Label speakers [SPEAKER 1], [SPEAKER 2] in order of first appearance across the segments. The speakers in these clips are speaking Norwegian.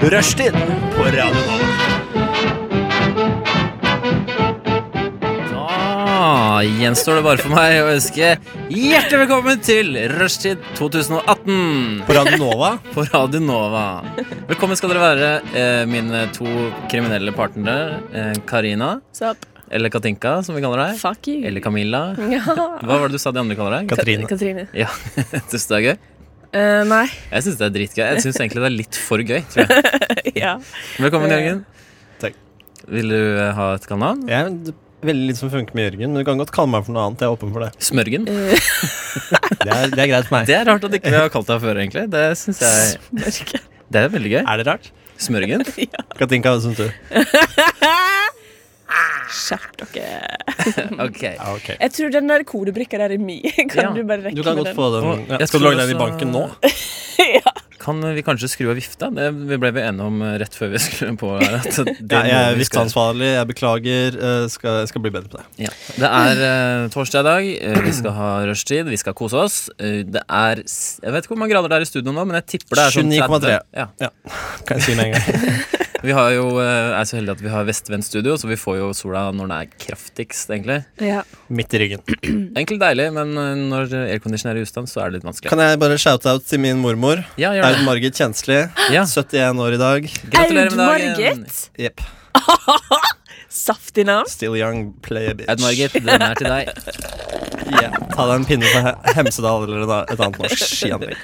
[SPEAKER 1] Rushtid på Radio Nova.
[SPEAKER 2] Da gjenstår det bare for meg å ønske hjertelig velkommen til Rushtid 2018
[SPEAKER 1] På Radio Nova?
[SPEAKER 2] på Radio Nova. Velkommen skal dere være, eh, mine to kriminelle partnere. eh, Karina,
[SPEAKER 3] Sup?
[SPEAKER 2] eller Katinka, som vi kaller deg.
[SPEAKER 3] Fuck you.
[SPEAKER 2] Eller Camilla.
[SPEAKER 3] Ja.
[SPEAKER 2] Hva var det du sa de andre kaller deg?
[SPEAKER 1] Katrine.
[SPEAKER 3] Katrine.
[SPEAKER 2] Ja, Syns du det er gøy?
[SPEAKER 3] Eh, nei.
[SPEAKER 2] Jeg syns det er dritgøy. Jeg syns egentlig det er litt for gøy. Tror jeg.
[SPEAKER 3] ja.
[SPEAKER 2] Velkommen, Jørgen.
[SPEAKER 1] Takk.
[SPEAKER 2] Vil du eh, ha et kallenavn?
[SPEAKER 1] Jeg er veldig litt som funker med Jørgen, men du kan godt kalle meg for noe annet. Jeg er åpen for det.
[SPEAKER 2] Smørgen.
[SPEAKER 3] Eh,
[SPEAKER 1] Det er, det er greit for meg.
[SPEAKER 2] Det er rart at ikke vi har kalt deg før, egentlig. Det synes jeg
[SPEAKER 3] mørke.
[SPEAKER 2] Det er veldig gøy.
[SPEAKER 1] Er det rart?
[SPEAKER 2] Smørgen.
[SPEAKER 1] Katinka, hva syns du?
[SPEAKER 3] Skjerp dere.
[SPEAKER 2] Ok.
[SPEAKER 1] Ja, ok.
[SPEAKER 3] Jeg tror den der kodebrikka der er mi. Kan
[SPEAKER 2] Ja,
[SPEAKER 3] du bare rekke
[SPEAKER 1] Du kan godt
[SPEAKER 3] med den?
[SPEAKER 1] få den.
[SPEAKER 2] Og
[SPEAKER 1] Ja.
[SPEAKER 2] jeg
[SPEAKER 1] Skal du
[SPEAKER 2] tror
[SPEAKER 1] logge den i
[SPEAKER 2] også-
[SPEAKER 1] banken nå?
[SPEAKER 2] Kan vi kanskje skru av vifta? Det vi ble vi enige om eh, rett før vi skulle på her. At det,
[SPEAKER 1] Ja, jeg
[SPEAKER 2] må
[SPEAKER 1] er
[SPEAKER 2] vi
[SPEAKER 1] visst
[SPEAKER 2] skru av.
[SPEAKER 1] ansvarlig, jeg beklager. eh, Skal, jeg skal bli bedre på det.
[SPEAKER 2] Ja. Det er eh, torsdag i dag. eh, vi skal ha rushtid. Vi skal kose oss. Eh, det er s- Jeg vet ikke hvor mange grader det er i studio nå, men jeg tipper det er sånn
[SPEAKER 1] 29,3.
[SPEAKER 2] 30. Ja.
[SPEAKER 1] Kan jeg si med en gang.
[SPEAKER 2] Vi har jo, eh, er så heldige at vi har vestvendt studio, så vi får jo sola når den er kraftigst, egentlig.
[SPEAKER 3] Ja.
[SPEAKER 1] Midt i ryggen.
[SPEAKER 2] Egentlig deilig, men eh, når aircondition er i ustand, så er det litt vanskelig.
[SPEAKER 1] Kan jeg bare shout-out til min mormor?
[SPEAKER 2] Ja, gjør
[SPEAKER 1] Aud
[SPEAKER 2] det.
[SPEAKER 1] Margit Kjensli.
[SPEAKER 2] Ja.
[SPEAKER 1] 71 år i dag.
[SPEAKER 2] Gratulerer med dagen.
[SPEAKER 3] Aud-Margit.
[SPEAKER 1] Yep.
[SPEAKER 3] Saftig navn.
[SPEAKER 1] Still young, play a bitch.
[SPEAKER 2] Aud-Margit, den er til deg.
[SPEAKER 1] Ja, Ta deg en pinne fra He- Hemsedal eller en- et annet norsk skianlegg.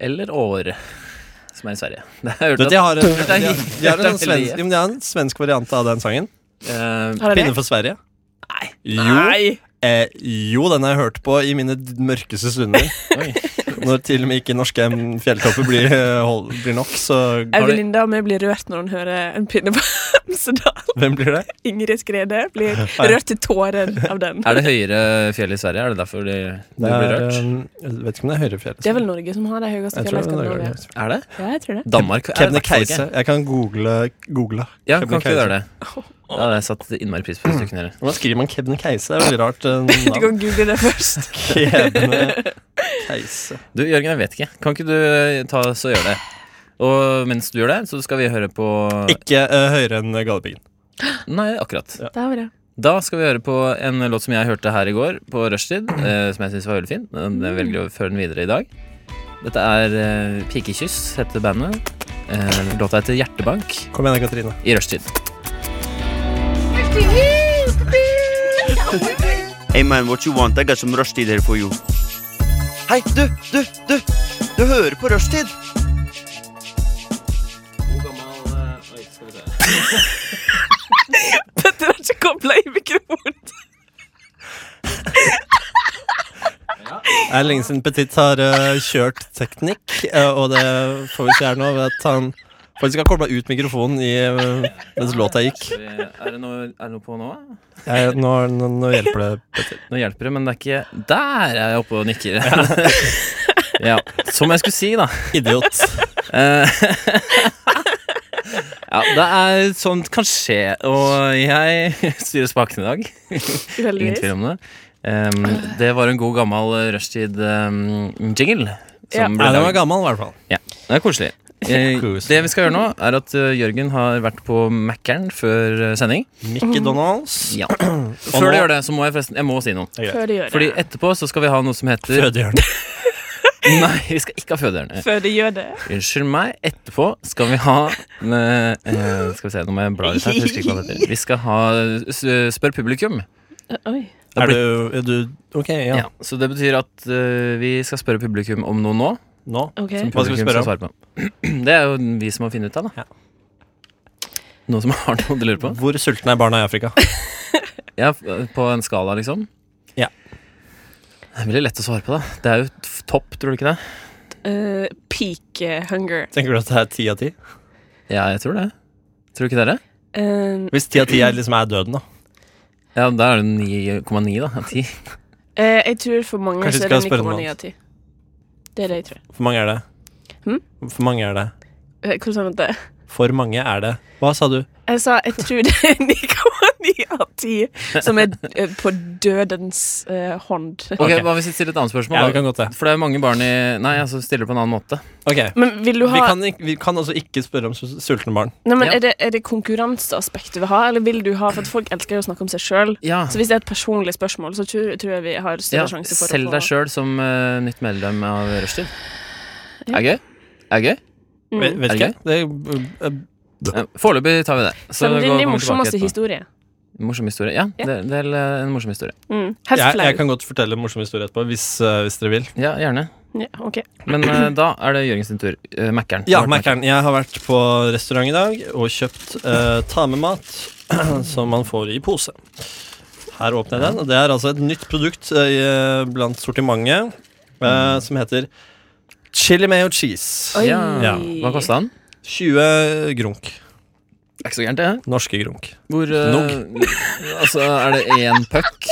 [SPEAKER 2] Eller Åre, som er i Sverige. Det har jeg
[SPEAKER 1] Du vet,
[SPEAKER 2] hørt
[SPEAKER 1] de har, en, de,
[SPEAKER 2] er
[SPEAKER 1] har, de, har en
[SPEAKER 2] helt
[SPEAKER 1] svensk,
[SPEAKER 2] ærlig.
[SPEAKER 1] jo, men de har en svensk variant av den sangen.
[SPEAKER 2] at eh,
[SPEAKER 3] Har jeg
[SPEAKER 1] Pinne
[SPEAKER 3] det?
[SPEAKER 1] for Sverige.
[SPEAKER 2] Nei.
[SPEAKER 1] Jo, eh, jo, den har jeg hørt på i mine d- mørkeste stunder.
[SPEAKER 2] Oi.
[SPEAKER 1] Når til og med ikke norske mm, fjelltopper blir, eh, hold, blir nok, så
[SPEAKER 2] Har du-
[SPEAKER 3] Evelinda og meg blir rørt når hun hører en pinne på Hemsedal.
[SPEAKER 1] hvem blir det?
[SPEAKER 3] Ingrid Skrede blir rørt til tårer av den.
[SPEAKER 2] Er det høyere fjell i Sverige? Er det derfor de, de
[SPEAKER 1] det er,
[SPEAKER 2] blir rørt?
[SPEAKER 1] eh, jeg vet ikke om det er Høyrefjell.
[SPEAKER 3] Det er vel Norge som har de høyeste
[SPEAKER 1] Jeg tror
[SPEAKER 3] fjellene i
[SPEAKER 1] det er
[SPEAKER 3] Skandinavia.
[SPEAKER 1] Norge.
[SPEAKER 2] Er det?
[SPEAKER 3] Ja, jeg tror det.
[SPEAKER 2] Danmark er det i hvert fall
[SPEAKER 1] Kebnekaise. Jeg kan google, google.
[SPEAKER 2] Ja, kan ikke du
[SPEAKER 1] Kebnekaise.
[SPEAKER 2] gjøre det? Da hadde jeg satt innmari pris på det stykket dere.
[SPEAKER 1] Hvordan skriver man Kebnekaise? Det er veldig rart. eh,
[SPEAKER 3] Du
[SPEAKER 1] navn.
[SPEAKER 3] kan google det først.
[SPEAKER 1] Kebnekaise.
[SPEAKER 2] Du, Jørgen, jeg vet ikke. Kan ikke du eh, ta oss og gjøre det? Og mens du gjør det, så skal vi høre på
[SPEAKER 1] Ikke eh, høyere enn Galdhøpiggen.
[SPEAKER 2] Nei, akkurat.
[SPEAKER 3] Da har vi det.
[SPEAKER 2] Da skal vi høre på en låt som jeg hørte her i går, på rushtid, eh, som jeg syns var veldig fin. Den den velger å føre den videre i dag. Dette er eh, Pikekyss, heter bandet. Eh, låta heter Hjertebank
[SPEAKER 1] Kom igjen, Katrine.
[SPEAKER 2] i rushtid.
[SPEAKER 4] Hey man, what you want? I got some rushtid here for you. Hei, du, du, du! Du hører på rushtid!
[SPEAKER 3] Petter har ikke kobla i mikrofonen.
[SPEAKER 1] Det er lenge siden Petit har eh, kjørt teknikk, eh, og det får vi se her nå ved at han faktisk har kobla ut mikrofonen i, eh, mens låta gikk.
[SPEAKER 2] Er det noe, er det noe på nå?
[SPEAKER 1] Jeg, nå, nå, nå hjelper det.
[SPEAKER 2] Nå hjelper det, men det er ikke Der er jeg oppe og nikker. ja. Som jeg skulle si, da.
[SPEAKER 1] Idiot.
[SPEAKER 2] Eh, ja, det er sånt kan skje, og jeg styrer spaken i dag. Ingen tvil
[SPEAKER 3] Uheldigvis.
[SPEAKER 2] om det. Ehm, det var en god gammel eh, rushtid-jingle.
[SPEAKER 3] Ja.
[SPEAKER 1] Nei, den var gammel, i hvert fall.
[SPEAKER 2] Det er koselig. Eh, Det vi skal gjøre nå, er at eh, Jørgen har vært på Mækkern før eh, sending.
[SPEAKER 1] Mickey Donalds.
[SPEAKER 2] Ja. Før du gjør det, så må jeg forresten Jeg må si noe.
[SPEAKER 3] Før de gjør det.
[SPEAKER 2] Fordi etterpå så skal vi ha noe som heter
[SPEAKER 1] Fødehjørnet.
[SPEAKER 2] Nei, vi skal ikke ha fødehjørne.
[SPEAKER 3] Før de gjør det.
[SPEAKER 2] Unnskyld meg. Etterpå skal vi ha eh, eh, Skal vi se, nå må jeg bla litt her. for jeg husker ikke hva det heter. Vi skal ha s- Spør publikum.
[SPEAKER 3] Eh, Oi.
[SPEAKER 1] Er du, er du Ok, ja.
[SPEAKER 2] Ja, så det betyr at eh, vi skal spørre publikum om noe nå.
[SPEAKER 1] Nå.
[SPEAKER 3] OK.
[SPEAKER 2] Som
[SPEAKER 1] Hva skal vi
[SPEAKER 2] publikum
[SPEAKER 1] spørre
[SPEAKER 2] svare på. Det er jo vi som må finne ut av,
[SPEAKER 1] Ja.
[SPEAKER 2] da. Noen som har noe du lurer på?
[SPEAKER 1] Hvor sultne er barna i Afrika?
[SPEAKER 2] Ja, f- på en skala, liksom?
[SPEAKER 1] Ja.
[SPEAKER 2] Det er veldig lett å svare på, da. Det er jo f- topp, tror du ikke det?
[SPEAKER 3] Eh, peak eh, hunger.
[SPEAKER 1] Tenker du at det er ti av ti?
[SPEAKER 2] Ja, jeg tror det. Tror ikke dere?
[SPEAKER 3] Eh,
[SPEAKER 1] Hvis ti av ti er, liksom er døden, da.
[SPEAKER 2] Ja, der er det 9,9, da. av 10.
[SPEAKER 3] eh, jeg tror for mange
[SPEAKER 1] Kanskje vi
[SPEAKER 3] så er det
[SPEAKER 1] skal spørre noe
[SPEAKER 3] 9,9 av 10. Det er det jeg tror.
[SPEAKER 1] For mange er det.
[SPEAKER 3] Hm?
[SPEAKER 1] For mange er det.
[SPEAKER 3] Eh, Hvordan er det?
[SPEAKER 1] For mange er det. Hva sa du?
[SPEAKER 3] Jeg sa jeg tror det er Nico ni av ti som er eh, på dødens eh, hånd.
[SPEAKER 2] Ok,
[SPEAKER 1] Ok.
[SPEAKER 2] Hva hvis vi stiller et annet spørsmål?
[SPEAKER 1] Ja,
[SPEAKER 2] da?
[SPEAKER 1] det kan godt det.
[SPEAKER 2] For det er mange barn i Nei, altså stiller på en annen måte.
[SPEAKER 1] Ok,
[SPEAKER 3] Men vil du
[SPEAKER 1] vi
[SPEAKER 3] ha
[SPEAKER 1] kan, ikk- vi kan altså ikke spørre om su- sultne barn.
[SPEAKER 3] Nei, men
[SPEAKER 2] Ja.
[SPEAKER 3] er, det, er det konkurranseaspektet vi har, eller vil du ha For at folk elsker jo å snakke om seg sjøl.
[SPEAKER 2] Ja,
[SPEAKER 3] Så hvis det er et personlig spørsmål, så tror, tror jeg vi har større
[SPEAKER 2] ja
[SPEAKER 3] sjanse for
[SPEAKER 2] Selg
[SPEAKER 3] å få
[SPEAKER 2] deg sjøl som eh, nytt medlem av Rushtid. Er det gøy? Er det gøy?
[SPEAKER 1] Ve-
[SPEAKER 3] Mm.
[SPEAKER 1] Vet
[SPEAKER 2] Er
[SPEAKER 1] ikke.
[SPEAKER 2] det
[SPEAKER 1] Det, er- eh,
[SPEAKER 2] Eh, Foreløpig tar vi det. Så
[SPEAKER 3] Send
[SPEAKER 2] går-
[SPEAKER 3] din
[SPEAKER 2] kommer tilbake
[SPEAKER 3] morsomste
[SPEAKER 2] etterpå.
[SPEAKER 3] historie.
[SPEAKER 2] Morsom historie. Ja,
[SPEAKER 3] Ja.
[SPEAKER 2] del, del eh, en morsom historie.
[SPEAKER 3] Mm. Helst
[SPEAKER 1] jeg,
[SPEAKER 3] flau.
[SPEAKER 1] jeg kan godt fortelle en morsom historie etterpå, hvis, eh, hvis dere vil.
[SPEAKER 2] Ja, gjerne.
[SPEAKER 3] Ja, ok.
[SPEAKER 2] Men eh, da er det Jørgen sin tur. Uh, Mækkern.
[SPEAKER 1] Ja,
[SPEAKER 2] Har du vært
[SPEAKER 1] Mac-eren. Jeg har vært på restaurant i dag og kjøpt eh, ta med mat som man får i pose. Her åpner jeg den. og Det er altså et nytt produkt eh, i, blant sortimentet eh, som heter chili mayo cheese.
[SPEAKER 3] Oi.
[SPEAKER 2] Ja.
[SPEAKER 1] Ja.
[SPEAKER 2] Hva kosta han?
[SPEAKER 1] 20 grunk.
[SPEAKER 2] Det er ikke så gærent, det.
[SPEAKER 1] Norske grunk.
[SPEAKER 2] Hvor eh,
[SPEAKER 1] Nog.
[SPEAKER 2] Altså, er det én puck?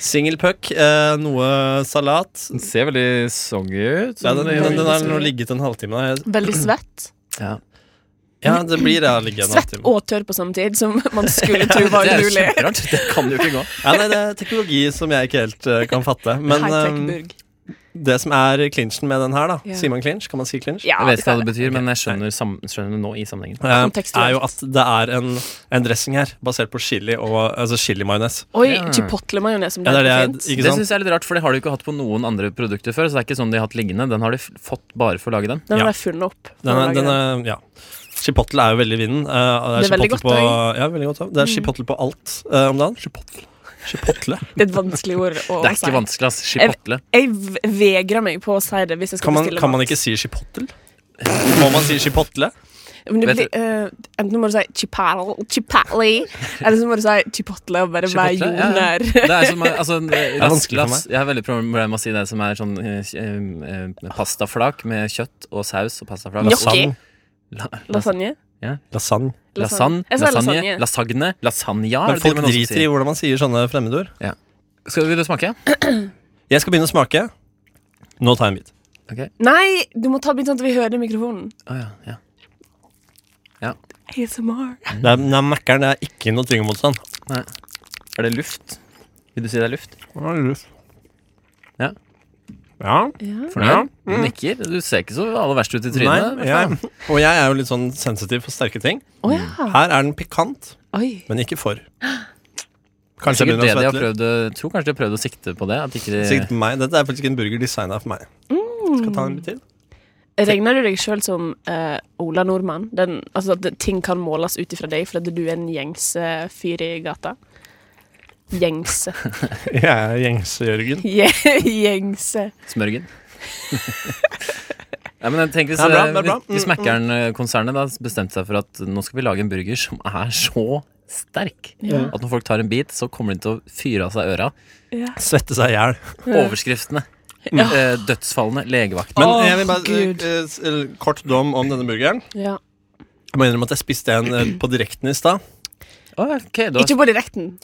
[SPEAKER 1] Single puck, eh, noe salat.
[SPEAKER 2] Den ser veldig soggy ut. Sånn
[SPEAKER 1] Ja, den,
[SPEAKER 2] men det gjør
[SPEAKER 1] den, den
[SPEAKER 2] ikke
[SPEAKER 1] har
[SPEAKER 2] så-
[SPEAKER 1] nå ligget en halvtime. da. Jeg-
[SPEAKER 3] Veldig svett.
[SPEAKER 2] ja.
[SPEAKER 1] Ja, det blir det å ligge en
[SPEAKER 3] Svett
[SPEAKER 1] halvtime.
[SPEAKER 3] og tørr på samme tid, som man skulle tro var
[SPEAKER 2] Det er jo
[SPEAKER 3] umulig.
[SPEAKER 2] kjemperart. Det kan jo ikke gå.
[SPEAKER 1] Ja, nei, det er teknologi som jeg ikke helt eh, kan fatte. Men eh,
[SPEAKER 3] High-tech-burg.
[SPEAKER 1] det som er clinchen med den her, da
[SPEAKER 3] Ja.
[SPEAKER 1] Sier man clinch? Kan man si clinch?
[SPEAKER 3] Ja,
[SPEAKER 2] Jeg vet ikke
[SPEAKER 3] det
[SPEAKER 2] hva
[SPEAKER 3] kan
[SPEAKER 2] det
[SPEAKER 3] jeg.
[SPEAKER 2] betyr, men jeg skjønner, sam skjønner det nå i sammenhengen.
[SPEAKER 1] Eh,
[SPEAKER 3] Kontekstuelt.
[SPEAKER 1] er jo at det er en, en dressing her basert på chili og altså chili-majones.
[SPEAKER 3] Oi,
[SPEAKER 2] Ja.
[SPEAKER 3] chipotle-majones, som
[SPEAKER 1] Ja, det er det
[SPEAKER 3] det
[SPEAKER 1] jeg
[SPEAKER 3] heter fint.
[SPEAKER 1] Ikke
[SPEAKER 2] Det
[SPEAKER 1] sant?
[SPEAKER 2] syns jeg er litt rart, for det har de ikke hatt på noen andre produkter før. Så det er ikke sånn de har hatt liggende. Den har de f- fått bare for å lage den.
[SPEAKER 3] Den
[SPEAKER 1] Ja.
[SPEAKER 3] har jeg funnet opp. for
[SPEAKER 1] Den
[SPEAKER 3] å
[SPEAKER 1] er,
[SPEAKER 3] lage
[SPEAKER 1] den er, ja. Chipotle er jo veldig i vinden. eh, og
[SPEAKER 3] Det er veldig
[SPEAKER 1] chipotle
[SPEAKER 3] godt Mm.
[SPEAKER 1] på,
[SPEAKER 3] også.
[SPEAKER 1] ja, veldig godt også. Det er chipotle på alt eh, om dagen. Chipotle. Chipotle.
[SPEAKER 3] Det er et vanskelig ord å
[SPEAKER 2] Det er
[SPEAKER 3] si.
[SPEAKER 2] ikke vanskelig, ass. Chipotle.
[SPEAKER 3] Jeg v- vegrer meg på å si det hvis jeg skal
[SPEAKER 1] Kan man,
[SPEAKER 3] bestille
[SPEAKER 1] kan man
[SPEAKER 3] mat.
[SPEAKER 1] ikke si chipotle? Må man si chipotle?
[SPEAKER 3] Men det
[SPEAKER 2] Vet
[SPEAKER 3] blir, eh, enten må du si chipotle, chipotle eller så må du si chipotle og bare være
[SPEAKER 2] Chipotle, ja, ja.
[SPEAKER 3] joner.
[SPEAKER 2] Det er som, altså,
[SPEAKER 1] er vanskelig for
[SPEAKER 2] raskelass. Jeg har veldig problemer med å si det som er sånn eh, eh, eh, pastaflak med kjøtt og saus og pastaflak.
[SPEAKER 3] Gnocchi.
[SPEAKER 1] Lasagne.
[SPEAKER 2] La, lasagne.
[SPEAKER 3] Lasagne?
[SPEAKER 1] Lasagne.
[SPEAKER 2] Lasagne.
[SPEAKER 3] Jeg sa
[SPEAKER 2] Lasagne.
[SPEAKER 3] lasagne.
[SPEAKER 2] Lasagne. Lasagna.
[SPEAKER 1] Men
[SPEAKER 2] er det til
[SPEAKER 1] folk
[SPEAKER 2] og med noen som
[SPEAKER 1] driter i
[SPEAKER 2] sier.
[SPEAKER 1] hvordan man sier sånne fremmedord.
[SPEAKER 2] Skal Vil du smake?
[SPEAKER 1] Jeg skal begynne å smake. Nå tar jeg en bit.
[SPEAKER 3] Nei, du må ta bit sånn at vi hører mikrofonen.
[SPEAKER 2] Å ja, ja.
[SPEAKER 3] ASMR.
[SPEAKER 1] Det er, nei, Mækkern, det er ikke noe tyngemotstand.
[SPEAKER 2] Er det luft? Vil du si det er luft? Ja.
[SPEAKER 1] ja.
[SPEAKER 3] Ja.
[SPEAKER 1] Ja.
[SPEAKER 2] Fornøyd? Du nikker. Du ser ikke så aller verst ut i trynet.
[SPEAKER 1] Nei, jeg, og jeg er jo litt sånn sensitiv for sterke ting.
[SPEAKER 3] Å ja.
[SPEAKER 1] Her er den pikant,
[SPEAKER 3] Oi.
[SPEAKER 1] men ikke for.
[SPEAKER 2] Det er
[SPEAKER 1] Kanskje jeg
[SPEAKER 2] sikkert det
[SPEAKER 1] begynner å
[SPEAKER 2] de har
[SPEAKER 1] svette litt.
[SPEAKER 2] prøvd å- tror kanskje de har prøvd å sikte på det. At ikke de,
[SPEAKER 1] Sikkert meg. Dette er faktisk en burger designa for meg. Skal jeg ta en bit til?
[SPEAKER 3] Regner du deg sjøl som eh, Ola Nordmann? Den, altså at det- ting kan måles ut ifra deg fordi du er en gjengse fyr i gata? Gjengse.
[SPEAKER 1] Jeg er gjengse, Jørgen.
[SPEAKER 3] Gje- gjengse.
[SPEAKER 2] Smørgen. Nei, men jeg tenker hvis,
[SPEAKER 1] Det er bra, det er
[SPEAKER 2] eh,
[SPEAKER 1] bra.
[SPEAKER 2] hvis- hvis
[SPEAKER 1] Mm,
[SPEAKER 2] Mækkern-konsernet da bestemte seg for at nå skal vi lage en burger som er så sterk
[SPEAKER 3] Ja.
[SPEAKER 2] at når folk tar en bit, så kommer de til å fyre av seg øra.
[SPEAKER 3] Ja.
[SPEAKER 1] Svette seg i hjel.
[SPEAKER 2] Overskriftene.
[SPEAKER 3] Ja.
[SPEAKER 2] eh, Dødsfallene. Legevakten.
[SPEAKER 1] Men
[SPEAKER 3] Åh,
[SPEAKER 1] jeg vil bare
[SPEAKER 3] Gud.
[SPEAKER 1] eh, s- eh, kort dom om denne burgeren.
[SPEAKER 3] ja.
[SPEAKER 1] Jeg må innrømme at jeg spiste en eh, på direkten i stad.
[SPEAKER 2] Å, ok, da-
[SPEAKER 3] Ikke på direkten.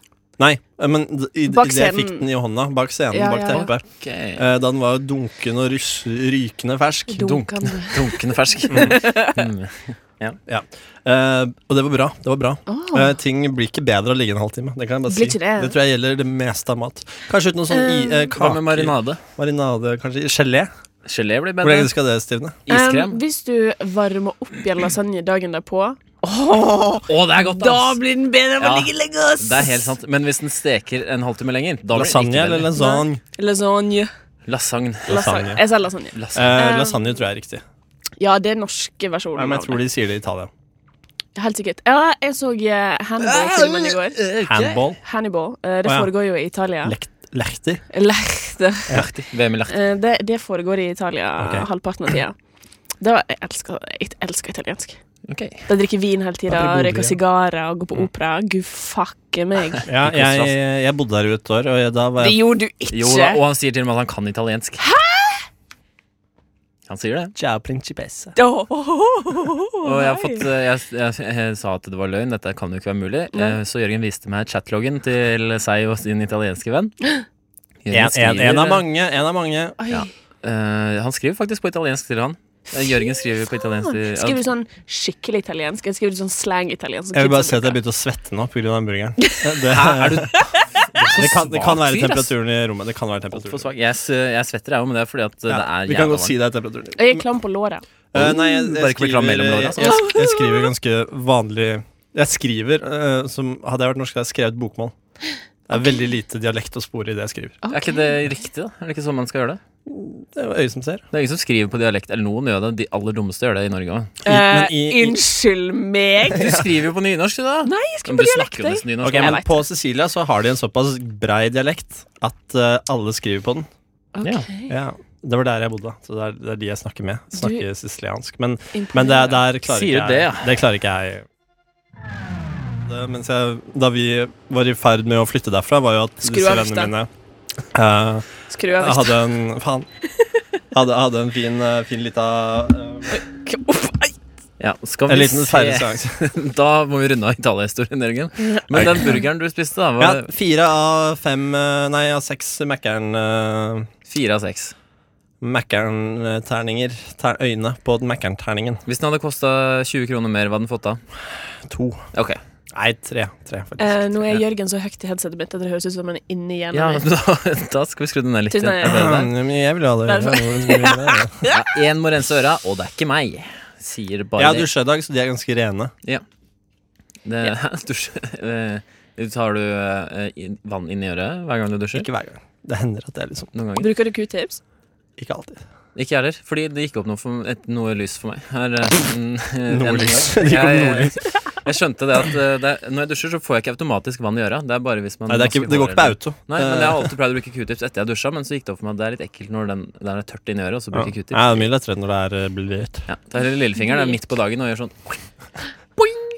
[SPEAKER 1] Nei, eh, men d- i,
[SPEAKER 3] Bak
[SPEAKER 1] i det jeg fikk
[SPEAKER 3] scenen.
[SPEAKER 1] den i hånda, bak scenen,
[SPEAKER 3] Ja,
[SPEAKER 1] bak
[SPEAKER 3] ja, ja.
[SPEAKER 1] teppet,
[SPEAKER 2] ok.
[SPEAKER 1] eh, da den var dunken og rys, rykende fersk
[SPEAKER 3] Mm. Dunkende.
[SPEAKER 2] Dunkende fersk. Mm.
[SPEAKER 1] Eh, Og det var bra. det var bra
[SPEAKER 3] Åh.
[SPEAKER 1] eh, Ting blir ikke bedre av å ligge en halvtime. Det kan jeg bare
[SPEAKER 3] Blir
[SPEAKER 1] si
[SPEAKER 3] ikke det?
[SPEAKER 1] tror jeg gjelder det meste av mat. Kanskje uten noe sånn i, eh,
[SPEAKER 2] Hva
[SPEAKER 1] kake,
[SPEAKER 2] med marinade?
[SPEAKER 1] marinade, kanskje gelé.
[SPEAKER 2] Gelé blir
[SPEAKER 1] Hvor lenge
[SPEAKER 2] bedre.
[SPEAKER 1] skal det stivne?
[SPEAKER 3] Um,
[SPEAKER 2] Iskrem.
[SPEAKER 3] hvis du varmer opp igjen lasagne dagen derpå,
[SPEAKER 2] Å, det er godt,
[SPEAKER 3] da
[SPEAKER 2] ass!
[SPEAKER 3] blir den bedre enn å
[SPEAKER 2] Ja,
[SPEAKER 3] ligge lenge, ass!
[SPEAKER 2] Det er helt sant. Men hvis den steker en halvtime lenger, da blir det
[SPEAKER 1] Lasagne
[SPEAKER 2] ikke
[SPEAKER 1] eller
[SPEAKER 2] bedre.
[SPEAKER 1] lasagne?
[SPEAKER 3] Lasagne.
[SPEAKER 1] Lasagne.
[SPEAKER 2] Lasagne.
[SPEAKER 3] Lasagne. Jeg sa lasagne.
[SPEAKER 2] Lasagne.
[SPEAKER 1] Eh,
[SPEAKER 3] Um,
[SPEAKER 1] lasagne tror jeg er riktig.
[SPEAKER 3] Ja, det er norske versjonen.
[SPEAKER 1] Nei, men jeg
[SPEAKER 3] av
[SPEAKER 1] tror de sier det i Italia.
[SPEAKER 3] det. Helt sikkert. Ja, jeg så eh, Hannibal-filmen i går.
[SPEAKER 2] Eh,
[SPEAKER 1] Handball.
[SPEAKER 3] Hannibal. eh, Det
[SPEAKER 1] Å, ja.
[SPEAKER 3] foregår jo i Italia.
[SPEAKER 1] Lekt, lerter.
[SPEAKER 3] Lærte.
[SPEAKER 2] Lahti. VM i Lahti.
[SPEAKER 3] Eh, Det, det foregår i Italia
[SPEAKER 1] Ok.
[SPEAKER 3] halvparten av tida. Det var, jeg, elsker, jeg elsker italiensk.
[SPEAKER 2] Ok.
[SPEAKER 3] De drikker vin hele tida,
[SPEAKER 1] Apropos
[SPEAKER 3] røyker
[SPEAKER 1] det.
[SPEAKER 3] sigarer og går på opera. Gud fucke meg.
[SPEAKER 1] Ja, jeg, jeg bodde der jo et år, og jeg, da var
[SPEAKER 3] Det
[SPEAKER 1] jeg
[SPEAKER 3] gjorde du ikke!
[SPEAKER 2] Jo da, og han sier til og med at han kan italiensk. Hæ?! Han sier det.
[SPEAKER 1] Ciao, principesse.
[SPEAKER 3] Åh, åh, åh, åh, åh,
[SPEAKER 2] Og jeg, har
[SPEAKER 3] nei.
[SPEAKER 2] fått, eh, jeg, jeg, jeg sa at det var løgn, dette kan jo ikke være mulig. Eh,
[SPEAKER 3] Nei.
[SPEAKER 2] Så Jørgen viste meg chatloggen til seg og sin italienske venn. Jørgen
[SPEAKER 1] En, en, en
[SPEAKER 2] skriver- eh,
[SPEAKER 1] av mange. En av mange.
[SPEAKER 3] Oi.
[SPEAKER 2] Ja. Eh, han skriver faktisk på italiensk til han. Eh, Jørgen skriver på italiensk. i- ja,
[SPEAKER 3] Skriver du sånn skikkelig italiensk? Eller skriver du sånn slang-italiensk?
[SPEAKER 1] Jeg vil bare si at jeg begynte å svette nå pga. hamburgeren. Det,
[SPEAKER 2] Er du
[SPEAKER 1] Eh, det, kan, det kan være
[SPEAKER 2] Svak fyr, ass.
[SPEAKER 1] temperaturen i rommet. Det kan være
[SPEAKER 2] altfor
[SPEAKER 1] temperaturen.
[SPEAKER 2] svak? Jeg, s- jeg svetter, jeg òg, men det er fordi at eh, det
[SPEAKER 1] Ja,
[SPEAKER 2] er
[SPEAKER 1] vi kan godt
[SPEAKER 2] varmt. Mm.
[SPEAKER 1] si det er temperaturen.
[SPEAKER 3] Jeg er klam på låret.
[SPEAKER 1] Eh, nei, jeg,
[SPEAKER 2] Bare
[SPEAKER 1] jeg,
[SPEAKER 2] ikke forklar
[SPEAKER 1] skriver,
[SPEAKER 2] mellom låra,
[SPEAKER 1] jeg,
[SPEAKER 2] altså.
[SPEAKER 1] sk- jeg skriver ganske vanlig Jeg skriver eh, som Hadde jeg vært norsk, hadde jeg skrevet bokmål. Det er veldig lite dialekt å spore i det jeg skriver.
[SPEAKER 2] Er ikke det riktig, da? Er det ikke sånn man skal gjøre det?
[SPEAKER 1] Det er jo øyet som ser.
[SPEAKER 2] Det er ingen som skriver på dialekt. Eller noen gjør det. De aller dummeste gjør det i Norge òg.
[SPEAKER 1] I- men i- i-
[SPEAKER 3] Eh, unnskyld meg!
[SPEAKER 2] Du skriver jo på nynorsk, du, da!
[SPEAKER 3] Nei,
[SPEAKER 2] Men
[SPEAKER 3] jeg skriver på
[SPEAKER 2] du snakker jo
[SPEAKER 3] dialekt.
[SPEAKER 2] nesten
[SPEAKER 3] jeg.
[SPEAKER 2] nynorsk.
[SPEAKER 1] Ok,
[SPEAKER 3] Jeg
[SPEAKER 1] men
[SPEAKER 3] vet.
[SPEAKER 1] På Sicilia så har de en såpass brei dialekt at eh, alle skriver på den.
[SPEAKER 2] Ja.
[SPEAKER 3] Ok,
[SPEAKER 1] Ja, det var der jeg bodde, så det er, det er de jeg snakker med. Snakker siciliansk. Men, men det,
[SPEAKER 3] imponerende.
[SPEAKER 1] er- der klarer
[SPEAKER 2] Sier
[SPEAKER 1] ikke
[SPEAKER 2] du det,
[SPEAKER 1] jeg
[SPEAKER 2] ja?
[SPEAKER 1] Det klarer ikke jeg. Det, mens jeg, da vi var i ferd med å flytte derfra, var jo at
[SPEAKER 3] Skru
[SPEAKER 1] disse
[SPEAKER 3] av
[SPEAKER 1] vennene mine eh,
[SPEAKER 3] Skru av
[SPEAKER 1] Jeg
[SPEAKER 3] vekk.
[SPEAKER 1] hadde en Faen. Hadde, hadde en fin, eh, fin lita eh,
[SPEAKER 3] Uff, ei.
[SPEAKER 2] Ja, skal
[SPEAKER 1] En
[SPEAKER 2] vi
[SPEAKER 1] liten
[SPEAKER 2] se
[SPEAKER 1] feireseanse.
[SPEAKER 2] Da må vi runde av Italia-historien, Jørgen. Men den burgeren du spiste, da,
[SPEAKER 1] Ja,
[SPEAKER 2] var
[SPEAKER 1] fire av fem eh, Nei, av seks Mækkern uh,
[SPEAKER 2] fire av seks.
[SPEAKER 1] Mækkern-terninger. eh, Ter, øyne på den Mækkern-terningen.
[SPEAKER 2] Hvis den hadde kosta 20 kroner mer, hva hadde den fått da?
[SPEAKER 1] To.
[SPEAKER 2] Ok.
[SPEAKER 1] Nei, tre. tre faktisk.
[SPEAKER 3] Eh, nå er Jørgen så høyt i headsetet mitt at det høres ut som han er inni
[SPEAKER 2] Ja,
[SPEAKER 3] gjennom.
[SPEAKER 2] da, da skal vi skru den ned litt.
[SPEAKER 3] Tusen
[SPEAKER 2] igjen.
[SPEAKER 3] takk.
[SPEAKER 2] Er det det?
[SPEAKER 1] Mm, Men jeg vil ha det.
[SPEAKER 3] Derfor.
[SPEAKER 2] Ja, Én må rense øra, og det er ikke meg. Sier
[SPEAKER 1] Jeg
[SPEAKER 2] bare
[SPEAKER 1] har dusja i dag, så de er ganske rene.
[SPEAKER 2] det. Dusj. Eh, Tar du eh, inn- vann inn i øret hver gang du dusjer?
[SPEAKER 1] Ikke hver gang. Det hender at det er liksom
[SPEAKER 2] Noen ganger?
[SPEAKER 3] Bruker du q-tips?
[SPEAKER 1] Ikke alltid.
[SPEAKER 2] Ikke jeg heller, fordi det gikk opp noe, for, et, noe lys for meg. Her, eh,
[SPEAKER 1] Nordlys. Det
[SPEAKER 2] Jeg,
[SPEAKER 1] gikk opp
[SPEAKER 2] jeg, jeg skjønte det at eh, det, er- når jeg dusjer, så får jeg ikke automatisk vann i øra. Det er bare hvis man
[SPEAKER 1] Nei, det, er ikke,
[SPEAKER 2] vasker
[SPEAKER 1] det går
[SPEAKER 2] håret
[SPEAKER 1] ikke på
[SPEAKER 2] eller-
[SPEAKER 1] auto. Eh,
[SPEAKER 2] Nei, men Jeg har alltid pleid å bruke q-tips etter jeg dusja, men så gikk det opp for meg at det er litt ekkelt når den, den er tørt inni øret, og så
[SPEAKER 1] Ja.
[SPEAKER 2] bruker
[SPEAKER 1] Nei,
[SPEAKER 2] jeg q-tips.
[SPEAKER 1] det er mye lettere når det er eh, bløt.
[SPEAKER 2] Ja, tar heller lillefingeren det er midt på dagen og gjør sånn.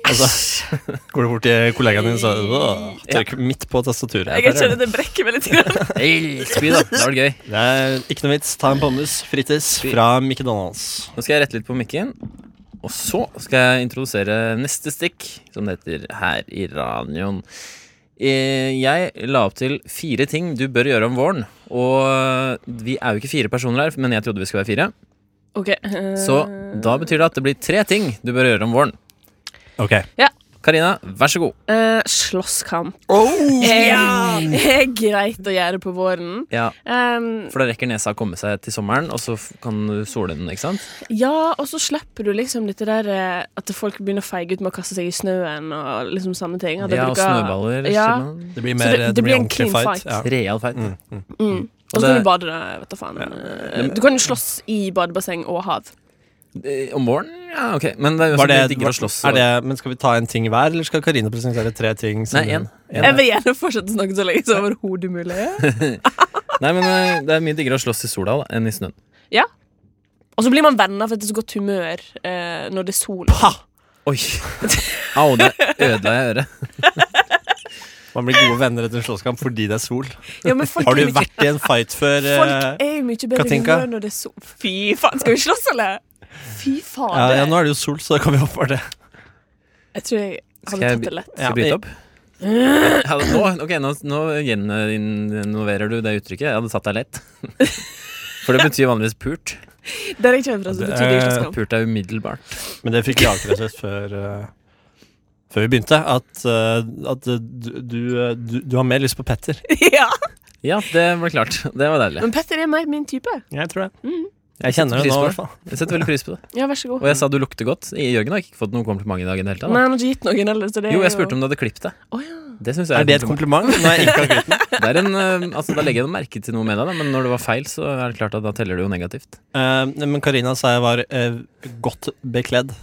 [SPEAKER 1] Og så Altså, går du bort til kollegaen din og så «Åh, Tørk midt på tastaturet.
[SPEAKER 3] Jeg kjenner det brekker meg litt. grann.
[SPEAKER 2] Hey, spy, da. Det var gøy.
[SPEAKER 1] Det er ikke noe vits. Ta en pommes frites fra McDonald's.
[SPEAKER 2] Nå skal jeg rette litt på mikken. Og så skal jeg introdusere neste stikk, som det heter her i radioen. Eh, Jeg la opp til fire ting du bør gjøre om våren. Og eh, vi er jo ikke fire personer her, men jeg trodde vi skulle være fire.
[SPEAKER 3] Ok, eh,
[SPEAKER 2] Så da betyr det at det blir tre ting du bør gjøre om våren.
[SPEAKER 1] Ok
[SPEAKER 2] Karina, vær så god.
[SPEAKER 3] eh, Slåsskamp.
[SPEAKER 2] Oh,
[SPEAKER 3] er greit å gjøre på våren.
[SPEAKER 2] Ja,
[SPEAKER 3] Ehm,
[SPEAKER 2] For da rekker nesa å komme seg til sommeren, og så f- kan du sole den, ikke sant?
[SPEAKER 3] ja, og så slipper du liksom litt det der eh, at folk begynner å feige ut med å kaste seg i snøen og liksom sånne ting. At det
[SPEAKER 2] Ja, og
[SPEAKER 3] bruker-
[SPEAKER 2] snøballer.
[SPEAKER 3] Ja.
[SPEAKER 2] skjønner du?
[SPEAKER 1] Det blir
[SPEAKER 3] mer- det- det det blir blir en ordentlig clean fight. fight.
[SPEAKER 1] Ja.
[SPEAKER 2] Real fight.
[SPEAKER 3] Mm. Og så
[SPEAKER 2] det-
[SPEAKER 3] kan du bade, da, vet du faen. Eh, Du kan jo slåss i badebasseng og hav.
[SPEAKER 2] Eh, Om våren? Ja, ok. Men det er jo
[SPEAKER 1] Var
[SPEAKER 2] sånn
[SPEAKER 1] det,
[SPEAKER 2] at de digger å slåss.
[SPEAKER 1] er det, men skal vi ta en ting hver, eller skal Karine presentere tre ting? som-
[SPEAKER 2] Nei, en.
[SPEAKER 3] Jeg vil gjerne fortsette å snakke så lenge som overhodet mulig.
[SPEAKER 2] Nei, men eh, det er mye diggere å slåss i sola da, enn i snøen.
[SPEAKER 3] Og så blir man venner for at det er så godt humør eh, når det er sol.
[SPEAKER 2] Oi! Au, det ødela jeg øret.
[SPEAKER 1] Man blir gode venner etter en slåsskamp fordi det er sol.
[SPEAKER 3] Ja, men folk
[SPEAKER 1] Har du
[SPEAKER 3] er mye-
[SPEAKER 1] vært i en fight før?
[SPEAKER 3] Folk
[SPEAKER 1] eh,
[SPEAKER 3] er jo mye bedre i
[SPEAKER 1] Katinka?
[SPEAKER 3] humør når det er sol. Fy faen, skal vi slåss, eller? Fy faen.
[SPEAKER 1] Ja, ja,
[SPEAKER 3] det-
[SPEAKER 1] nå er det jo sol, så da kan vi hoppe over det.
[SPEAKER 3] Jeg tror jeg
[SPEAKER 2] Skal
[SPEAKER 3] hadde
[SPEAKER 2] jeg
[SPEAKER 3] tatt det
[SPEAKER 2] by-
[SPEAKER 3] lett.
[SPEAKER 2] Skal jeg bryte opp? Ja, nå, ok, nå, nå gjeninnoverer du det uttrykket. Jeg hadde tatt deg lett. For det betyr vanligvis pult.
[SPEAKER 3] Der jeg kommer fra, så
[SPEAKER 1] Det
[SPEAKER 3] betyr det
[SPEAKER 1] er-
[SPEAKER 3] slåsskamp.
[SPEAKER 2] Pult er umiddelbart.
[SPEAKER 1] Men det fikk vi avkreftet før, eh, før vi begynte, at, eh, at eh, du, du, eh, du, du har mer lyst på Petter.
[SPEAKER 3] Ja.
[SPEAKER 2] Ja, det ble klart. Det var deilig.
[SPEAKER 3] Men Petter er mer min type.
[SPEAKER 1] Jeg tror det.
[SPEAKER 2] Jeg
[SPEAKER 1] Jeg kjenner det nå, i
[SPEAKER 2] setter pris
[SPEAKER 1] hvert fall.
[SPEAKER 2] på det. Jeg setter veldig pris på det.
[SPEAKER 3] Ja, vær så god.
[SPEAKER 2] Og jeg sa du lukter godt. Jørgen har ikke fått noe kompliment i dag i det hele
[SPEAKER 3] Nei,
[SPEAKER 2] tatt. da.
[SPEAKER 3] han har ikke gitt noen heller, så det er
[SPEAKER 2] Jo, jeg spurte om du hadde klippet deg.
[SPEAKER 3] Å, ja.
[SPEAKER 2] Det synes jeg
[SPEAKER 1] Er det et kompliment? Nei, ikke akkurat.
[SPEAKER 2] Det er en, eh, altså, da legger jeg merke til noe med deg, da, men når det var feil, så er det klart at da teller det jo negativt.
[SPEAKER 1] Eh, men Karina sa jeg var eh, godt bekledd.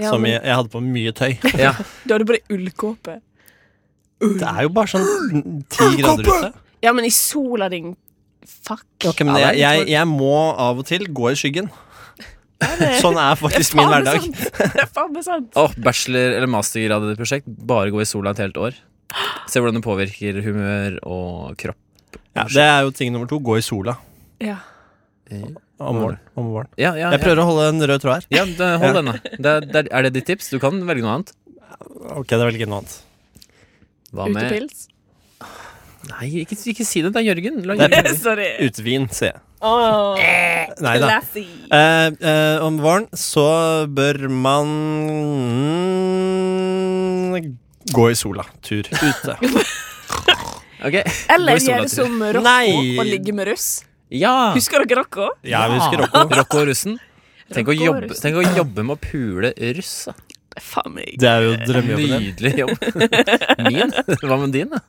[SPEAKER 3] Ja,
[SPEAKER 1] som
[SPEAKER 3] men
[SPEAKER 1] jeg, jeg hadde på mye tøy.
[SPEAKER 2] Ja,
[SPEAKER 3] Du hadde bare ullkåpe.
[SPEAKER 1] Det er jo bare sånn ti grader ute.
[SPEAKER 3] Ja, men i sola din Fuck.
[SPEAKER 1] Ok, men
[SPEAKER 2] Ja, det
[SPEAKER 1] jeg,
[SPEAKER 2] er litt
[SPEAKER 1] jeg,
[SPEAKER 2] for-
[SPEAKER 1] jeg må av og til gå i skyggen. Sånn er
[SPEAKER 3] Det er
[SPEAKER 1] faktisk
[SPEAKER 3] faen
[SPEAKER 1] min
[SPEAKER 3] meg
[SPEAKER 1] hverdag.
[SPEAKER 3] sant. Det er faen meg sant.
[SPEAKER 2] Åh, bachelor- eller mastergradprosjekt. Bare gå i sola et helt år. Se hvordan det påvirker humør og kropp.
[SPEAKER 1] Ja, det er jo ting nummer to. Gå i sola
[SPEAKER 3] Ja.
[SPEAKER 1] om våren. Om våren.
[SPEAKER 2] Ja, ja,
[SPEAKER 1] Jeg
[SPEAKER 2] ja.
[SPEAKER 1] prøver å holde en rød tråd her.
[SPEAKER 2] ja da, hold denne. Det, er- det, er- er det ditt tips? Du kan velge noe annet.
[SPEAKER 1] Ok, det er vel ikke noe annet.
[SPEAKER 2] Hva med
[SPEAKER 3] Utepils.
[SPEAKER 2] Nei, ikke, ikke si det. Det er Jørgen. La
[SPEAKER 1] Det er
[SPEAKER 2] Jørgen.
[SPEAKER 3] Sorry.
[SPEAKER 1] Utevin, sier jeg.
[SPEAKER 3] Åh,
[SPEAKER 1] Nei da. Eh, eh, om våren så bør man mm, gå i sola. Tur ute.
[SPEAKER 2] Ok. Gå
[SPEAKER 3] Eller
[SPEAKER 2] i sola,
[SPEAKER 3] gjøre
[SPEAKER 2] tror
[SPEAKER 3] som Rocco
[SPEAKER 1] Eh, Nei.
[SPEAKER 3] og ligge med russ.
[SPEAKER 2] Ja!
[SPEAKER 3] Husker dere Rocco?
[SPEAKER 1] Jeg husker Rocco.
[SPEAKER 2] Rocco og russen. Tenk å,
[SPEAKER 3] Rocco og
[SPEAKER 2] jobbe,
[SPEAKER 3] russen.
[SPEAKER 2] tenk å jobbe med å pule russ. da.
[SPEAKER 3] Faen meg.
[SPEAKER 1] Det er jo drømmejobben din.
[SPEAKER 2] Nydelig jobb. Min? Hva med din, da?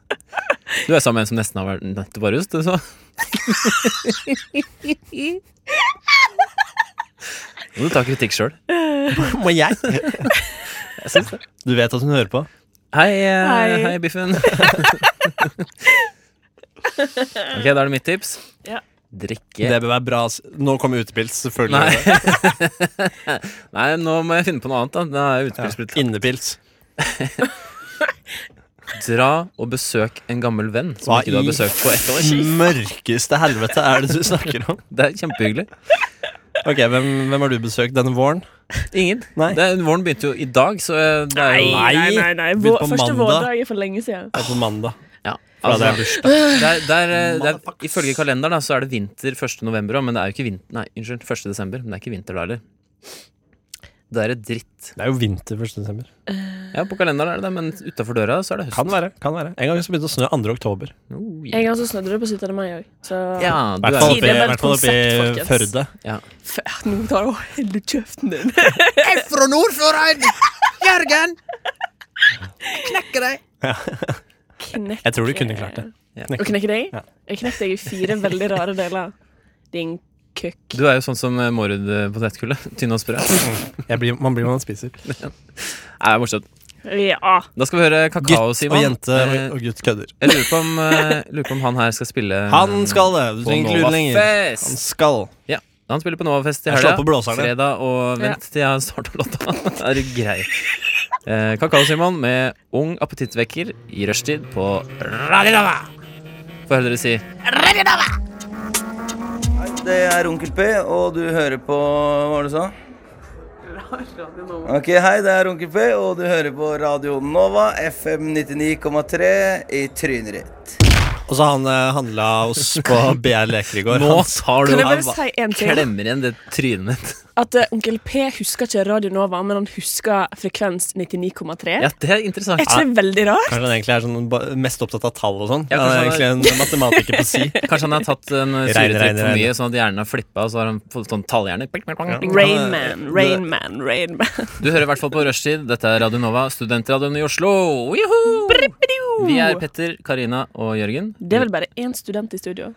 [SPEAKER 2] Du er sammen med en som nesten har vært nettopp var russ, du, så. Må du ta kritikk sjøl.
[SPEAKER 1] Må jeg? Du vet at hun hører på.
[SPEAKER 2] Hei, eh,
[SPEAKER 3] Hei.
[SPEAKER 2] hei, Biffen. ok, da er det mitt tips.
[SPEAKER 3] Ja.
[SPEAKER 2] Drikke
[SPEAKER 1] Det bør være bra. ass. Nå kommer utepils,
[SPEAKER 2] Nei.
[SPEAKER 1] selvfølgelig.
[SPEAKER 2] Nei, nå må jeg finne på noe annet. da Nå er
[SPEAKER 1] Ja.
[SPEAKER 2] utepils blitt
[SPEAKER 1] Innepils.
[SPEAKER 2] Dra og besøk en gammel venn som
[SPEAKER 1] Hva
[SPEAKER 2] ikke du har
[SPEAKER 1] i
[SPEAKER 2] besøkt på ett år.
[SPEAKER 1] Mørkeste helvete er det du snakker om?
[SPEAKER 2] Det er kjempehyggelig.
[SPEAKER 1] Ok, Hvem, hvem har du besøkt denne våren?
[SPEAKER 2] Ingen.
[SPEAKER 1] Nei.
[SPEAKER 2] Det, er- våren begynte jo i dag, så eh, det er jo
[SPEAKER 1] Nei.
[SPEAKER 3] nei, nei. nei.
[SPEAKER 1] Begynte
[SPEAKER 3] Vår,
[SPEAKER 1] på
[SPEAKER 3] første
[SPEAKER 1] mandag.
[SPEAKER 3] vårdag er for lenge siden.
[SPEAKER 1] Det er på mandag.
[SPEAKER 2] ja,
[SPEAKER 1] For da
[SPEAKER 2] altså,
[SPEAKER 1] hadde jeg bursdag.
[SPEAKER 2] det er, det er, eh, det er,
[SPEAKER 1] Motherfuckers.
[SPEAKER 2] Ifølge kalenderen da, så er det vinter 1. november òg, men det er jo ikke vinter Nei, unnskyld. 1. desember. Men det er ikke vinter da heller. Det er et dritt.
[SPEAKER 1] Det er jo vinter 1. desember.
[SPEAKER 2] Ja, på kalenderen er det det, men utafor døra så er det høst.
[SPEAKER 1] Kan være. kan være En gang så begynte det å snø 2. oktober.
[SPEAKER 2] Oh,
[SPEAKER 3] En
[SPEAKER 2] yeah.
[SPEAKER 3] gang så snødde det på 17. mai òg. Så
[SPEAKER 2] Ja,
[SPEAKER 1] I
[SPEAKER 2] du
[SPEAKER 1] hvert fall
[SPEAKER 2] er
[SPEAKER 1] oppe i-
[SPEAKER 3] Tidlig med et
[SPEAKER 1] i hvert fall oppe i
[SPEAKER 3] konsept, folkens.
[SPEAKER 1] Førde.
[SPEAKER 3] F nå tar du hele kjeften din.
[SPEAKER 2] Fra Nordfjordeid! Jørgen! Knekker deg!
[SPEAKER 3] Knekk.
[SPEAKER 1] Jeg tror du kunne klart det.
[SPEAKER 3] Å knekke deg?
[SPEAKER 1] Ja.
[SPEAKER 3] Jeg knekk deg i fire veldig rare deler. Din kukk.
[SPEAKER 2] Du er jo sånn som eh, Mårud eh, potetgullet. Tynn og sprø. Nei,
[SPEAKER 1] Jeg blir, man blir hva man spiser.
[SPEAKER 2] det er morsomt.
[SPEAKER 3] Ja.
[SPEAKER 2] Da skal vi høre kakao,
[SPEAKER 1] Gutt og
[SPEAKER 2] Simon.
[SPEAKER 1] jente
[SPEAKER 2] Eh,
[SPEAKER 1] og- og gutt kødder.
[SPEAKER 2] Jeg lurer på, om, eh, lurer på om han her skal spille
[SPEAKER 1] Han skal det! Du
[SPEAKER 2] på
[SPEAKER 1] trenger ikke lure lenger. Han
[SPEAKER 2] Novafest.
[SPEAKER 1] skal.
[SPEAKER 2] Ja, han spiller på Novafest i
[SPEAKER 1] Jeg slår på
[SPEAKER 2] helga.
[SPEAKER 1] blåserne.
[SPEAKER 2] Fredag og
[SPEAKER 3] Ja.
[SPEAKER 2] vent til jeg starter låta. er du grei? Eh, Kakao-Simon med Ung appetittvekker i rushtid på Radio Nova. Får høre dere si
[SPEAKER 5] Hei, det er Onkel P, og du hører på Hva var det du sa? Ok, hei, det er Onkel P, og du hører på Radio Nova, FM 99,3 i trynet ditt.
[SPEAKER 1] Og så han eh, handla oss på BR Leker i går.
[SPEAKER 2] Nå
[SPEAKER 1] Han-
[SPEAKER 2] tar du
[SPEAKER 3] Kan jeg
[SPEAKER 2] av
[SPEAKER 3] bare si en ting?
[SPEAKER 2] Klemmer igjen det trynet ditt.
[SPEAKER 3] At eh, onkel P husker ikke Radio Nova, men han husker frekvens 99,3.
[SPEAKER 2] Ja, det er interessant.
[SPEAKER 3] Er ikke det veldig rart?
[SPEAKER 1] Kanskje han egentlig er sånn ba- mest opptatt av tall og sånn.
[SPEAKER 2] Ja,
[SPEAKER 1] han er
[SPEAKER 2] kanskje
[SPEAKER 1] egentlig en matematiker på si.
[SPEAKER 2] Kanskje han har tatt en eh,
[SPEAKER 1] Regn, regn,
[SPEAKER 2] syretripp for
[SPEAKER 1] regn.
[SPEAKER 2] mye, sånn at hjernen har flippa, og så har han fått sånn tallhjerne. Pling, pling, pling, pling.
[SPEAKER 3] Rainman, Rainman, Rainman.
[SPEAKER 2] Du hører i hvert fall på Rushtid. Dette er Radio Nova, studentradioen i Oslo. Juhu! Vi er Petter, Karina og Jørgen.
[SPEAKER 3] Det er vel bare én student i studio.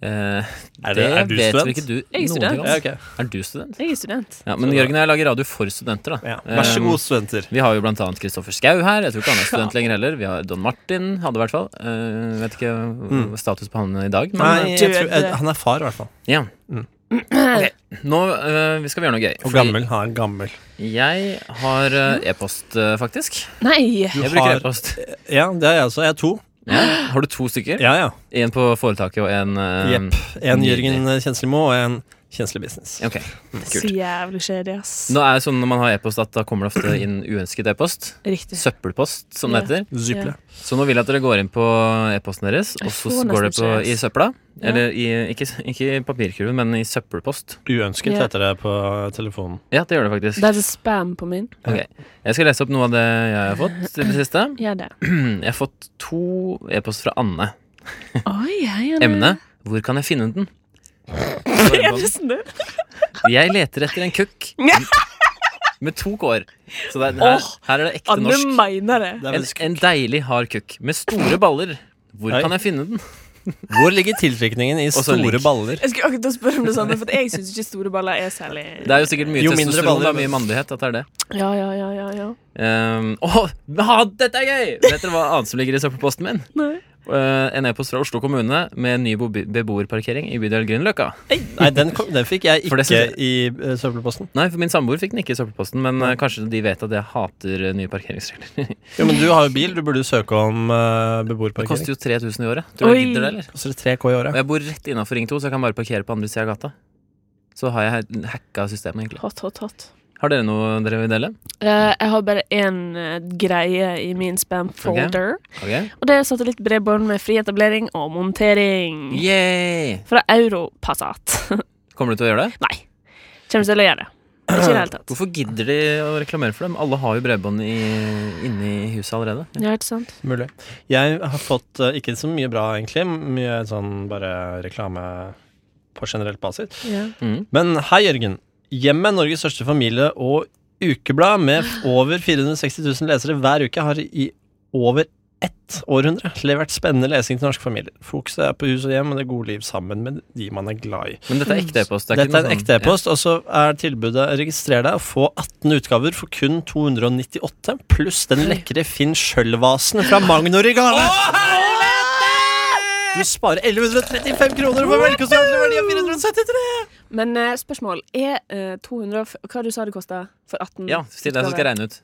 [SPEAKER 2] Eh,
[SPEAKER 1] Er,
[SPEAKER 2] det
[SPEAKER 1] det, er du
[SPEAKER 2] vet vel
[SPEAKER 1] student?
[SPEAKER 2] ikke du
[SPEAKER 3] Jeg er
[SPEAKER 2] noen
[SPEAKER 3] student.
[SPEAKER 2] ting om.
[SPEAKER 1] Ja, ok.
[SPEAKER 2] Er du student?
[SPEAKER 3] Jeg er student.
[SPEAKER 2] Ja, men Jørgen og jeg lager radio for studenter, da.
[SPEAKER 1] ja. Vær så
[SPEAKER 2] Eh,
[SPEAKER 1] god, studenter.
[SPEAKER 2] vi har jo blant annet Kristoffer Schau her. Jeg tror ikke han er student lenger heller. Vi har Don Martin, hadde i hvert fall. Eh, vet ikke
[SPEAKER 1] Mm.
[SPEAKER 2] status på han i dag. Men,
[SPEAKER 1] Nei, jeg
[SPEAKER 3] død.
[SPEAKER 1] tror, eh, han er far, i hvert fall.
[SPEAKER 2] Ja.
[SPEAKER 1] Mm.
[SPEAKER 2] Ok, Nå eh, vi skal vi gjøre noe gøy.
[SPEAKER 1] Og
[SPEAKER 2] Fordi
[SPEAKER 1] gammel. Han er gammel.
[SPEAKER 2] Jeg har eh, e-post, eh, faktisk.
[SPEAKER 3] Nei!
[SPEAKER 1] Du
[SPEAKER 2] Jeg bruker
[SPEAKER 1] har-
[SPEAKER 2] e-post.
[SPEAKER 1] Ja, det er jeg også. Jeg er to.
[SPEAKER 2] Ja. Har du to stykker?
[SPEAKER 1] Ja, ja.
[SPEAKER 2] En på foretaket og en eh,
[SPEAKER 1] Jepp. En
[SPEAKER 2] nydelig.
[SPEAKER 1] Jørgen Kjenslimo og en Kjensli Business.
[SPEAKER 2] Ok,
[SPEAKER 3] Så
[SPEAKER 2] kult.
[SPEAKER 3] jævlig kjedelig, ass.
[SPEAKER 2] Nå er det sånn når man har e-post at da kommer det ofte inn uønsket e-post.
[SPEAKER 3] Riktig.
[SPEAKER 2] Søppelpost, som det
[SPEAKER 3] Ja.
[SPEAKER 2] heter.
[SPEAKER 1] Zyple.
[SPEAKER 2] Så nå vil jeg at dere går inn på e-posten deres, og så
[SPEAKER 3] får
[SPEAKER 2] går det på
[SPEAKER 3] nesten ikke
[SPEAKER 2] i
[SPEAKER 3] sjans.
[SPEAKER 2] søpla.
[SPEAKER 3] Ja.
[SPEAKER 2] Eller i, ikke, ikke i papirkurven, men i søppelpost.
[SPEAKER 1] Uønsket
[SPEAKER 3] Ja.
[SPEAKER 1] heter det på telefonen.
[SPEAKER 2] Ja, det gjør det faktisk.
[SPEAKER 3] Det er så spam på min.
[SPEAKER 2] Ok. Jeg skal lese opp noe av det jeg har fått i det siste.
[SPEAKER 3] Ja, det.
[SPEAKER 2] Jeg har fått to e-post fra Anne.
[SPEAKER 3] Oi, hei, Anne.
[SPEAKER 2] Emne hvor kan jeg finne den?
[SPEAKER 3] Er det snill?
[SPEAKER 2] Jeg leter etter en kukk med to k-er. Så det er, her,
[SPEAKER 3] Åh,
[SPEAKER 2] her er det ekte
[SPEAKER 3] Anne
[SPEAKER 2] norsk.
[SPEAKER 3] mener det.
[SPEAKER 2] En, en deilig hard kukk med store baller. Hvor
[SPEAKER 1] Oi.
[SPEAKER 2] kan jeg finne den?
[SPEAKER 1] Hvor ligger tiltrekningen i
[SPEAKER 2] så en
[SPEAKER 1] store
[SPEAKER 2] link.
[SPEAKER 1] baller?
[SPEAKER 3] Jeg skulle akkurat til å spørre om det samme, for jeg syns ikke store baller er særlig
[SPEAKER 2] Det er jo sikkert mye
[SPEAKER 1] Jo mindre
[SPEAKER 2] testosteron, da,
[SPEAKER 1] baller,
[SPEAKER 2] mye
[SPEAKER 1] men-
[SPEAKER 2] mannlighet. At det er det.
[SPEAKER 3] Ja, ja, ja, ja. ja.
[SPEAKER 2] Um, åh, ja, dette er gøy! Vet dere hva annet som ligger i søppelposten min?
[SPEAKER 3] Nei.
[SPEAKER 2] Eh, en e-post fra Oslo kommune med ny bo- beboerparkering i bydel Grünerløkka.
[SPEAKER 1] Nei, den, kom, den fikk jeg
[SPEAKER 2] For det
[SPEAKER 1] ikke
[SPEAKER 2] synes
[SPEAKER 1] i eh, søppelposten.
[SPEAKER 2] Nei, for min samboer fikk den ikke i søppelposten, men eh, kanskje de vet at jeg hater eh, nye parkeringsregler.
[SPEAKER 1] Jo, men du har jo bil, du burde jo søke om eh,
[SPEAKER 2] Det koster
[SPEAKER 1] beboerparkering.
[SPEAKER 2] jo 3000 i året. Tror du jeg
[SPEAKER 3] Oi.
[SPEAKER 2] gidder det, eller?
[SPEAKER 1] Koster det 3K i
[SPEAKER 2] Og
[SPEAKER 1] året?
[SPEAKER 2] jeg bor rett innafor Ring 2, så jeg kan bare parkere på andre sida av gata. Så har jeg hacka systemet, egentlig.
[SPEAKER 3] Hot, hot, hot.
[SPEAKER 2] Har dere noe dere vil dele?
[SPEAKER 3] Eh, jeg har bare én eh, greie i min spam-folder.
[SPEAKER 2] Ok?
[SPEAKER 3] Og det er satellittbredbånd med fri etablering og montering.
[SPEAKER 2] Yay!
[SPEAKER 3] Fra Europassat.
[SPEAKER 2] Kommer du til å gjøre det?
[SPEAKER 3] Nei. Kommer ikke til å gjøre det. Ikke i det hele tatt.
[SPEAKER 2] Hvorfor gidder de å reklamere for dem? Alle har jo bredbånd i, inne i huset allerede.
[SPEAKER 3] Ja, ikke sant?
[SPEAKER 1] Mulig. Jeg har fått eh, ikke så mye bra, egentlig. Mye sånn bare reklame på generelt basis.
[SPEAKER 3] Ja.
[SPEAKER 2] Mm.
[SPEAKER 1] Men hei, Jørgen. Hjemmet, Norges største familie og ukeblad med f- over 460 000 lesere hver uke, har i over ett århundre levert spennende lesing til norske familier. Fokuset er på hus og hjem og det gode liv sammen med de man er glad i.
[SPEAKER 2] Men dette er ekte e-post? det
[SPEAKER 1] Mm. Dette er
[SPEAKER 2] ikke noe
[SPEAKER 1] en
[SPEAKER 2] sånn-
[SPEAKER 1] ekte e-post, og så er tilbudet registrer deg og få 18 utgaver for kun 298, pluss den lekre Finn Schjøll-vasen fra Magnor i gave. Du sparer 1135 kroner på velkosthandel verdi av 473!
[SPEAKER 3] Men eh, spørsmål. Er eh, 200 f- Hva du sa det kosta for 18
[SPEAKER 2] Ja, still deg som skal
[SPEAKER 3] utgaver?
[SPEAKER 2] regne ut.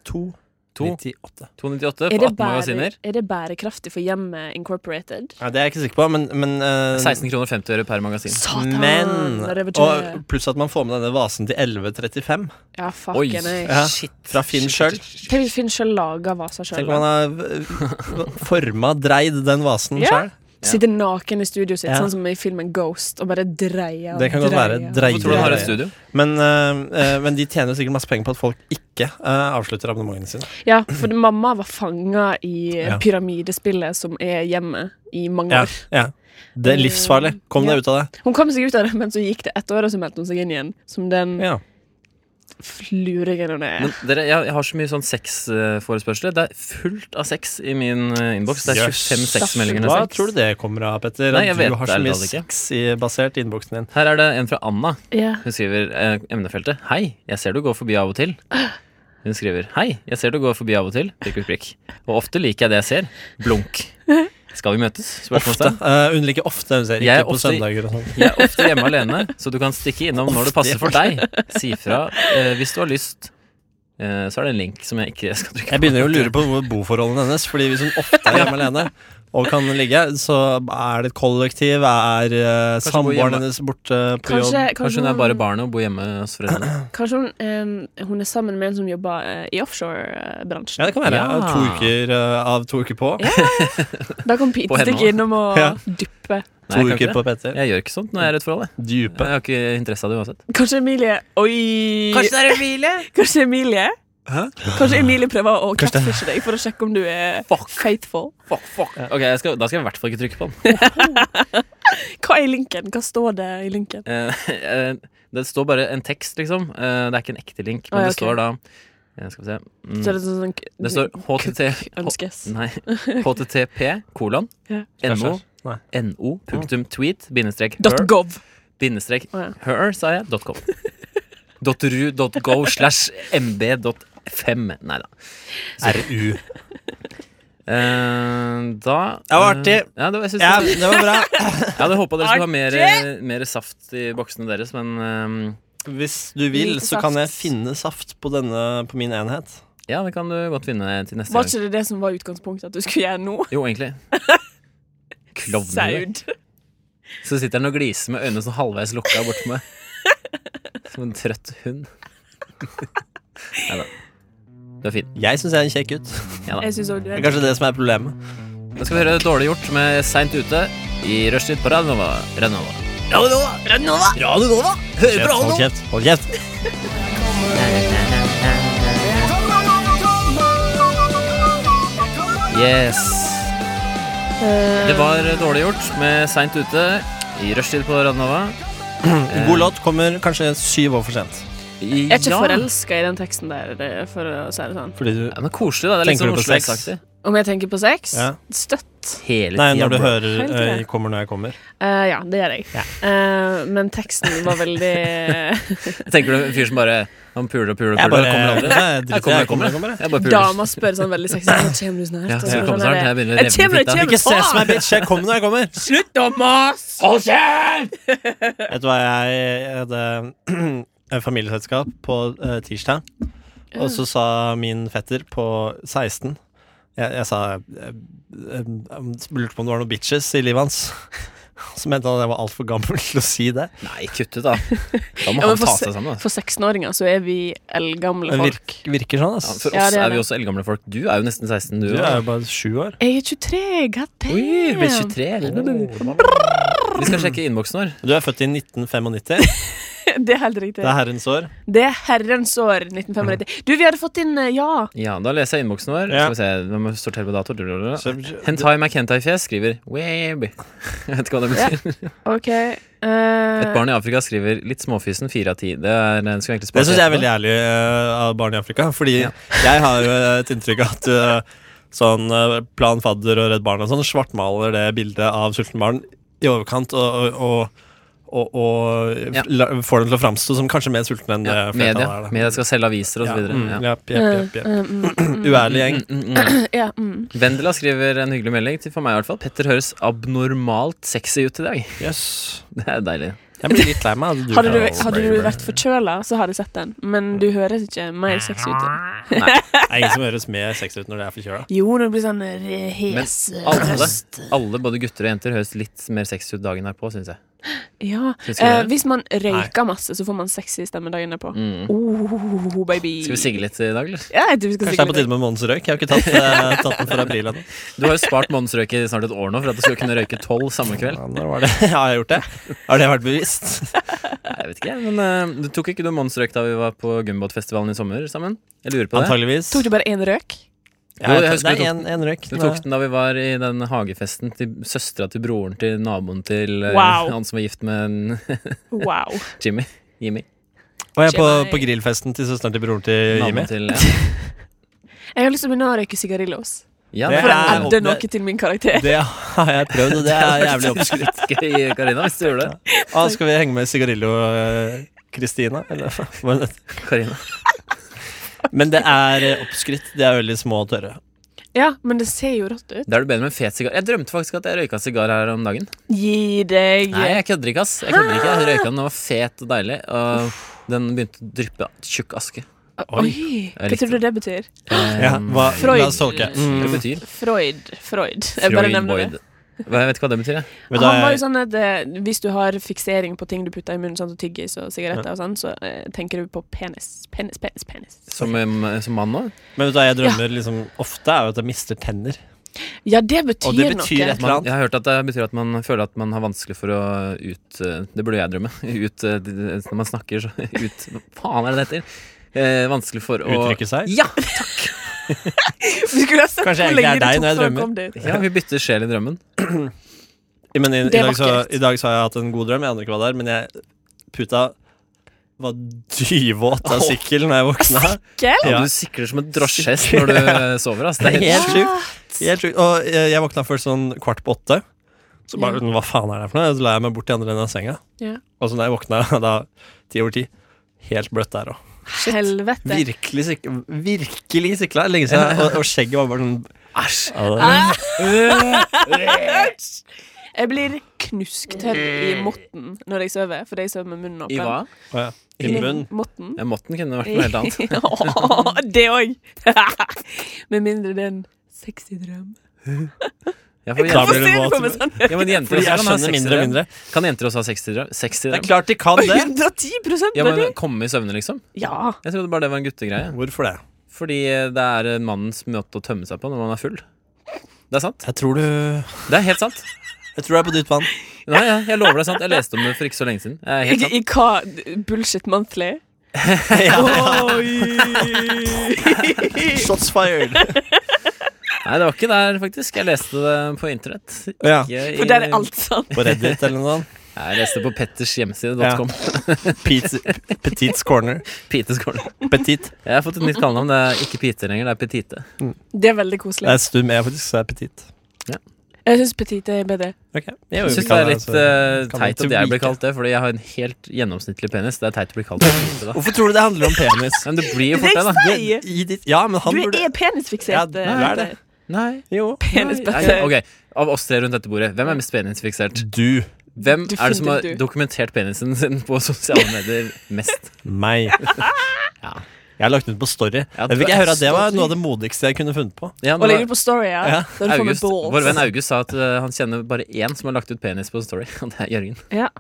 [SPEAKER 1] 298.
[SPEAKER 2] 298 for
[SPEAKER 3] Er det,
[SPEAKER 2] 18
[SPEAKER 3] bære,
[SPEAKER 2] magasiner.
[SPEAKER 3] er det bærekraftig for hjemmet incorporated?
[SPEAKER 1] Ja, det er jeg ikke sikker på, men, men eh,
[SPEAKER 2] 16 kroner 50 øre per magasin.
[SPEAKER 3] Satan!
[SPEAKER 1] Men
[SPEAKER 3] det er det
[SPEAKER 1] og
[SPEAKER 3] betyr-
[SPEAKER 1] Pluss at man får med denne vasen til 1135
[SPEAKER 3] Ja,
[SPEAKER 2] Oi,
[SPEAKER 3] fucken jeg.
[SPEAKER 1] Ja.
[SPEAKER 2] shit.
[SPEAKER 1] fra Finn sjøl.
[SPEAKER 3] Tenk hvis Finn sjøl lager vasa sjøl.
[SPEAKER 1] Tenk om han har forma, dreid den vasen
[SPEAKER 3] Ja.
[SPEAKER 1] sjøl.
[SPEAKER 3] Sitter naken i studioet sitt,
[SPEAKER 1] Ja.
[SPEAKER 3] sånn som i filmen Ghost, og bare dreier og
[SPEAKER 1] Det kan godt være.
[SPEAKER 3] dreier.
[SPEAKER 1] Dreier.
[SPEAKER 2] Hvorfor tror du han har et studio?
[SPEAKER 1] Men, eh, eh, men de tjener jo sikkert masse penger på at folk ikke eh, avslutter abonnementene sine.
[SPEAKER 3] Ja, for mamma var fanga i
[SPEAKER 1] Ja.
[SPEAKER 3] pyramidespillet som er hjemme i mange
[SPEAKER 1] Ja,
[SPEAKER 3] år.
[SPEAKER 1] ja. Det er livsfarlig. Kom
[SPEAKER 3] Mm. Ja.
[SPEAKER 1] deg ut av det.
[SPEAKER 3] Hun kom seg ut av det, men så gikk det ett år, og så meldte hun seg inn igjen. Som den
[SPEAKER 1] Ja.
[SPEAKER 3] fluringen hun er.
[SPEAKER 2] Men dere, jeg, jeg har så mye sånn sexforespørsler. Det er fullt av sex i min eh, innboks. Det er 25 sexmeldinger
[SPEAKER 1] Hva
[SPEAKER 2] nesten.
[SPEAKER 1] tror du det kommer av, Petter?
[SPEAKER 2] Nei, jeg
[SPEAKER 1] At
[SPEAKER 2] vet
[SPEAKER 1] du har så
[SPEAKER 2] det,
[SPEAKER 1] mye
[SPEAKER 2] det hadde ikke.
[SPEAKER 1] sex i, basert i innboksen din.
[SPEAKER 2] Her er det en fra Anna.
[SPEAKER 3] ja.
[SPEAKER 2] Hun skriver eh, emnefeltet Hei, jeg ser du går forbi av og til. Hun skriver Hei, jeg ser du går forbi av og til. Prikk, prikk, prikk. Og ofte liker jeg det jeg ser. Blunk. Skal vi møtes?
[SPEAKER 1] Ofte.
[SPEAKER 2] Spørsmålstegn.
[SPEAKER 1] Eh, hun liker ofte, hun ser.
[SPEAKER 2] Jeg er
[SPEAKER 1] Ikke på
[SPEAKER 2] ofte-
[SPEAKER 1] søndager og sånn.
[SPEAKER 2] Jeg er ofte hjemme alene, så du kan stikke innom når det passer for deg. Si fra eh, hvis du har lyst. Eh, så er det en link som jeg ikke skal trykke på.
[SPEAKER 1] Jeg begynner jo å lure på hvor boforholdene hennes. Fordi hvis hun ofte er hjemme alene og kan ligge, så er det et kollektiv, er eh,
[SPEAKER 2] hun bor hjemme.
[SPEAKER 1] samboeren hennes borte på
[SPEAKER 3] Kanskje,
[SPEAKER 1] jobb
[SPEAKER 2] Kanskje hun er bare barnet og bor hjemme hos foreldrene.
[SPEAKER 3] Kanskje hun, eh, hun er sammen med en som jobber eh, i
[SPEAKER 1] Ja,
[SPEAKER 3] offshorebransjen.
[SPEAKER 1] det kan være.
[SPEAKER 2] Ja.
[SPEAKER 1] To uker eh, av to uker på.
[SPEAKER 3] Da
[SPEAKER 2] På
[SPEAKER 3] kan Pete
[SPEAKER 2] henne
[SPEAKER 3] stikke
[SPEAKER 2] også.
[SPEAKER 3] innom og
[SPEAKER 1] Ja.
[SPEAKER 3] dyppe.
[SPEAKER 1] To
[SPEAKER 2] Nei, jeg kan
[SPEAKER 1] uker
[SPEAKER 2] ikke
[SPEAKER 1] på Petter.
[SPEAKER 2] Jeg gjør ikke sånt når jeg er i et forhold. jeg.
[SPEAKER 1] Dype.
[SPEAKER 2] Jeg har ikke interesse av det uansett.
[SPEAKER 3] Kanskje Emilie Oi! Kanskje,
[SPEAKER 2] det er Emilie?
[SPEAKER 3] Emilie?
[SPEAKER 1] Hæ?
[SPEAKER 3] Kanskje Emilie prøver å catfishe deg for å sjekke om du er
[SPEAKER 2] Fuck.
[SPEAKER 3] faithful.
[SPEAKER 2] Fuck, fuck. Ok, jeg skal, Da skal jeg i hvert fall ikke trykke på den.
[SPEAKER 3] Hva er linken? Hva står det i linken?
[SPEAKER 2] Eh, eh, det står bare en tekst, liksom. Eh, det er ikke en ekte link, men
[SPEAKER 3] Å, ja,
[SPEAKER 2] det
[SPEAKER 3] ok.
[SPEAKER 2] står da eh, Skal vi se. Mm,
[SPEAKER 3] Så er det sånn, sånn
[SPEAKER 2] det står HTT...
[SPEAKER 3] Ønskes.
[SPEAKER 2] Nei. HTTP kolon
[SPEAKER 3] Ja.
[SPEAKER 2] no
[SPEAKER 1] Nei.
[SPEAKER 2] no punktum tweet bindestrek
[SPEAKER 3] Dot
[SPEAKER 2] Mm. her
[SPEAKER 3] gov.
[SPEAKER 2] bindestrek
[SPEAKER 3] Å, ja.
[SPEAKER 2] her, sa jeg, dot com. Dot ru dot go slash mb dot fem. Nei da.
[SPEAKER 1] RU.
[SPEAKER 2] Eh, da
[SPEAKER 1] Det var
[SPEAKER 2] eh,
[SPEAKER 1] artig.
[SPEAKER 2] Ja, det var, jeg synes
[SPEAKER 1] Ja,
[SPEAKER 2] det
[SPEAKER 1] det var bra.
[SPEAKER 2] Jeg hadde håpa dere skulle ha mer, eh, mer saft i boksene deres, men ehm,
[SPEAKER 1] Hvis du vil,
[SPEAKER 3] Lite
[SPEAKER 1] så kan jeg
[SPEAKER 3] saft.
[SPEAKER 1] finne saft på denne på min enhet.
[SPEAKER 2] eh, ja, det kan du godt finne til neste
[SPEAKER 3] Var
[SPEAKER 2] gang.
[SPEAKER 3] ikke det det som var utgangspunktet at du skulle gjøre nå?
[SPEAKER 2] Jo, egentlig. Klovner.
[SPEAKER 3] Saud.
[SPEAKER 2] Så sitter han og gliser med øynene sånn halvveis lukka bort meg. Som en trøtt hund. Nei da. Du er fin.
[SPEAKER 1] Jeg syns jeg er en kjekk gutt.
[SPEAKER 2] Ja da.
[SPEAKER 3] Jeg synes også du
[SPEAKER 1] Det
[SPEAKER 3] er
[SPEAKER 1] er kanskje det som er problemet.
[SPEAKER 2] Nå skal vi høre Dårlig gjort med Seint ute i rushtid på Radio Nova. Radio Nova.
[SPEAKER 1] Kjeft, hold kjeft. Hold kjeft.
[SPEAKER 2] Yes.
[SPEAKER 3] eh,
[SPEAKER 2] Det var Dårlig gjort med Seint ute i rushtid på Radio Nova.
[SPEAKER 1] God låt kommer kanskje syv år for sent.
[SPEAKER 2] I-
[SPEAKER 3] Jeg er ikke
[SPEAKER 2] ja.
[SPEAKER 3] forelska i den teksten der, det- for å si det sånn.
[SPEAKER 1] Fordi du
[SPEAKER 2] Ja, men koselig, da. Det er litt
[SPEAKER 1] Tenker
[SPEAKER 2] sånn
[SPEAKER 1] du på sex?
[SPEAKER 2] Oslo-eksaktig.
[SPEAKER 3] Om jeg tenker på sex?
[SPEAKER 1] Ja.
[SPEAKER 3] Støtt.
[SPEAKER 2] Hele
[SPEAKER 1] Nei,
[SPEAKER 2] tiden,
[SPEAKER 1] når du
[SPEAKER 2] bro.
[SPEAKER 1] hører
[SPEAKER 3] Helt greit.
[SPEAKER 1] eh, 'Kommer når jeg kommer'.
[SPEAKER 3] Eh, ja, det gjør jeg. Eh, men teksten var veldig
[SPEAKER 2] Tenker du en fyr som bare Han puler og puler og puler.
[SPEAKER 1] Jeg bare
[SPEAKER 2] kommer aldri.
[SPEAKER 1] Nei, drit i det,
[SPEAKER 2] Jeg kommer, jeg kommer.
[SPEAKER 1] jeg kommer. jeg.
[SPEAKER 2] Jeg bare puler.
[SPEAKER 3] Dama spør sånn veldig sexy Nå kommer du snart.
[SPEAKER 2] Ja,
[SPEAKER 3] Og så
[SPEAKER 2] skal
[SPEAKER 3] sånn
[SPEAKER 2] komme
[SPEAKER 3] der,
[SPEAKER 2] snart. Jeg begynner å
[SPEAKER 3] Jeg
[SPEAKER 2] revne
[SPEAKER 3] kommer,
[SPEAKER 2] litt,
[SPEAKER 3] jeg
[SPEAKER 2] da.
[SPEAKER 3] kommer.
[SPEAKER 1] Ikke se som ei bitch, jeg kommer når jeg kommer.
[SPEAKER 3] Slutt å mase!
[SPEAKER 1] Vet du hva, jeg hadde en familieselskap på eh, tirsdag,
[SPEAKER 3] Mm.
[SPEAKER 1] og så sa min fetter på 16 eh, Jeg, jeg sa jeg, jeg, jeg lurte på om det var noen bitches i livet hans. som mente at jeg var altfor gammel til å si det.
[SPEAKER 2] Nei, kutt ut, da. Da må
[SPEAKER 3] Ja, men
[SPEAKER 2] han
[SPEAKER 3] for
[SPEAKER 2] ta
[SPEAKER 3] se-
[SPEAKER 2] seg sammen. altså. da.
[SPEAKER 3] For 16-åringer så er vi eldgamle
[SPEAKER 1] Det
[SPEAKER 3] folk.
[SPEAKER 1] virk, virker sånn,
[SPEAKER 2] Ja,
[SPEAKER 1] ass.
[SPEAKER 2] for oss
[SPEAKER 3] Ja, det er
[SPEAKER 2] er vi
[SPEAKER 3] det.
[SPEAKER 2] også eldgamle folk. Du er jo nesten 16, du
[SPEAKER 1] Du er
[SPEAKER 2] òg.
[SPEAKER 1] jo bare sju år.
[SPEAKER 3] Jeg er 23, god damn!
[SPEAKER 2] Oi, du blir 23. Vi skal sjekke innboksen vår.
[SPEAKER 1] Du er født i 1995.
[SPEAKER 3] Det er helt riktig.
[SPEAKER 1] Det er herrens år.
[SPEAKER 3] Det er herrens år 1995. Du, vi hadde fått inn eh, Ja!
[SPEAKER 2] Ja, da leser jeg innboksen vår.
[SPEAKER 1] Ja.
[SPEAKER 2] Skal vi se, vi må sortere på dato.
[SPEAKER 1] Så-
[SPEAKER 2] Hentai McHentai-fjes skriver Wabe. Jeg vet ikke hva det betyr.
[SPEAKER 3] OK. eh,
[SPEAKER 2] Et barn i Afrika skriver litt småfysen, fire av ti. Det er, det skulle jeg egentlig spart
[SPEAKER 1] Det syns jeg er
[SPEAKER 2] etterpå.
[SPEAKER 1] veldig ærlig eh, av barn i Afrika. Fordi
[SPEAKER 2] Ja.
[SPEAKER 1] jeg har jo et inntrykk av at eh, sånn eh, Plan Fadder og Redd Barna og sånn svartmaler det bildet av sultne barn i overkant og, og, og, og
[SPEAKER 2] Ja.
[SPEAKER 1] la, får dem til å framstå som kanskje mer sultne enn det
[SPEAKER 2] Ja,
[SPEAKER 1] flertallet
[SPEAKER 2] media.
[SPEAKER 1] eh, er. da.
[SPEAKER 2] media skal selge aviser og
[SPEAKER 1] Ja,
[SPEAKER 2] så videre.
[SPEAKER 1] mm,
[SPEAKER 2] Ja. mm,
[SPEAKER 1] japp, japp, japp, japp. Uærlig gjeng.
[SPEAKER 3] eh, mm, Ja, mm.
[SPEAKER 2] Vendela skriver en hyggelig melding til for meg i hvert fall. Petter høres abnormalt sexy ut i dag.
[SPEAKER 1] Jøss.
[SPEAKER 2] Det er deilig.
[SPEAKER 1] Jeg blir litt lei meg. altså,
[SPEAKER 3] Hadde du,
[SPEAKER 1] kan-
[SPEAKER 3] hadde du vært forkjøla, så hadde jeg sett den. Men du høres ikke mer sexy ut.
[SPEAKER 1] Det er ingen som høres mer sexy ut når det er forkjøla.
[SPEAKER 3] Jo, når du blir sånn eh,
[SPEAKER 2] Men
[SPEAKER 3] hes eh,
[SPEAKER 2] alle,
[SPEAKER 3] røst.
[SPEAKER 2] alle, både gutter og jenter, høres litt mer sexy ut dagen herpå, syns jeg.
[SPEAKER 3] Ja.
[SPEAKER 2] Syns du
[SPEAKER 3] Eh,
[SPEAKER 2] det?
[SPEAKER 3] hvis man røyker masse, så får man sexy stemme dagen derpå.
[SPEAKER 1] Mm.
[SPEAKER 3] Oh, baby.
[SPEAKER 2] Mm. Skal vi sigge litt i dag, eller?
[SPEAKER 3] Ja, jeg tror vi skal
[SPEAKER 1] Kanskje det er
[SPEAKER 3] sigle
[SPEAKER 1] på tide
[SPEAKER 3] litt.
[SPEAKER 1] med månedens røyk. Jeg har ikke tatt, eh, tatt den for april ennå.
[SPEAKER 2] Du har jo spart månedsrøyk i snart et år nå for at du skulle kunne røyke tolv samme kveld.
[SPEAKER 1] Ja, når var det? Ja, jeg har gjort det. Har det vært bevisst?
[SPEAKER 2] Nei, jeg vet ikke, men eh, Du tok ikke noe månedsrøyk da vi var på Gumbåtfestivalen i sommer sammen? Jeg lurer på det.
[SPEAKER 1] Antageligvis.
[SPEAKER 3] Tok du bare én røyk?
[SPEAKER 1] Ja,
[SPEAKER 2] Jo, jeg
[SPEAKER 1] jeg
[SPEAKER 2] husker
[SPEAKER 1] det
[SPEAKER 2] du
[SPEAKER 1] er
[SPEAKER 2] tok
[SPEAKER 1] en, en røyk.
[SPEAKER 2] Du tok den da vi var i den hagefesten til søstera til broren til naboen til eh,
[SPEAKER 3] Wow.
[SPEAKER 2] han som var gift med en-
[SPEAKER 3] Wow.
[SPEAKER 2] Jimmy. Jimmy.
[SPEAKER 1] Og jeg er på,
[SPEAKER 3] Skjønner.
[SPEAKER 1] på grillfesten til søsteren til broren til Eh, Jimmy.
[SPEAKER 2] Naboen til eh, ja.
[SPEAKER 3] Jeg har lyst til å begynne å røyke sigarillos.
[SPEAKER 2] Ja,
[SPEAKER 1] Det
[SPEAKER 3] For det
[SPEAKER 1] er-
[SPEAKER 3] adder noe til min karakter.
[SPEAKER 1] Det har jeg prøvd, og det er jævlig oppskrytt.
[SPEAKER 2] Gøy, Karina, hvis du gjør det.
[SPEAKER 1] Ah, skal vi henge med eh, Sigarillo Kristina?
[SPEAKER 2] Karina.
[SPEAKER 1] Men det er eh, oppskrytt. De er veldig små og tørre.
[SPEAKER 3] Ja, men det ser jo rått ut.
[SPEAKER 2] Da er det bedre med en fet sigar. Jeg drømte faktisk at jeg røyka sigar her om dagen.
[SPEAKER 3] Gi deg.
[SPEAKER 2] Nei, jeg kødder ikke, ass. Jeg kødder ikke. Jeg røyka den, den var fet og deilig, og den begynte å dryppe tjukk aske.
[SPEAKER 3] Oi. Hva
[SPEAKER 2] likte
[SPEAKER 1] sånn-
[SPEAKER 3] tror du det betyr?
[SPEAKER 1] Ja, hva,
[SPEAKER 3] Freud.
[SPEAKER 1] la oss tolke. Mm.
[SPEAKER 2] Hva det betyr
[SPEAKER 3] Freud. Freud. Jeg bare nevner det.
[SPEAKER 2] Freud. Hva- Jeg vet ikke hva det betyr, jeg.
[SPEAKER 1] Vet du,
[SPEAKER 3] Han var jo
[SPEAKER 1] jeg,
[SPEAKER 3] sånn at eh, Hvis du har fiksering på ting du putter i munnen, sånn som tyggis og sigaretter, og sånn, så eh, tenker du på penis. Penis, penis, penis.
[SPEAKER 2] Som, eh, som mann nå.
[SPEAKER 1] men vet du, hva jeg drømmer liksom ofte er jo at jeg mister tenner.
[SPEAKER 3] Ja, det betyr,
[SPEAKER 1] Og det betyr et
[SPEAKER 3] noe.
[SPEAKER 1] eller
[SPEAKER 2] Man,
[SPEAKER 1] annet.
[SPEAKER 2] jeg har hørt at det betyr at man føler at man har vanskelig for å ut eh, Det burde jeg drømme. Ut eh, d- d- Når man snakker så ut Hva faen er det det heter? Eh, vanskelig for å
[SPEAKER 1] Uttrykke seg?
[SPEAKER 2] Ja!
[SPEAKER 3] Vi skulle ha sett
[SPEAKER 1] Kanskje
[SPEAKER 3] hvor
[SPEAKER 1] egentlig
[SPEAKER 3] lenge
[SPEAKER 1] er deg
[SPEAKER 3] det tok
[SPEAKER 1] når jeg
[SPEAKER 3] før det
[SPEAKER 1] drømmer.
[SPEAKER 3] kom dit.
[SPEAKER 2] ja! Vi bytter sjel i drømmen.
[SPEAKER 1] Men i, i,
[SPEAKER 3] Det er
[SPEAKER 1] dag så,
[SPEAKER 3] vakkert.
[SPEAKER 1] I dag så har jeg hatt en god drøm. Jeg aner ikke hva det er, men jeg puta var dyvåt av sykkel når jeg våkna.
[SPEAKER 3] Kel?
[SPEAKER 1] Ja.
[SPEAKER 2] Du sikler som en drosjehest når du eh, sover. Ass. Det er helt sjukt.
[SPEAKER 3] Ah,
[SPEAKER 1] Helt sjukt. Og jeg, jeg våkna først sånn kvart på åtte. Så bare, hva faen er det for noe? Så la jeg meg bort i andre enden av senga.
[SPEAKER 3] Ja.
[SPEAKER 1] Og så da jeg våkna da ti over ti, helt bløtt der òg.
[SPEAKER 3] Helvete.
[SPEAKER 1] Virkelig, sik virkelig sikla. Lenge siden. jeg- Og, og skjegget var bare sånn Æsj. Ja, det-
[SPEAKER 3] Jeg blir knusktørr i motten når jeg sover, fordi jeg sover med munnen
[SPEAKER 2] Eh.
[SPEAKER 3] åpen.
[SPEAKER 2] I hva?
[SPEAKER 1] Å ja. I munnen.
[SPEAKER 3] Motten.
[SPEAKER 2] Ja, Motten kunne vært noe helt annet.
[SPEAKER 3] Ja, det òg. med mindre det er en sexy drøm.
[SPEAKER 2] Ja, for
[SPEAKER 1] Da
[SPEAKER 2] jenter,
[SPEAKER 1] blir det
[SPEAKER 3] Ser du på
[SPEAKER 1] våt.
[SPEAKER 3] meg sånn?
[SPEAKER 2] ja, men jenter
[SPEAKER 1] Fordi jeg
[SPEAKER 2] også kan ha
[SPEAKER 1] skjønner
[SPEAKER 2] sexy
[SPEAKER 1] mindre og
[SPEAKER 2] drøm.
[SPEAKER 1] mindre.
[SPEAKER 2] Kan jenter også ha sexy drøm? Sexy
[SPEAKER 1] Det er
[SPEAKER 2] drøm?
[SPEAKER 1] klart de kan det.
[SPEAKER 3] 110
[SPEAKER 2] Ja,
[SPEAKER 3] av
[SPEAKER 2] men
[SPEAKER 3] de?
[SPEAKER 2] Komme i søvne, liksom?
[SPEAKER 3] Ja.
[SPEAKER 2] Jeg trodde bare det var en guttegreie.
[SPEAKER 1] Hvorfor det?
[SPEAKER 2] Fordi eh, det er en mannens måte å tømme seg på når man er full. Det er sant.
[SPEAKER 1] Jeg tror du
[SPEAKER 2] Det er helt sant.
[SPEAKER 1] Jeg tror du er på dypt vann.
[SPEAKER 2] Nei, ja, jeg lover deg sant. Jeg leste om det for ikke så lenge siden. Det er helt
[SPEAKER 3] I,
[SPEAKER 2] sant.
[SPEAKER 3] I hva? Bullshit Monthly?
[SPEAKER 1] Shots fired.
[SPEAKER 2] Nei, det var ikke der, faktisk. Jeg leste det på internett.
[SPEAKER 1] Ja.
[SPEAKER 2] Ikke i-
[SPEAKER 3] For der er alt sant.
[SPEAKER 1] På Reddit eller noe sånt.
[SPEAKER 2] Jeg leste på Petters hjemmeside.com.
[SPEAKER 1] Pete's, Petite's corner.
[SPEAKER 2] Pites går det.
[SPEAKER 1] Petit.
[SPEAKER 2] Jeg har fått et nytt kallenavn. Det er ikke Pite lenger, det er Petite.
[SPEAKER 3] Det er veldig
[SPEAKER 1] Det er
[SPEAKER 3] koselig.
[SPEAKER 1] stum E, faktisk, så det er petit.
[SPEAKER 3] Jeg syns Petite er bedre.
[SPEAKER 1] Ok.
[SPEAKER 2] Jeg syns det er litt
[SPEAKER 1] altså.
[SPEAKER 2] eh, teit at jeg blir kalt det, fordi jeg har en helt gjennomsnittlig penis. Det er teit å bli kalt Petite, da.
[SPEAKER 1] Hvorfor tror du det handler om penis?
[SPEAKER 2] Men det blir jo
[SPEAKER 3] Det
[SPEAKER 2] fort det,
[SPEAKER 3] er
[SPEAKER 2] da.
[SPEAKER 3] ikke
[SPEAKER 1] Det- i ditt, ja, men han
[SPEAKER 3] Du er
[SPEAKER 1] burde Ja,
[SPEAKER 3] penisfiksert.
[SPEAKER 1] du er
[SPEAKER 3] eh,
[SPEAKER 1] det.
[SPEAKER 2] Nei.
[SPEAKER 1] Jo.
[SPEAKER 3] Penisbøtter.
[SPEAKER 2] Ok, Av oss tre rundt dette bordet, hvem er mest penisfiksert?
[SPEAKER 1] Du.
[SPEAKER 2] Hvem er det som har
[SPEAKER 3] Definitivt du.
[SPEAKER 2] dokumentert penisen sin på sosiale medier mest?
[SPEAKER 1] Meg. Jeg har lagt ut på Story.
[SPEAKER 2] Ja,
[SPEAKER 1] Jeg fikk jeg høre at Det var
[SPEAKER 2] Story.
[SPEAKER 1] noe av det modigste jeg kunne funnet på.
[SPEAKER 2] Ja,
[SPEAKER 3] Og
[SPEAKER 2] nå-
[SPEAKER 3] legger du på Story, ja?
[SPEAKER 1] Ja,
[SPEAKER 3] Der du får med
[SPEAKER 2] August, vår venn
[SPEAKER 3] balls.
[SPEAKER 2] August sa at eh, han kjenner bare én som har lagt ut penis på Story, og det er Jørgen.
[SPEAKER 3] Ja.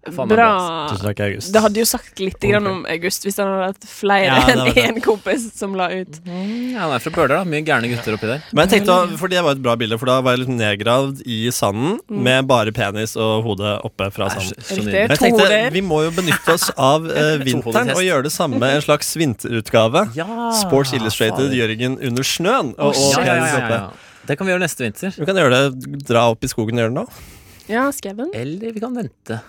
[SPEAKER 2] Faen, det er
[SPEAKER 3] Bra.
[SPEAKER 1] Tusen takk, August.
[SPEAKER 3] Det hadde jo sagt litt grann om August hvis han hadde hatt flere
[SPEAKER 1] Ja, det
[SPEAKER 3] enn
[SPEAKER 1] var det.
[SPEAKER 3] én kompis som la ut.
[SPEAKER 2] Ja, han er fra Bøler, da. Mye gærne gutter oppi der.
[SPEAKER 1] Men jeg tenkte, da- for Det var et bra bilde, for da var jeg liksom nedgravd i sanden med bare penis og hodet oppe fra
[SPEAKER 2] Mm. Æsj,
[SPEAKER 1] sanden.
[SPEAKER 2] Altså, så
[SPEAKER 3] Riktig.
[SPEAKER 2] nydelig.
[SPEAKER 1] Men jeg
[SPEAKER 3] To
[SPEAKER 1] tenkte,
[SPEAKER 3] hoder.
[SPEAKER 1] Vi må jo benytte oss av eh, vinteren
[SPEAKER 2] Tohodetest.
[SPEAKER 1] og gjøre det samme, en slags vinterutgave.
[SPEAKER 2] Ja,
[SPEAKER 1] Sports Illustrated,
[SPEAKER 2] fader.
[SPEAKER 1] Jørgen under snøen. Og, og
[SPEAKER 2] ja, ja, ja,
[SPEAKER 1] penis
[SPEAKER 2] ja,
[SPEAKER 1] oppe.
[SPEAKER 2] ja. Det kan vi gjøre neste vinter.
[SPEAKER 1] Vi kan gjøre det, dra opp i skogen og gjøre det nå.
[SPEAKER 3] Ja, skauen.
[SPEAKER 2] Eller vi kan vente.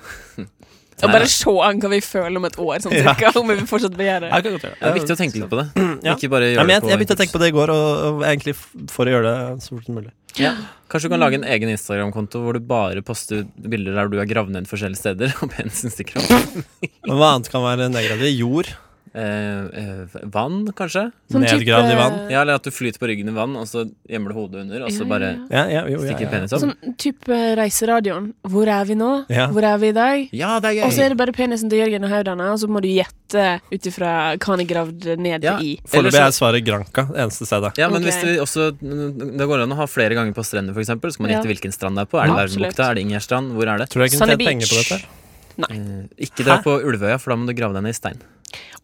[SPEAKER 3] Og bare se an hva vi føler om et år, sånn
[SPEAKER 1] Ja.
[SPEAKER 3] cirka. Om vi fortsatt begjærer det.
[SPEAKER 2] Det er viktig å tenke litt på det.
[SPEAKER 1] Ja.
[SPEAKER 2] Ikke bare
[SPEAKER 1] Ja,
[SPEAKER 2] gjøre
[SPEAKER 1] men jeg,
[SPEAKER 2] det på
[SPEAKER 1] jeg begynte å tenke på det i går, og, og egentlig f- for å gjøre det så fort som mulig.
[SPEAKER 2] Ja. Kanskje du kan lage en egen Instagram-konto hvor du bare poster bilder der du er gravd ned forskjellige steder, og penisen stikker opp.
[SPEAKER 1] Men hva annet kan være nedgravd i? Jord.
[SPEAKER 2] Eh, eh, vann, kanskje?
[SPEAKER 3] Sånn type-
[SPEAKER 1] Nedgravd i vann.
[SPEAKER 2] Ja, eller at du flyter på ryggen i vann, og så gjemmer du hodet under, og så
[SPEAKER 3] Ja,
[SPEAKER 2] bare
[SPEAKER 3] ja,
[SPEAKER 1] Ja, ja, jo, ja, ja.
[SPEAKER 2] stikker penis opp.
[SPEAKER 3] Sånn type reiseradioen. Hvor er vi nå?
[SPEAKER 1] Ja.
[SPEAKER 3] Hvor er vi i dag?
[SPEAKER 2] Ja, det
[SPEAKER 3] Og så
[SPEAKER 2] er
[SPEAKER 3] er det bare penisen til Jørgen og Haudane, og så må du gjette ut ifra hva han er gravd ned
[SPEAKER 2] Ja.
[SPEAKER 3] i.
[SPEAKER 1] Foreløpig
[SPEAKER 2] Eller
[SPEAKER 1] er svaret Granka det eneste stedet.
[SPEAKER 2] Ja, men
[SPEAKER 3] Ok.
[SPEAKER 2] hvis du også Det går an å ha flere ganger på strender, f.eks. Så kan man
[SPEAKER 3] Ja.
[SPEAKER 2] gjette hvilken strand det er på. Er det
[SPEAKER 3] Ja,
[SPEAKER 2] Larvenbukta? Er det Ingjerdstrand? Hvor er det?
[SPEAKER 1] Tror jeg kunne
[SPEAKER 3] Sunny
[SPEAKER 1] tjent penger på
[SPEAKER 3] Beach.
[SPEAKER 1] dette.
[SPEAKER 2] Eh, Ikke dra på Ulvøya, for da må du grave deg ned i stein.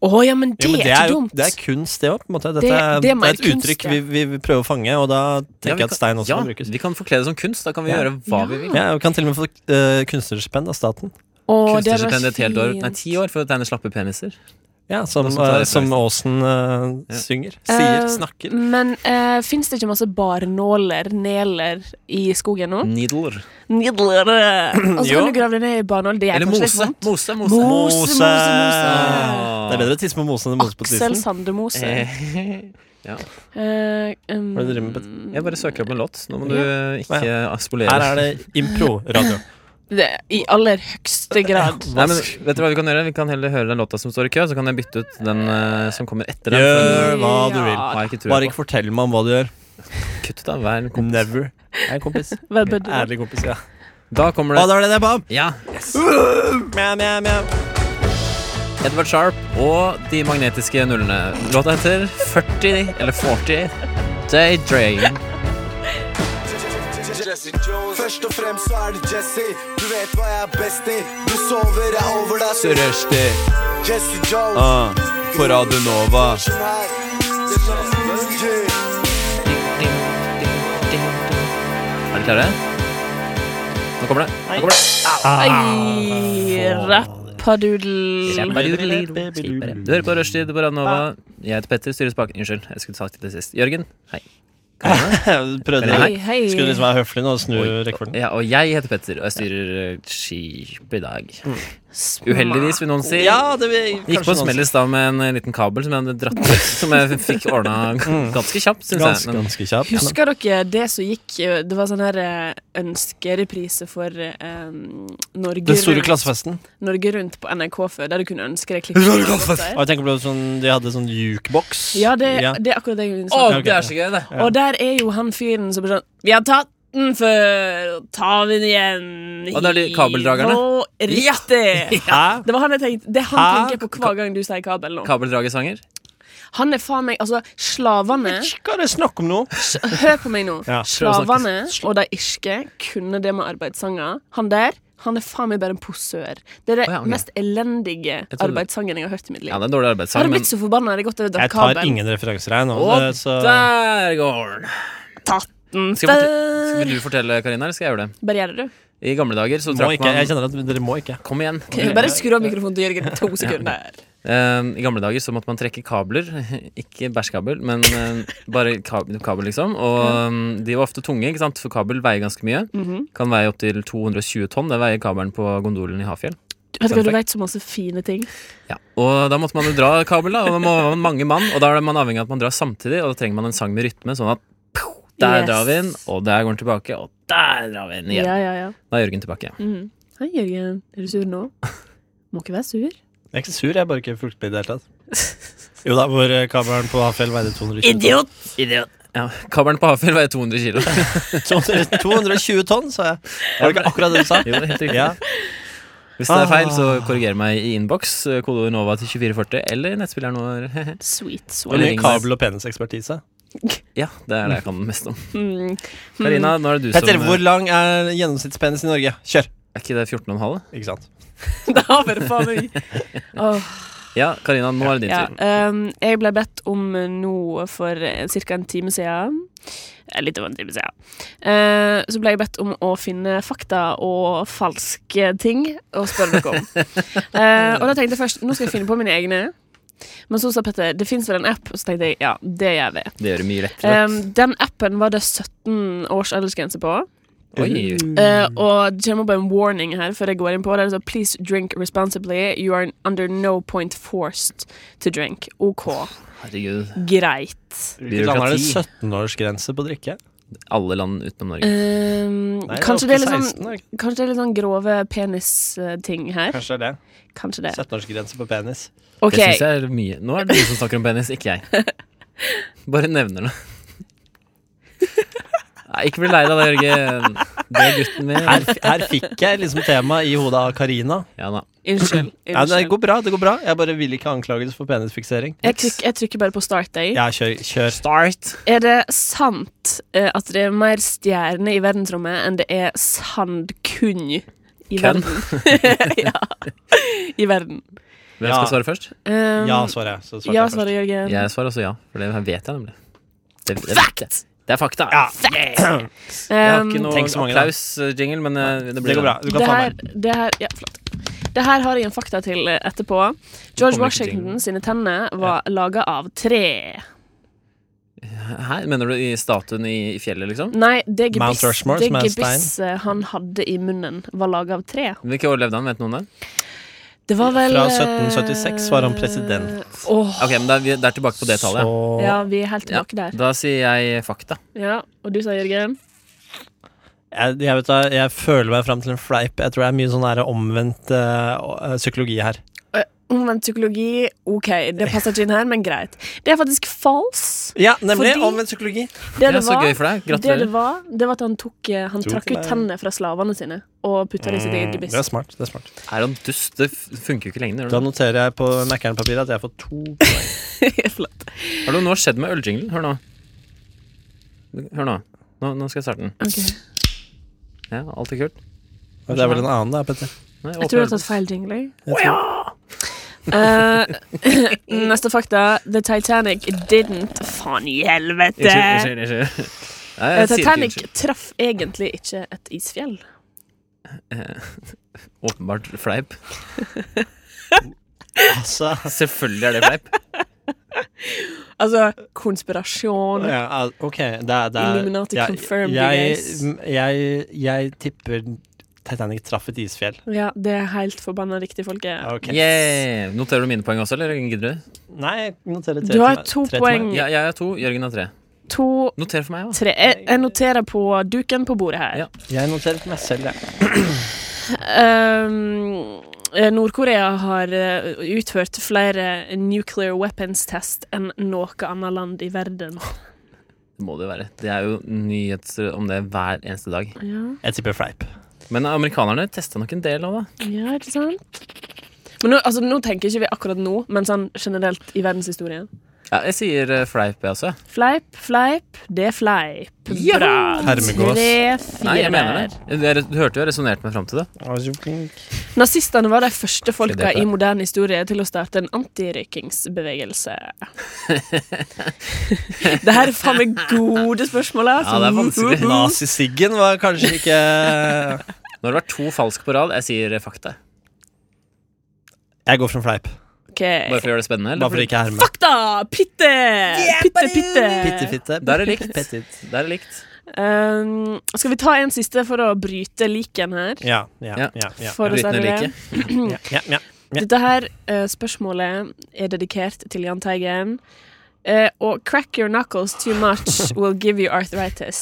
[SPEAKER 3] Å ja, men det,
[SPEAKER 1] Jo, men det,
[SPEAKER 3] er
[SPEAKER 1] er
[SPEAKER 3] ikke
[SPEAKER 1] jo,
[SPEAKER 3] dumt.
[SPEAKER 1] det er kunst, det òg. Det,
[SPEAKER 3] Det-
[SPEAKER 1] er-
[SPEAKER 3] det
[SPEAKER 1] det
[SPEAKER 3] er mer
[SPEAKER 1] er et
[SPEAKER 3] kunst,
[SPEAKER 1] uttrykk
[SPEAKER 3] ja.
[SPEAKER 1] vi, vi, vi prøver å fange, og da
[SPEAKER 2] Ja,
[SPEAKER 1] tenker
[SPEAKER 2] vi
[SPEAKER 1] jeg at stein
[SPEAKER 2] kan-
[SPEAKER 1] også
[SPEAKER 2] ja,
[SPEAKER 1] kan brukes.
[SPEAKER 2] Vi kan forkle det som kunst. Da kan vi
[SPEAKER 1] Ja.
[SPEAKER 2] gjøre hva
[SPEAKER 3] Ja.
[SPEAKER 2] vi vil.
[SPEAKER 1] Ja, Vi kan til og med få eh, kunstnerstipend av staten.
[SPEAKER 3] Å, det hadde vært
[SPEAKER 2] Kunstnerstipend et helt år,
[SPEAKER 3] fint.
[SPEAKER 2] nei, ti år for å tegne slappe peniser.
[SPEAKER 1] Ja, Som,
[SPEAKER 2] Noe som tar
[SPEAKER 1] eh, som Aasen
[SPEAKER 2] referansen.
[SPEAKER 1] eh,
[SPEAKER 2] Ja.
[SPEAKER 1] synger. Sier,
[SPEAKER 3] Eh,
[SPEAKER 1] snakker.
[SPEAKER 3] Men uh, fins det ikke masse barnåler, neler, i skogen nå?
[SPEAKER 2] Needler.
[SPEAKER 3] Nidler! Og så
[SPEAKER 1] Jo.
[SPEAKER 3] kan du grave deg ned i barnål. Det er
[SPEAKER 2] Eller
[SPEAKER 3] kanskje
[SPEAKER 2] mose.
[SPEAKER 3] litt vondt.
[SPEAKER 2] Mose, mose.
[SPEAKER 3] Mose, mose, mose.
[SPEAKER 2] Ah.
[SPEAKER 1] Det er bedre å tisse på mosen enn å mose på
[SPEAKER 3] Aksel
[SPEAKER 1] tissen.
[SPEAKER 3] Sandemose.
[SPEAKER 2] Eh,
[SPEAKER 3] Eh, um,
[SPEAKER 1] Hva er det du driver med, Petter?
[SPEAKER 2] Jeg bare søker opp en låt. Nå må du eh, ikke eh, spolere.
[SPEAKER 1] Her er det impro-radio.
[SPEAKER 3] det- I aller høyeste grad.
[SPEAKER 2] Nei, men vet du hva Vi kan gjøre? Vi kan heller høre den låta som står i kø, så kan jeg bytte ut den eh, som kommer etter den. for
[SPEAKER 1] Gjør
[SPEAKER 2] den
[SPEAKER 1] hva du vil.
[SPEAKER 3] Ja.
[SPEAKER 2] har jeg ikke trua
[SPEAKER 1] Bare ikke
[SPEAKER 2] på.
[SPEAKER 1] fortell meg om hva du gjør.
[SPEAKER 2] Kutt ut, da. Vær en kompis.
[SPEAKER 1] Never. Jeg er en kompis.
[SPEAKER 3] Vær buddy.
[SPEAKER 1] Ærlig kompis, ja.
[SPEAKER 2] Da kommer
[SPEAKER 1] Å,
[SPEAKER 2] det
[SPEAKER 1] det var det det ba om!
[SPEAKER 2] Ja.
[SPEAKER 1] Mjau, mjau, mjau.
[SPEAKER 2] Edvard Sharp og De magnetiske nullene. Låta heter 40, eller 40, Day Drain.
[SPEAKER 6] Først og fremst så er det Jesse. Du vet hva jeg er best i. Du sover, jeg er
[SPEAKER 4] Ah.
[SPEAKER 6] over deg. Så Jesse Jones.
[SPEAKER 4] på Radio Nova.
[SPEAKER 6] Kjør her. Yeah.
[SPEAKER 2] Er dere klare? Nå kommer det. Nå kommer det.
[SPEAKER 3] Ei, Rappadoodle.
[SPEAKER 2] Du hører på Rushtid på Radnova. Jeg heter Petter, styrer spaken. Unnskyld, jeg skulle sagt det sist. Jørgen, hei.
[SPEAKER 1] Jeg Prøvde
[SPEAKER 2] Hei,
[SPEAKER 3] hei.
[SPEAKER 1] Skulle liksom være høflig nå og snu
[SPEAKER 2] Oi.
[SPEAKER 1] rekorden.
[SPEAKER 2] Ja, og jeg heter Petter, og jeg styrer eh, skip i dag. Uheldigvis, vil noen si.
[SPEAKER 1] Ja, det vil
[SPEAKER 2] Gikk på
[SPEAKER 1] kanskje
[SPEAKER 2] en
[SPEAKER 1] noen
[SPEAKER 2] smell i stad med en eh, liten kabel som jeg hadde dratt ut. Som jeg fikk ordna ganske kjapt, syns jeg.
[SPEAKER 1] Mm. Ganske,
[SPEAKER 2] Men
[SPEAKER 1] ganske kjapt.
[SPEAKER 3] Husker dere det som gikk eh, Det var sånn her eh, ønskereprise for eh, Norge,
[SPEAKER 1] Den store
[SPEAKER 3] rundt,
[SPEAKER 1] klassefesten.
[SPEAKER 3] Norge Rundt på NRK før, der du kunne ønske deg klipp.
[SPEAKER 1] Og jeg tenker på det sånn, De hadde sånn jukebox.
[SPEAKER 3] Ja, det, det er akkurat det jeg ville
[SPEAKER 2] Å,
[SPEAKER 3] snakke om.
[SPEAKER 2] det er så gøy, det!
[SPEAKER 3] Og der er jo han fyren som blir sånn Vi har tatt den før, og tar vi den igjen
[SPEAKER 2] Og det er de kabeldragerne.
[SPEAKER 3] Nå, Riktig!
[SPEAKER 1] Hæ?
[SPEAKER 3] Det var han jeg tenkte Det er han
[SPEAKER 1] Hæ?
[SPEAKER 3] tenker jeg på hver gang du sier kabel nå.
[SPEAKER 2] Kabeldragersanger.
[SPEAKER 3] Han er faen meg Altså, slavene
[SPEAKER 1] Hva er det snakk om nå?
[SPEAKER 3] Hør på meg nå.
[SPEAKER 1] Ja.
[SPEAKER 3] Slavene og de irske kunne det med arbeidssanger. Han der han er faen meg bare en posør. Det er det
[SPEAKER 2] Å ja, ok.
[SPEAKER 3] mest elendige
[SPEAKER 2] trodde-
[SPEAKER 3] arbeidssangen jeg har hørt i mitt liv.
[SPEAKER 2] Ja, det er en dårlig
[SPEAKER 3] har
[SPEAKER 2] arbeidssang,
[SPEAKER 3] du
[SPEAKER 2] men
[SPEAKER 3] blitt så forbanna? Det er godt jeg drakk
[SPEAKER 1] Jeg tar
[SPEAKER 3] kabel.
[SPEAKER 1] ingen referanser her nå.
[SPEAKER 2] Og
[SPEAKER 1] det- Så
[SPEAKER 2] der går den!
[SPEAKER 3] Tatt den
[SPEAKER 2] Skal jeg
[SPEAKER 3] før.
[SPEAKER 2] Vil du fortelle, Karina, eller skal jeg gjøre det?
[SPEAKER 3] Bare gjør det, du.
[SPEAKER 2] I gamle dager så
[SPEAKER 1] må
[SPEAKER 2] drakk
[SPEAKER 1] ikke, jeg
[SPEAKER 2] man
[SPEAKER 1] kjenner at dere må ikke.
[SPEAKER 2] Kom igjen.
[SPEAKER 3] Kan du Bare skru av mikrofonen til Jørgen i to sekunder.
[SPEAKER 2] Eh, I gamle dager så måtte man trekke kabler. Ikke bæsjkabel, men eh, bare kabel, kabel liksom. Og eh, de var ofte tunge, ikke sant? for kabel veier ganske mye.
[SPEAKER 1] Mhm.
[SPEAKER 2] Kan veie opptil 220 tonn. Det veier kabelen på gondolen i Hafjell.
[SPEAKER 3] Vet du hva, du
[SPEAKER 2] Perfekt.
[SPEAKER 3] vet så masse fine ting.
[SPEAKER 2] Ja. Og da måtte man jo dra kabel, da. Og da må man være mange mann. Og da er man avhengig av at man drar samtidig, og da trenger man en sang med rytme, sånn at pow, der
[SPEAKER 3] Yes.
[SPEAKER 2] drar vi inn, og der går den tilbake, og der drar vi inn igjen.
[SPEAKER 3] Ja, ja, ja.
[SPEAKER 2] Da er Jørgen tilbake.
[SPEAKER 3] Mhm. Hei, Jørgen. Er du sur nå? Må ikke være sur.
[SPEAKER 1] Jeg er ikke sur, jeg er bare ikke fulgt med i det hele tatt. Jo da, hvor eh, kabelen på Hafjell veide 220
[SPEAKER 3] Idiot!
[SPEAKER 2] Ja, kabelen på Hafjell veier 200 kilo.
[SPEAKER 1] 220 tonn, sa jeg. Var det ikke akkurat det du sa?
[SPEAKER 2] Jo, helt riktig.
[SPEAKER 1] Ja.
[SPEAKER 2] Hvis det er feil, så korriger meg i innboks. eh, Kodeord Nova til 2440 eller nettspilleren vår.
[SPEAKER 3] Sweet
[SPEAKER 1] Hvor
[SPEAKER 3] swallow.
[SPEAKER 1] mye kabel- og penisekspertise?
[SPEAKER 2] ja, det er det jeg kan mest om.
[SPEAKER 3] Mm.
[SPEAKER 2] Karina, nå er det du som
[SPEAKER 1] Petter,
[SPEAKER 2] eh,
[SPEAKER 1] hvor lang er gjennomsnittspenis i Norge? Kjør!
[SPEAKER 2] Er ikke det 14,5?
[SPEAKER 1] Ikke sant?
[SPEAKER 3] Det har vært faen meg Åh,
[SPEAKER 2] Ja, Karina, nå er det din
[SPEAKER 3] ja.
[SPEAKER 2] tur.
[SPEAKER 3] Ehm, Jeg ble bedt om noe for ca. en time siden. Eh, Litt over en time siden. Eh, Så ble jeg bedt om å finne fakta og falske ting å spørre dere om. Eh, Og da tenkte jeg først nå skal jeg finne på mine egne. Men så sa Petter det fins vel en app, og så tenkte jeg ja, det gjør vi.
[SPEAKER 2] Det gjør det mye lettere.
[SPEAKER 3] Ehm, den appen var det 17 års aldersgrense på.
[SPEAKER 2] Oi.
[SPEAKER 1] Mm.
[SPEAKER 3] Eh, og det kommer opp en warning her før jeg går inn på det. Det står 'Please drink responsibly. You are under no point forced to drink'. OK.
[SPEAKER 2] Herregud.
[SPEAKER 3] Greit.
[SPEAKER 1] Hvilket land er det
[SPEAKER 2] Byråkrati.
[SPEAKER 1] 17-årsgrense på drikke?
[SPEAKER 2] Alle land utenom
[SPEAKER 3] Eh,
[SPEAKER 2] Norge.
[SPEAKER 3] Ehm,
[SPEAKER 1] Nei,
[SPEAKER 3] kanskje, det er litt
[SPEAKER 1] ofte
[SPEAKER 3] sånn,
[SPEAKER 1] 16 år.
[SPEAKER 3] kanskje det er litt sånn grove penisting her.
[SPEAKER 1] Kanskje det er det.
[SPEAKER 3] Kanskje det.
[SPEAKER 1] 17-årsgrense på penis.
[SPEAKER 3] OK.
[SPEAKER 2] Det syns jeg er mye. Nå er det du som snakker om penis, ikke jeg. Bare nevner det. Nei, ikke bli lei deg da, Jørgen. Det er gutten
[SPEAKER 1] Her,
[SPEAKER 2] min.
[SPEAKER 1] her fikk jeg liksom temaet i hodet av Karina.
[SPEAKER 2] Ja da.
[SPEAKER 3] Unnskyld.
[SPEAKER 1] Ja, det
[SPEAKER 3] unnskyld.
[SPEAKER 1] går bra, det går bra. Jeg bare vil ikke anklages for penisfiksering.
[SPEAKER 3] Jeg, trykker, jeg trykker bare på start day.
[SPEAKER 1] Ja, kjør. kjør.
[SPEAKER 2] Start.
[SPEAKER 3] Er det sant eh, at det er mer stjerner i verdensrommet enn det er sandkunn i
[SPEAKER 2] Kun?
[SPEAKER 3] verden? ja. I verden.
[SPEAKER 2] Hvem
[SPEAKER 1] Ja. Um.
[SPEAKER 2] skal svare først?
[SPEAKER 3] Um,
[SPEAKER 1] Ja, svarer jeg. Så svarte
[SPEAKER 3] Ja,
[SPEAKER 1] jeg først.
[SPEAKER 3] svarer Jørgen.
[SPEAKER 2] Jeg svarer også ja, for det her vet jeg nemlig. Det, det vet jeg. Det er fakta. Jeg har
[SPEAKER 3] Um,
[SPEAKER 2] ikke noe
[SPEAKER 1] Tenk så mange, da.
[SPEAKER 2] applaus-jingle, men eh, det
[SPEAKER 1] Det
[SPEAKER 2] blir
[SPEAKER 1] går bra. Du kan
[SPEAKER 3] det,
[SPEAKER 1] ta
[SPEAKER 3] her,
[SPEAKER 1] meg.
[SPEAKER 3] det her Ja, flott. Det her har jeg en fakta til eh, etterpå. George
[SPEAKER 2] kommer ikke
[SPEAKER 3] Washington sine tenner var laget laga av tre.
[SPEAKER 2] Hæ? Mener du i statuen i i fjellet, liksom?
[SPEAKER 3] Nei, det
[SPEAKER 1] Mount
[SPEAKER 3] gebisset
[SPEAKER 1] Rushmore, som er en
[SPEAKER 3] gebiss, eh, han hadde i munnen, var laga av tre.
[SPEAKER 2] Hvilke år levde han? Vet noen det?
[SPEAKER 3] Det var vel
[SPEAKER 1] Fra
[SPEAKER 3] eh,
[SPEAKER 1] 1776 var han president.
[SPEAKER 3] Åh,
[SPEAKER 2] Ok, men da, er vi- det er tilbake på det tallet. ja.
[SPEAKER 1] Så
[SPEAKER 3] ja, vi er helt
[SPEAKER 2] Ja,
[SPEAKER 3] tilbake der.
[SPEAKER 2] da sier jeg fakta.
[SPEAKER 3] Ja, Og du sa, Jørgen?
[SPEAKER 1] jeg, jeg, vet, da, jeg føler meg fram til en fleip. Jeg tror det er mye sånn her omvendt eh, psykologi her.
[SPEAKER 3] Omvendt psykologi, OK, det passer ikke inn her, men greit. Det er faktisk false.
[SPEAKER 1] Ja, nemlig.
[SPEAKER 3] Fordi-
[SPEAKER 1] Omvendt psykologi.
[SPEAKER 3] Det
[SPEAKER 2] Ja,
[SPEAKER 3] det
[SPEAKER 2] så
[SPEAKER 3] var,
[SPEAKER 2] gøy for deg.
[SPEAKER 3] det det
[SPEAKER 2] Gratulerer.
[SPEAKER 3] var, det var at han tok eh, Han trakk ut tennene fra slavene sine og putta det i sitt eget
[SPEAKER 1] Mm, det
[SPEAKER 3] gebiss.
[SPEAKER 1] er smart. det er smart
[SPEAKER 2] Er han dust? Det f- funker jo ikke lenger. gjør
[SPEAKER 1] Da
[SPEAKER 2] det?
[SPEAKER 1] noterer jeg på Mækkern-papiret at jeg får to
[SPEAKER 3] Flott.
[SPEAKER 2] Har du noe skjedd med øljinglen? Hør nå. Hør nå. Nå, nå skal jeg starte den.
[SPEAKER 3] Ok.
[SPEAKER 2] Ja, alt er kult.
[SPEAKER 1] Det er vel en annen, da, Petter.
[SPEAKER 2] Nei,
[SPEAKER 3] Jeg tror jeg har
[SPEAKER 2] åpne
[SPEAKER 3] tatt feil jingle.
[SPEAKER 1] Jeg tror-
[SPEAKER 3] Eh, neste fakta. The Titanic didn't Faen i helvete!
[SPEAKER 2] Unnskyld, unnskyld. unnskyld. Nei, jeg
[SPEAKER 3] Eh,
[SPEAKER 2] sier ikke
[SPEAKER 3] Titanic
[SPEAKER 2] unnskyld.
[SPEAKER 3] traff egentlig ikke et isfjell.
[SPEAKER 2] Åpenbart fleip.
[SPEAKER 1] Altså,
[SPEAKER 2] Selvfølgelig er det fleip.
[SPEAKER 3] Altså konspirasjon.
[SPEAKER 1] ja, al- ok, det er, det er
[SPEAKER 3] Illuminati
[SPEAKER 1] jeg-
[SPEAKER 3] confirmed, you
[SPEAKER 1] jeg,
[SPEAKER 3] guys.
[SPEAKER 1] m- jeg, jeg tipper Titanic traff et isfjell.
[SPEAKER 3] Ja, det er helt forbanna riktig, folket.
[SPEAKER 1] Ok.
[SPEAKER 2] Yeah. Noterer du mine poeng også, eller gidder du?
[SPEAKER 1] Nei, jeg noterer tre
[SPEAKER 3] Du
[SPEAKER 1] til
[SPEAKER 3] har
[SPEAKER 1] meg-
[SPEAKER 3] to
[SPEAKER 1] tre til
[SPEAKER 3] poeng.
[SPEAKER 1] meg.
[SPEAKER 2] Ja, jeg har to, Jørgen har tre.
[SPEAKER 3] To,
[SPEAKER 2] Noter for meg òg.
[SPEAKER 3] tre. Jeg, jeg noterer på duken på bordet her.
[SPEAKER 2] Ja.
[SPEAKER 1] Jeg noterer til meg selv, jeg.
[SPEAKER 3] Ehm, eh, Nord-Korea har eh, utført flere nuclear weapons test enn noe annet land i verden.
[SPEAKER 2] Det må det jo være. Det er jo nyheter om det hver eneste dag.
[SPEAKER 3] Ja,
[SPEAKER 1] Jeg tipper fleip.
[SPEAKER 2] Men amerikanerne testa nok en del òg, da.
[SPEAKER 3] ja ikke sant? Men nå, altså, nå tenker ikke vi akkurat nå, men sånn generelt i verdenshistorien.
[SPEAKER 2] Ja, jeg sier eh, fleip, jeg også.
[SPEAKER 3] Fleip, fleip, det er fleip.
[SPEAKER 2] Ja!
[SPEAKER 3] Bra.
[SPEAKER 1] Hermegås.
[SPEAKER 3] Tre, fire.
[SPEAKER 2] Nei, jeg mener det. Jeg, du hørte jo jeg resonnerte meg fram til det.
[SPEAKER 3] Nazistene var de første folka
[SPEAKER 2] Skal jeg drepe?
[SPEAKER 3] i moderne historie til å starte en antirøykingsbevegelse. det her er faen meg gode spørsmål. Altså.
[SPEAKER 2] Ja, det er vanskelig.
[SPEAKER 1] Nazisiggen var kanskje ikke
[SPEAKER 2] Nå har det vært to falsk på rad. Jeg sier eh, fakta.
[SPEAKER 1] Jeg går for en fleip.
[SPEAKER 2] Bare
[SPEAKER 3] Ok.
[SPEAKER 2] for å gjøre det spennende.
[SPEAKER 1] Bare for
[SPEAKER 2] Eller?
[SPEAKER 1] å
[SPEAKER 2] fordi-
[SPEAKER 1] ikke herme.
[SPEAKER 3] Fakta! Pitte! Pitte, pitte.
[SPEAKER 1] Pittefitte.
[SPEAKER 2] Der er det likt.
[SPEAKER 1] Petit.
[SPEAKER 2] Der er det likt.
[SPEAKER 3] Um, skal vi ta en siste for å bryte liken her?
[SPEAKER 1] Ja, ja, ja.
[SPEAKER 2] Ja.
[SPEAKER 1] ja, ja,
[SPEAKER 3] For å
[SPEAKER 2] Brytende
[SPEAKER 3] svelge det.
[SPEAKER 2] like.
[SPEAKER 1] ja, ja, ja. Ja.
[SPEAKER 3] Dette her eh, spørsmålet er dedikert til Jahn Teigen. Eh, og 'crack your knuckles too much will give you arthritis'.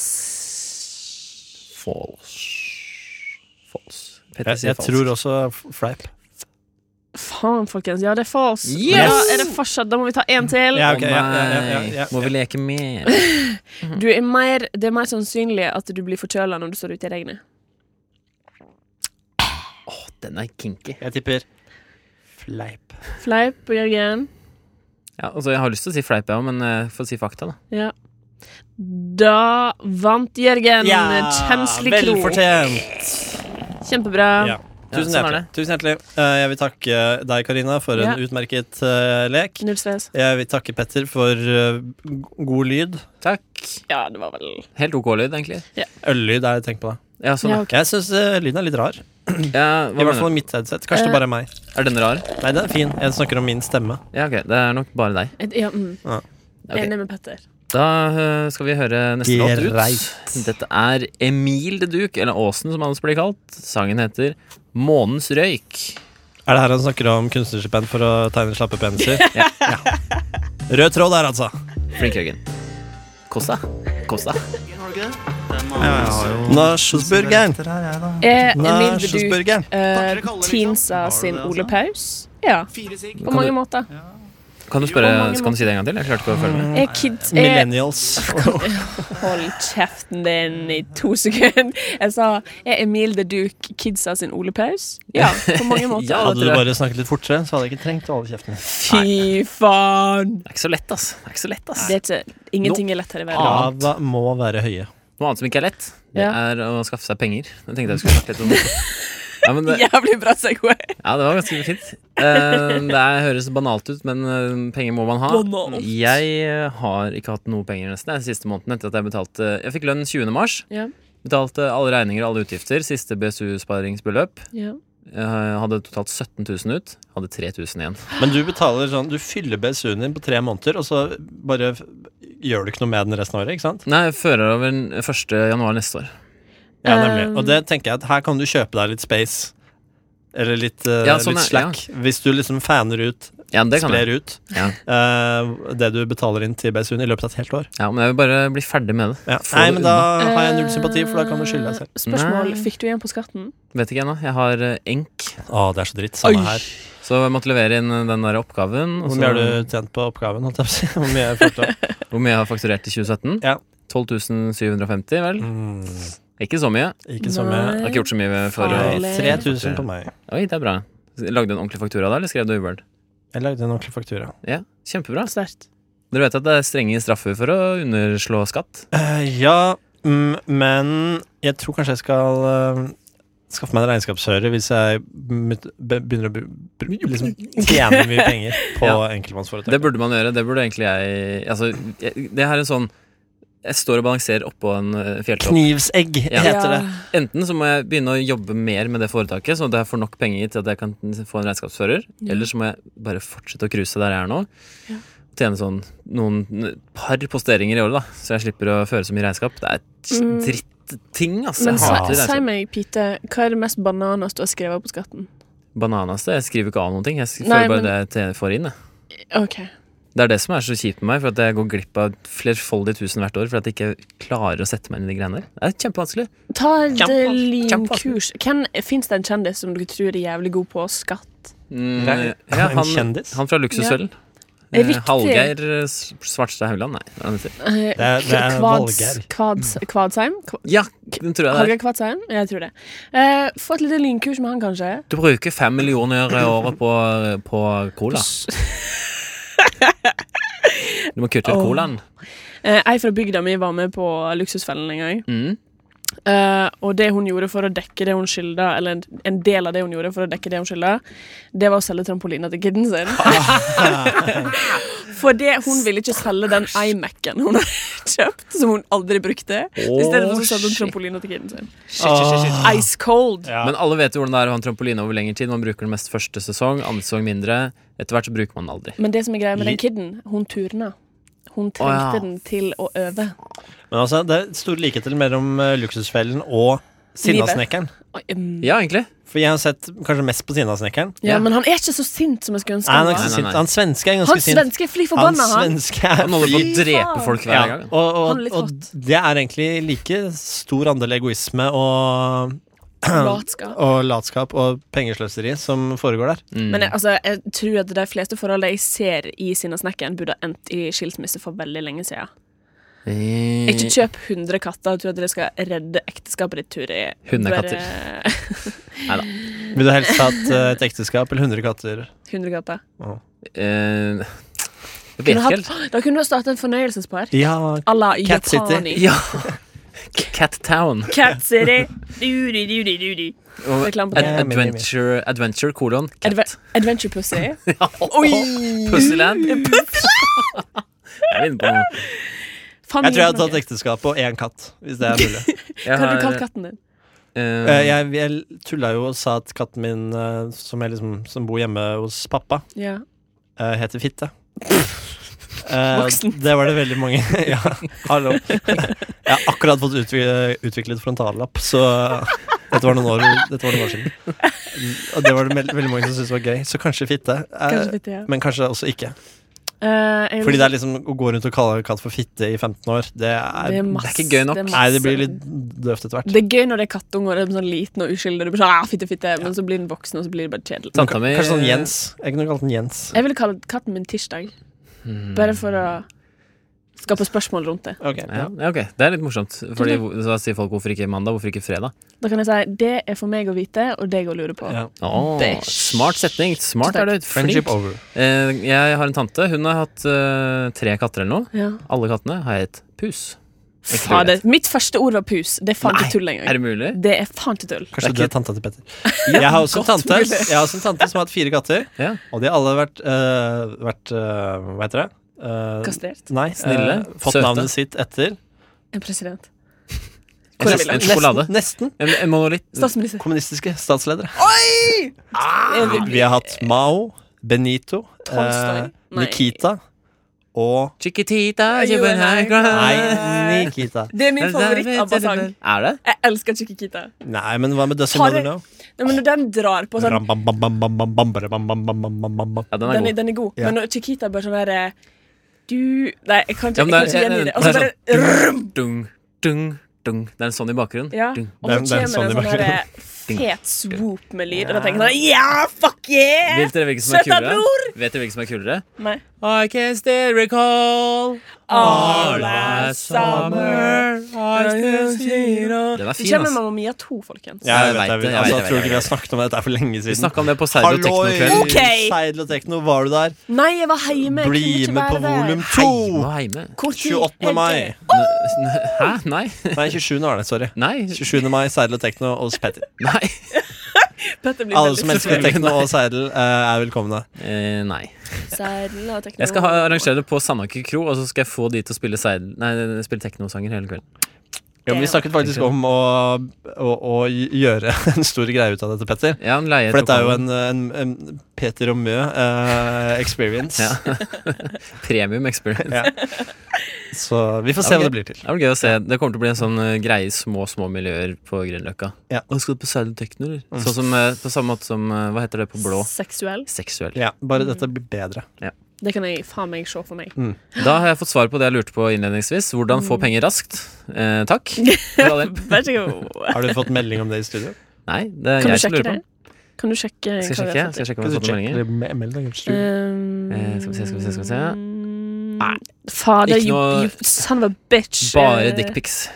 [SPEAKER 2] False. False. Petter
[SPEAKER 1] Jeg,
[SPEAKER 2] sier
[SPEAKER 1] jeg
[SPEAKER 2] falsk.
[SPEAKER 1] tror også f- fleip.
[SPEAKER 3] Faen, folkens. Ja, det er false.
[SPEAKER 2] Yes!
[SPEAKER 3] Da er det fortsatt. Da må vi ta én til.
[SPEAKER 1] Ja,
[SPEAKER 2] Å
[SPEAKER 1] ok, ja, ja, ja, ja,
[SPEAKER 2] nei,
[SPEAKER 1] ja.
[SPEAKER 2] må vi leke mer?
[SPEAKER 3] Du er mer, det er mer sannsynlig at du blir forkjøla når du står ute i regnet.
[SPEAKER 2] Den er kinky.
[SPEAKER 1] Jeg tipper fleip.
[SPEAKER 3] Fleip, Jørgen.
[SPEAKER 2] Ja, altså, jeg har lyst til å si fleip, jeg òg, men eh, få si fakta, da.
[SPEAKER 3] Ja. Da vant Jørgen. eh, Kjenslig klo.
[SPEAKER 1] velfortjent.
[SPEAKER 3] Kjempebra.
[SPEAKER 1] Ja. Tusen,
[SPEAKER 2] sånn er
[SPEAKER 1] hjertelig.
[SPEAKER 2] det.
[SPEAKER 1] Tusen hjertelig. Eh, Jeg vil takke deg, Karina, for en
[SPEAKER 3] Ja.
[SPEAKER 1] utmerket eh, lek.
[SPEAKER 3] Null stress.
[SPEAKER 1] Jeg vil takke Petter for eh, g- god lyd.
[SPEAKER 2] Takk.
[SPEAKER 3] Ja, det var vel
[SPEAKER 2] Helt ok lyd, egentlig.
[SPEAKER 1] Øllyd er det jeg tenker på. da
[SPEAKER 2] Ja, sånn,
[SPEAKER 3] Ja,
[SPEAKER 2] ja.
[SPEAKER 3] ok.
[SPEAKER 1] Jeg syns lyden er litt rar.
[SPEAKER 2] Ja,
[SPEAKER 1] I
[SPEAKER 2] hva
[SPEAKER 1] hvert
[SPEAKER 2] mener
[SPEAKER 1] fall
[SPEAKER 2] du?
[SPEAKER 1] mitt headset. Kanskje det
[SPEAKER 3] Eh.
[SPEAKER 1] bare er meg.
[SPEAKER 2] Er den rar?
[SPEAKER 1] Nei, den er fin. Jeg snakker om min stemme.
[SPEAKER 2] Ja, ok. Det er nok bare deg.
[SPEAKER 3] Et- ja, mm.
[SPEAKER 1] Ja.
[SPEAKER 2] Ok.
[SPEAKER 3] Enig med Petter.
[SPEAKER 2] Da eh, skal vi høre neste låt ut.
[SPEAKER 1] Greit.
[SPEAKER 2] Dette er Emil de Duke, eller Åsen som han også blir kalt. Sangen heter Månens røyk.
[SPEAKER 1] Er det her han snakker om kunstnerstipend for å tegne slappe peniser?
[SPEAKER 2] Ja.
[SPEAKER 1] Rød tråd der, altså.
[SPEAKER 2] Flink Jørgen. Kosta. Kosta.
[SPEAKER 1] Nachosburgeren.
[SPEAKER 3] Er Eh, Emil Bedu
[SPEAKER 1] Nachosburgeren.
[SPEAKER 6] Takk, dere
[SPEAKER 3] uh,
[SPEAKER 6] kaller det,
[SPEAKER 3] Teensa
[SPEAKER 6] liksom.
[SPEAKER 3] sin
[SPEAKER 6] Har du det,
[SPEAKER 3] Ole
[SPEAKER 1] altså?
[SPEAKER 3] Paus? Ja, på mange måter.
[SPEAKER 2] Kan du
[SPEAKER 3] Jo, mange
[SPEAKER 2] spørre, kan du si det en gang til? Jeg klarte ikke å følge med.
[SPEAKER 3] Er kids er,
[SPEAKER 1] Millennials.
[SPEAKER 3] Hold kjeften din i to sekunder. Jeg sa er Emil the Duke kidsa sin Ole Paus? Ja, på mange måter.
[SPEAKER 2] Ja,
[SPEAKER 1] Hadde du
[SPEAKER 2] det tror jeg.
[SPEAKER 1] bare snakket litt fortere, så hadde jeg ikke trengt å holde kjeften.
[SPEAKER 3] Fy faen!
[SPEAKER 2] Det er ikke så lett, ass. Det er ikke så lett, ass.
[SPEAKER 3] Det er ikke, ingenting er lett her i verden.
[SPEAKER 1] Lava må være høye.
[SPEAKER 2] Noe annet som ikke er lett, det
[SPEAKER 3] Ja.
[SPEAKER 2] er å skaffe seg penger. Det tenkte jeg vi skulle snakke litt om. Ja, men det,
[SPEAKER 3] Jævlig bra Segway.
[SPEAKER 2] ja, det var ganske fint. Eh, det er, høres banalt ut, men eh, penger må man ha.
[SPEAKER 3] Banalt.
[SPEAKER 2] Jeg eh, har ikke hatt noe penger nesten den siste måneden etter at jeg betalte Jeg fikk lønn 20. mars.
[SPEAKER 3] Ja,
[SPEAKER 2] Betalte alle regninger og alle utgifter. Siste BSU-sparingsbeløp.
[SPEAKER 3] ja.
[SPEAKER 2] Jeg hadde totalt 17 000 ut. Hadde 3000 igjen.
[SPEAKER 1] Men du betaler sånn Du fyller BSU-en din på tre måneder, og så bare f- gjør du ikke noe med den resten av året, ikke sant?
[SPEAKER 2] Nei, jeg fører over den 1. januar neste år.
[SPEAKER 1] Ja, nemlig.
[SPEAKER 3] Um,
[SPEAKER 1] Og det tenker jeg at her kan du kjøpe deg litt space. Eller litt, eh,
[SPEAKER 2] Ja, sånn
[SPEAKER 1] litt
[SPEAKER 2] er- ja.
[SPEAKER 1] slack. Hvis du liksom faner ut,
[SPEAKER 2] Ja, det kan jeg.
[SPEAKER 1] sprer ut
[SPEAKER 2] Ja.
[SPEAKER 1] eh, det du betaler inn til BSU-en i løpet av et helt år.
[SPEAKER 2] Ja, men jeg vil bare bli ferdig med det.
[SPEAKER 1] Ja.
[SPEAKER 2] Få
[SPEAKER 1] Nei,
[SPEAKER 2] det
[SPEAKER 1] men
[SPEAKER 2] unna.
[SPEAKER 1] da Ah, har jeg null sympati, for da kan du skylde deg selv.
[SPEAKER 3] Eh, Spørsmål.
[SPEAKER 2] Nei.
[SPEAKER 3] Fikk du igjen på skatten?
[SPEAKER 2] Vet ikke ennå. Jeg har eh, enk.
[SPEAKER 1] Å, det er så dritt. Samme her.
[SPEAKER 2] Så jeg måtte levere inn eh, den der oppgaven. og
[SPEAKER 1] Hvor
[SPEAKER 2] så-
[SPEAKER 1] mye har du tjent på oppgaven? holdt jeg på å si? Hvor mye har jeg fått av?
[SPEAKER 2] Hvor mye jeg har fakturert i 2017?
[SPEAKER 1] Ja.
[SPEAKER 2] 12 750, vel?
[SPEAKER 1] Mm,
[SPEAKER 2] Ikke så mye.
[SPEAKER 1] ikke så mye.
[SPEAKER 2] Jeg har ikke gjort så mye for å
[SPEAKER 3] Farlig.
[SPEAKER 1] Nei, 3000 på meg.
[SPEAKER 2] Oi, det er bra. Lagde du en ordentlig faktura da, eller skrev du Uberen?
[SPEAKER 1] Jeg lagde en ordentlig faktura.
[SPEAKER 2] Ja, kjempebra.
[SPEAKER 3] Sterkt.
[SPEAKER 2] Dere vet at det er strenge straffer for å underslå skatt?
[SPEAKER 1] Eh, ja, mm, men jeg tror kanskje jeg skal eh, skaffe meg en regnskapsfører hvis jeg be- begynner å br- br- liksom tjene mye penger på
[SPEAKER 2] Ja.
[SPEAKER 1] enkeltmannsforetak.
[SPEAKER 2] Det burde man gjøre. Det burde egentlig jeg Altså, jeg, det her er en sånn Jeg står og balanserer oppå en eh, fjelltopp.
[SPEAKER 1] Knivsegg
[SPEAKER 2] Ja.
[SPEAKER 1] heter det.
[SPEAKER 2] Enten så må jeg begynne å jobbe mer med det foretaket, sånn at jeg får nok penger til at jeg kan få en regnskapsfører,
[SPEAKER 3] Ja.
[SPEAKER 2] eller så må jeg bare fortsette å cruise der jeg er nå.
[SPEAKER 3] Ja.
[SPEAKER 2] Tjene sånn noen n- par posteringer i året, da, så jeg slipper å føre så mye regnskap. Det er
[SPEAKER 3] Mm.
[SPEAKER 2] et dritting, altså.
[SPEAKER 3] Men
[SPEAKER 2] Jeg
[SPEAKER 3] si,
[SPEAKER 1] Ja.
[SPEAKER 2] hater
[SPEAKER 3] si
[SPEAKER 2] regnskap.
[SPEAKER 3] meg, Pite, hva er det mest bananas du har skrevet på skatten?
[SPEAKER 2] Bananas, det. Jeg skriver ikke av noen ting. Jeg sk-
[SPEAKER 3] Nei,
[SPEAKER 2] føler bare
[SPEAKER 3] men-
[SPEAKER 2] det jeg tjener- får inn. Jeg.
[SPEAKER 3] OK.
[SPEAKER 2] Det er det som er så kjipt med meg, for at jeg går glipp av flerfoldig tusen hvert år for at jeg ikke klarer å sette meg inn i de greiene der. Det er kjempevanskelig.
[SPEAKER 3] Ta et eh,
[SPEAKER 2] Kjempevanskelig.
[SPEAKER 3] lynkurs. Fins det en kjendis som dere tror er jævlig god på skatt?
[SPEAKER 2] Mm,
[SPEAKER 1] Nei,
[SPEAKER 2] ja,
[SPEAKER 1] en
[SPEAKER 2] han,
[SPEAKER 1] kjendis.
[SPEAKER 2] han fra Luksusølen.
[SPEAKER 3] Ja.
[SPEAKER 2] Eh,
[SPEAKER 3] Riktig.
[SPEAKER 2] Hallgeir eh, S- Svartstad Haugland, nei. hva er det han heter?
[SPEAKER 3] Eh,
[SPEAKER 1] Det er- det er
[SPEAKER 3] Kvads-
[SPEAKER 1] Valgeir.
[SPEAKER 3] Kvads- Kvadsheim? Kva-
[SPEAKER 2] Ja, den tror jeg det er.
[SPEAKER 3] Hallgeir Kvadsheim? Ja, Jeg tror det. Eh, få et lite lynkurs med han, kanskje.
[SPEAKER 2] Du bruker fem millioner i året på, eh, på cola. Du må kutte ut
[SPEAKER 3] Åh.
[SPEAKER 2] colaen.
[SPEAKER 3] Eh, Ei fra bygda mi var med på Luksusfellen en gang.
[SPEAKER 2] Mm.
[SPEAKER 3] Eh, og det hun gjorde for å dekke det hun skylda, eller en- en del av det hun gjorde for å dekke det hun skylda, det var å selge trampolina til kiden sin. for det, hun ville ikke selge den iMac-en hun hadde kjøpt, som hun aldri brukte. I stedet for så selge hun trampolina til kiden sin. Ice cold.
[SPEAKER 1] Ja.
[SPEAKER 2] Men alle vet jo hvordan det er å ha en trampoline over lengre tid. Man bruker den mest første sesong, andre sesong mindre. Etter hvert så bruker man den aldri.
[SPEAKER 3] Men det som er greia med den
[SPEAKER 1] Li-
[SPEAKER 3] kiden, hun turna. Hun
[SPEAKER 2] Å, ja.
[SPEAKER 3] trengte den til å øve.
[SPEAKER 1] Men altså, det er store likheter mellom eh, Luksusfellen og Sinnasnekkeren.
[SPEAKER 3] Oi, mm.
[SPEAKER 2] Ja, egentlig.
[SPEAKER 1] For jeg har sett kanskje mest på Sinnasnekkeren.
[SPEAKER 3] Ja, men han er ikke så sint som jeg skulle ønske.
[SPEAKER 1] Nei, Han, er
[SPEAKER 3] Han
[SPEAKER 1] ikke
[SPEAKER 2] Nei,
[SPEAKER 1] så
[SPEAKER 3] var.
[SPEAKER 2] nei,
[SPEAKER 1] sint.
[SPEAKER 2] nei.
[SPEAKER 1] han svenske er
[SPEAKER 3] Han
[SPEAKER 1] ganske sint.
[SPEAKER 3] svenske er fly
[SPEAKER 1] Han
[SPEAKER 3] forbanna, han.
[SPEAKER 1] svenske er
[SPEAKER 2] Han holder på å
[SPEAKER 3] Fy
[SPEAKER 2] drepe
[SPEAKER 3] faen.
[SPEAKER 2] folk
[SPEAKER 1] Ja,
[SPEAKER 2] hver gang.
[SPEAKER 1] og,
[SPEAKER 3] Han er
[SPEAKER 1] og,
[SPEAKER 3] litt
[SPEAKER 1] og det er egentlig like stor andel egoisme og,
[SPEAKER 3] Latskap.
[SPEAKER 1] og latskap og pengesløseri som foregår der.
[SPEAKER 2] Mm.
[SPEAKER 3] Men jeg, altså, jeg tror at de fleste forhold jeg ser i Sinnasnekkeren, burde ha endt i skilsmisse for veldig lenge siden.
[SPEAKER 2] Eh, Mm.
[SPEAKER 3] Ikke kjøp 100 katter og tro at dere skal redde ekteskapet ditt, Turi.
[SPEAKER 2] Hundekatter.
[SPEAKER 3] Bare-
[SPEAKER 2] Neida.
[SPEAKER 1] Vil du helst hatt eh, et ekteskap eller 100 katter?
[SPEAKER 3] 100 kapper.
[SPEAKER 2] Eh, jeg vet
[SPEAKER 3] Kunne
[SPEAKER 2] ikke
[SPEAKER 3] hatt-
[SPEAKER 2] helt.
[SPEAKER 3] Da kunne du ha startet en fornøyelsespark.
[SPEAKER 1] Ja,
[SPEAKER 3] À la
[SPEAKER 1] Cat City.
[SPEAKER 3] Japani.
[SPEAKER 2] Ja! Cat Town.
[SPEAKER 3] Cat City. Du, du, du, du, du, du.
[SPEAKER 2] Og
[SPEAKER 3] Reklame på
[SPEAKER 2] Ad
[SPEAKER 3] det.
[SPEAKER 2] adventure, adventure kolon Cat.
[SPEAKER 3] Adve- Adventure Pussy.
[SPEAKER 2] Pussyland. jeg er inne på noe.
[SPEAKER 1] Jeg tror jeg hadde tatt ekteskap og én katt, hvis det er mulig.
[SPEAKER 2] Jeg
[SPEAKER 3] Hva hadde
[SPEAKER 2] har,
[SPEAKER 3] du kalt katten din?
[SPEAKER 2] eh,
[SPEAKER 1] Eh, Jeg, jeg tulla jo og sa at katten min, eh, som, jeg liksom, som bor hjemme hos pappa,
[SPEAKER 3] Ja.
[SPEAKER 1] eh, heter Fitte. Eh,
[SPEAKER 3] Voksent.
[SPEAKER 1] det var det veldig mange Ja, hallo. Jeg har akkurat fått utviklet, utviklet frontallapp, så dette var noen år, dette var noen år siden. Og det var det veld- veldig mange som syntes var gøy. Så kanskje fitte. eh,
[SPEAKER 3] Kanskje litt, ja.
[SPEAKER 1] Men kanskje også ikke.
[SPEAKER 3] Eh, jeg-
[SPEAKER 1] Fordi det er liksom å gå rundt og kalle en katt for fitte i 15 år, det er,
[SPEAKER 3] det er
[SPEAKER 2] det
[SPEAKER 3] masse,
[SPEAKER 2] er ikke gøy nok.
[SPEAKER 3] masse.
[SPEAKER 1] Nei, det blir litt døvt etter hvert.
[SPEAKER 3] Det er gøy når det er kattunger, og det er sånn liten og uskyldig. og Du blir sånn, ah, fitte, fitte, Men så blir den voksen, og så blir det bare kjedelig.
[SPEAKER 2] Samtidig- Tanta mi-
[SPEAKER 1] Kanskje sånn Jens. Jeg kunne kalt den Jens.
[SPEAKER 3] Jeg ville kalt katten min Tirsdag,
[SPEAKER 2] hmm.
[SPEAKER 3] bare for å skape spørsmål rundt det.
[SPEAKER 1] Ok,
[SPEAKER 2] ja, ja, ok, Det er litt morsomt. Fordi hvor- Så sier folk 'hvorfor ikke mandag', hvorfor ikke fredag?
[SPEAKER 3] Da kan jeg si det er for meg å vite, og deg å lure på.
[SPEAKER 1] Ja.
[SPEAKER 2] Åh,
[SPEAKER 3] Bitch.
[SPEAKER 2] smart setning. Smart er du. Flink.
[SPEAKER 1] Friendship over.
[SPEAKER 2] Eh, jeg har en tante. Hun har hatt eh, tre katter eller noe.
[SPEAKER 3] Ja.
[SPEAKER 2] Alle kattene har hett pus. Ikke
[SPEAKER 3] Fader.
[SPEAKER 2] greit.
[SPEAKER 3] Mitt første ord var pus. Det er faen ikke
[SPEAKER 2] Nei,
[SPEAKER 3] tull
[SPEAKER 2] Er
[SPEAKER 3] engang.
[SPEAKER 2] det mulig?
[SPEAKER 3] Det er faen ikke tull.
[SPEAKER 1] Kanskje
[SPEAKER 2] Det
[SPEAKER 1] du
[SPEAKER 2] er
[SPEAKER 1] er tanta til Petter. Jeg har også en
[SPEAKER 3] godt
[SPEAKER 1] tante,
[SPEAKER 3] mulig.
[SPEAKER 1] jeg har også en tante som har hatt fire katter,
[SPEAKER 2] Ja.
[SPEAKER 1] og de har alle vært, eh, vært eh, Hva heter det? Eh,
[SPEAKER 3] Kastrert.
[SPEAKER 1] Nei, eh,
[SPEAKER 2] Snille,
[SPEAKER 1] fått
[SPEAKER 2] søte.
[SPEAKER 1] navnet sitt etter.
[SPEAKER 3] En president.
[SPEAKER 2] En,
[SPEAKER 3] Hvor er vi?
[SPEAKER 2] en sjokolade.
[SPEAKER 1] nesten.
[SPEAKER 2] En, en monolitt.
[SPEAKER 3] Statsminister.
[SPEAKER 1] Kommunistiske statsledere. Ah! Vi har hatt Mao, Benito, eh,
[SPEAKER 3] Tolstoy. Nei.
[SPEAKER 1] Nikita og
[SPEAKER 2] Chiquitita, you and I
[SPEAKER 1] Nei, Nikita.
[SPEAKER 3] Det er min favoritt-ABBA-sang.
[SPEAKER 2] Er det?
[SPEAKER 3] Jeg elsker Chiquitita.
[SPEAKER 1] Nei, men hva med Does
[SPEAKER 3] Har
[SPEAKER 1] Another
[SPEAKER 3] du-
[SPEAKER 1] Know?
[SPEAKER 3] Nei, men når den drar på sånn
[SPEAKER 1] Ram, bam, bam, bam, bam, bam, bam, bare bam, bam, bam, bam, bam, bam, bam.
[SPEAKER 2] Ja, den er
[SPEAKER 3] Den er,
[SPEAKER 2] god.
[SPEAKER 3] den er god.
[SPEAKER 1] Ja.
[SPEAKER 3] Men når Chiquita bare sånn der eh, Du Nei, jeg kan
[SPEAKER 2] Ja,
[SPEAKER 3] ikke, jeg
[SPEAKER 2] men det
[SPEAKER 3] kan ikke
[SPEAKER 2] er- sånn
[SPEAKER 3] gjengi det. Og
[SPEAKER 2] det
[SPEAKER 3] så
[SPEAKER 2] er
[SPEAKER 3] bare
[SPEAKER 2] Dung, dung, dung. Det er en sånn i bakgrunnen.
[SPEAKER 3] Ja,
[SPEAKER 2] Dung.
[SPEAKER 3] og så
[SPEAKER 1] Det er- det er en sånn i
[SPEAKER 3] kommer det en sånn her
[SPEAKER 1] bakgrunnen.
[SPEAKER 3] eh, fet swoop med lyd, og da tenker jeg sånn Ja, fuck
[SPEAKER 2] Vet
[SPEAKER 3] yeah!
[SPEAKER 2] dere hvilken som er
[SPEAKER 3] Søta
[SPEAKER 2] kulere? Vet dere hvilken som er kulere?
[SPEAKER 3] Nei.
[SPEAKER 2] I can still recall
[SPEAKER 3] All last summer.
[SPEAKER 2] I still see it all. Den er
[SPEAKER 3] Det
[SPEAKER 2] fin,
[SPEAKER 3] kommer
[SPEAKER 2] ass.
[SPEAKER 3] Mamma Mia 2, folkens.
[SPEAKER 1] Ja, jeg
[SPEAKER 2] Jeg
[SPEAKER 1] vet
[SPEAKER 2] vet
[SPEAKER 1] det.
[SPEAKER 2] det, jeg
[SPEAKER 1] Altså, jeg
[SPEAKER 2] vet det,
[SPEAKER 1] tror
[SPEAKER 2] jeg
[SPEAKER 1] ikke vi har snakket om dette for lenge
[SPEAKER 2] Vi
[SPEAKER 1] siden.
[SPEAKER 2] snakka om det på Serbo Tekno-kveld.
[SPEAKER 1] Halloi!
[SPEAKER 3] Ok.
[SPEAKER 1] Seidel og Tekno, var du der?
[SPEAKER 3] Nei, jeg var hjemme. Jeg
[SPEAKER 1] Bli
[SPEAKER 3] kunne ikke
[SPEAKER 1] med på
[SPEAKER 3] være
[SPEAKER 1] volum
[SPEAKER 3] der.
[SPEAKER 2] Heime
[SPEAKER 1] 2!
[SPEAKER 2] og heime.
[SPEAKER 3] Hvor tid?
[SPEAKER 1] 28. mai.
[SPEAKER 2] Hæ? Nei.
[SPEAKER 1] Nei, 27. var det, sorry.
[SPEAKER 2] Nei.
[SPEAKER 1] 27. mai, Seidel og Tekno og hos Petter.
[SPEAKER 2] Nei.
[SPEAKER 3] Petter blir
[SPEAKER 1] Alle
[SPEAKER 3] veldig
[SPEAKER 1] som elsker
[SPEAKER 3] frustrert.
[SPEAKER 1] Tekno og Seidel, eh, er velkomne.
[SPEAKER 2] Eh, nei.
[SPEAKER 3] Seidel og tekno.
[SPEAKER 2] Jeg skal ha, arrangere det på Sandaker kro, og så skal jeg få de til å spille, seidel- nei, spille teknosanger hele kvelden.
[SPEAKER 1] Ja, men vi snakket faktisk om å, å, å gjøre en stor greie ut av dette, Petter.
[SPEAKER 2] Ja, en leie
[SPEAKER 1] For dette er jo en, en, en Peter og Mø eh, experience.
[SPEAKER 2] Ja. premium experience.
[SPEAKER 1] Ja. Så vi får se
[SPEAKER 2] Ja, ok.
[SPEAKER 1] hva det blir til.
[SPEAKER 2] Det blir gøy å se. Det kommer til å bli en sånn eh, greie i små, små miljøer på Grünerløkka.
[SPEAKER 1] Ja. Mm.
[SPEAKER 2] Og skal du på Seidel Tekno, eller? Sånn som, eh, på samme måte som eh, Hva heter det på blå?
[SPEAKER 3] Seksuell.
[SPEAKER 2] Seksuell.
[SPEAKER 1] Ja, bare dette blir bedre.
[SPEAKER 3] Det kan jeg faen meg se for meg.
[SPEAKER 2] Da har jeg fått svar på det jeg lurte på innledningsvis. Hvordan
[SPEAKER 3] Mm.
[SPEAKER 2] få penger raskt. Eh, takk. For all del.
[SPEAKER 3] Vær så god.
[SPEAKER 1] Har du fått melding om det i studio?
[SPEAKER 2] Nei, det er
[SPEAKER 3] Kan du
[SPEAKER 2] jeg som
[SPEAKER 3] sjekke
[SPEAKER 2] lurer på.
[SPEAKER 3] det? Kan du sjekke
[SPEAKER 2] Skal jeg
[SPEAKER 3] hva vi
[SPEAKER 2] sjekke?
[SPEAKER 3] har fått
[SPEAKER 2] Skal jeg sjekke om
[SPEAKER 1] Kan du
[SPEAKER 2] jeg har fått noen
[SPEAKER 1] sjekke
[SPEAKER 2] meldinger?
[SPEAKER 1] me- meldingen? i studio?
[SPEAKER 3] Um,
[SPEAKER 2] Eh, skal vi se, skal vi se, skal vi se.
[SPEAKER 3] Nei. Fader,
[SPEAKER 2] Ikke noe-
[SPEAKER 3] you, you son of a bitch.
[SPEAKER 2] Bare
[SPEAKER 3] Eh,
[SPEAKER 2] dickpics.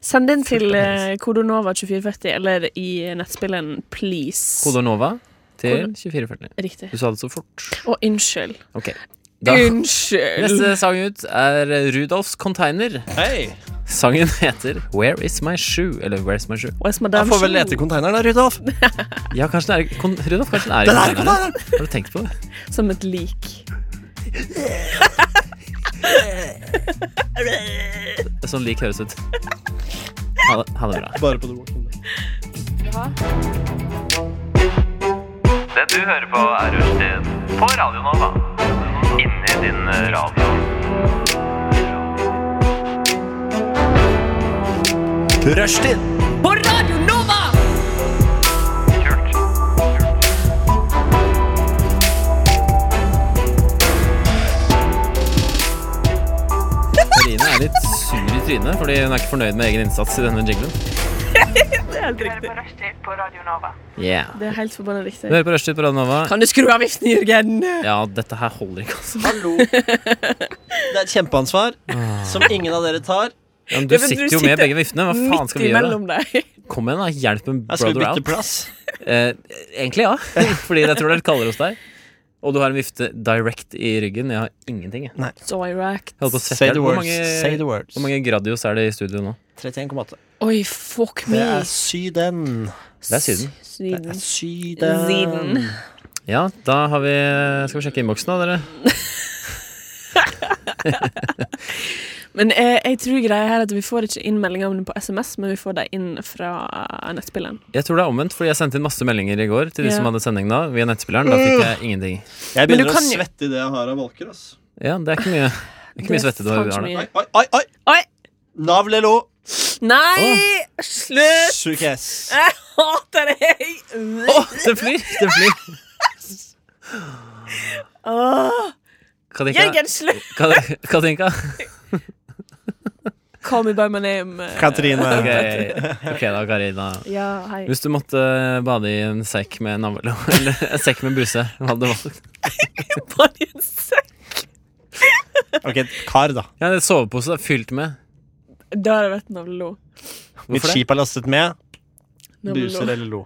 [SPEAKER 3] Send den til
[SPEAKER 2] Fullt av
[SPEAKER 3] eh, Kodonova 2440 eller i nettspillen Please.
[SPEAKER 2] Kode Nova til
[SPEAKER 3] Kode-
[SPEAKER 2] 2440.
[SPEAKER 3] Riktig.
[SPEAKER 2] Du sa det så fort.
[SPEAKER 3] Og unnskyld.
[SPEAKER 2] Ok. Da.
[SPEAKER 3] Unnskyld!
[SPEAKER 2] Neste sang ut er Rudolfs Container.
[SPEAKER 1] Hei!
[SPEAKER 2] Sangen heter Where Is My Shoe? Eller Where's My Shoe?
[SPEAKER 3] Where's my
[SPEAKER 1] Jeg
[SPEAKER 3] damn
[SPEAKER 1] får vel
[SPEAKER 3] shoe?
[SPEAKER 1] lete i konteineren da, Rudolf.
[SPEAKER 2] Ja, kanskje den er kon Rudolf, kanskje den er i
[SPEAKER 1] Den er i
[SPEAKER 2] containeren?
[SPEAKER 1] konteineren!
[SPEAKER 2] Har du tenkt på det?
[SPEAKER 3] Som et lik.
[SPEAKER 2] Det er Sånn lik høres ut. Ha det, ha det bra.
[SPEAKER 1] Bare på The Walking Dead.
[SPEAKER 7] Det du hører på er Rushtid på Radio Nova. Inni din radio. Rushtid på Radio Nova! Kult.
[SPEAKER 2] Karine er litt sur i trynet fordi hun er ikke fornøyd med egen innsats i denne jinglen. Yeah.
[SPEAKER 3] Det er helt forbanna riktig.
[SPEAKER 2] Du hører på Rushtid på Radio Nova.
[SPEAKER 3] Kan du skru av viften, Jørgen?
[SPEAKER 2] Ja, dette her holder ikke, altså.
[SPEAKER 1] Ah. Hallo. Det er et kjempeansvar som ingen av dere tar.
[SPEAKER 2] Ja, men du
[SPEAKER 3] Ja, men du
[SPEAKER 2] sitter jo med
[SPEAKER 3] sitter
[SPEAKER 2] begge viftene. Hva faen
[SPEAKER 3] Midt
[SPEAKER 2] skal vi gjøre?
[SPEAKER 3] imellom dem.
[SPEAKER 2] Kom igjen, da. Hjelp en
[SPEAKER 1] Jeg skal
[SPEAKER 2] brother
[SPEAKER 1] bytte
[SPEAKER 2] out.
[SPEAKER 1] plass.
[SPEAKER 2] Eh, egentlig ja, fordi jeg tror det er litt kaldere hos deg. Og du har en vifte direct i ryggen. Jeg har ingenting, jeg.
[SPEAKER 3] So I racked.
[SPEAKER 2] jeg holdt på å svette
[SPEAKER 1] Say
[SPEAKER 2] helt.
[SPEAKER 1] the
[SPEAKER 2] Hvor
[SPEAKER 1] words. Say
[SPEAKER 2] mange,
[SPEAKER 1] the words.
[SPEAKER 2] hvor mange gradius er det i studio nå?
[SPEAKER 1] 31,8.
[SPEAKER 3] Oi, fuck me.
[SPEAKER 1] Det er Syden.
[SPEAKER 2] Det er Syden.
[SPEAKER 1] Det
[SPEAKER 3] Syden.
[SPEAKER 1] er Syden.
[SPEAKER 3] Syden.
[SPEAKER 2] Ja, da har vi Skal vi sjekke innboksen, da, dere?
[SPEAKER 3] Men eh, jeg tror greia her er at vi får ikke inn meldingene på SMS, men vi får dem inn fra nettspilleren.
[SPEAKER 2] Jeg tror det er omvendt, fordi jeg sendte inn masse meldinger i går til de
[SPEAKER 3] Ja. Mm.
[SPEAKER 2] som hadde sending da, via nettspilleren. Da fikk jeg ingenting.
[SPEAKER 1] Jeg
[SPEAKER 3] Men du
[SPEAKER 1] begynner å
[SPEAKER 3] kan jo-
[SPEAKER 1] svette i det jeg har av valker. ass.
[SPEAKER 2] Ja, det er ikke mye Det er ikke mye svette du har.
[SPEAKER 3] faen så
[SPEAKER 2] Arne.
[SPEAKER 1] Oi,
[SPEAKER 3] mye.
[SPEAKER 1] oi, oi! oi.
[SPEAKER 3] Oi.
[SPEAKER 1] Navlelo.
[SPEAKER 3] Nei! Slutt!
[SPEAKER 1] Sjuk ass.
[SPEAKER 3] Jeg hater deg!
[SPEAKER 2] Å, det flyr! Det flyr.
[SPEAKER 3] Åh,
[SPEAKER 2] Katinka,
[SPEAKER 3] Jørgen, slutt!
[SPEAKER 2] Ka- Katinka.
[SPEAKER 3] Call me by my name. eh.
[SPEAKER 1] Katrine.
[SPEAKER 2] Ok, ok da, Karina.
[SPEAKER 3] Ja, hei.
[SPEAKER 2] Hvis du måtte bade i en sekk med navle Eller en sekk med buse, hva hadde du valgt?
[SPEAKER 3] Bare en sekk.
[SPEAKER 1] Ok, kar, da.
[SPEAKER 2] Ja, det er en sovepose da, fylt med
[SPEAKER 3] Da har jeg vært navlelo.
[SPEAKER 1] Mitt
[SPEAKER 2] Hvorfor det?
[SPEAKER 1] skip er lastet med.
[SPEAKER 3] Navlelo.
[SPEAKER 1] Buser eller lo.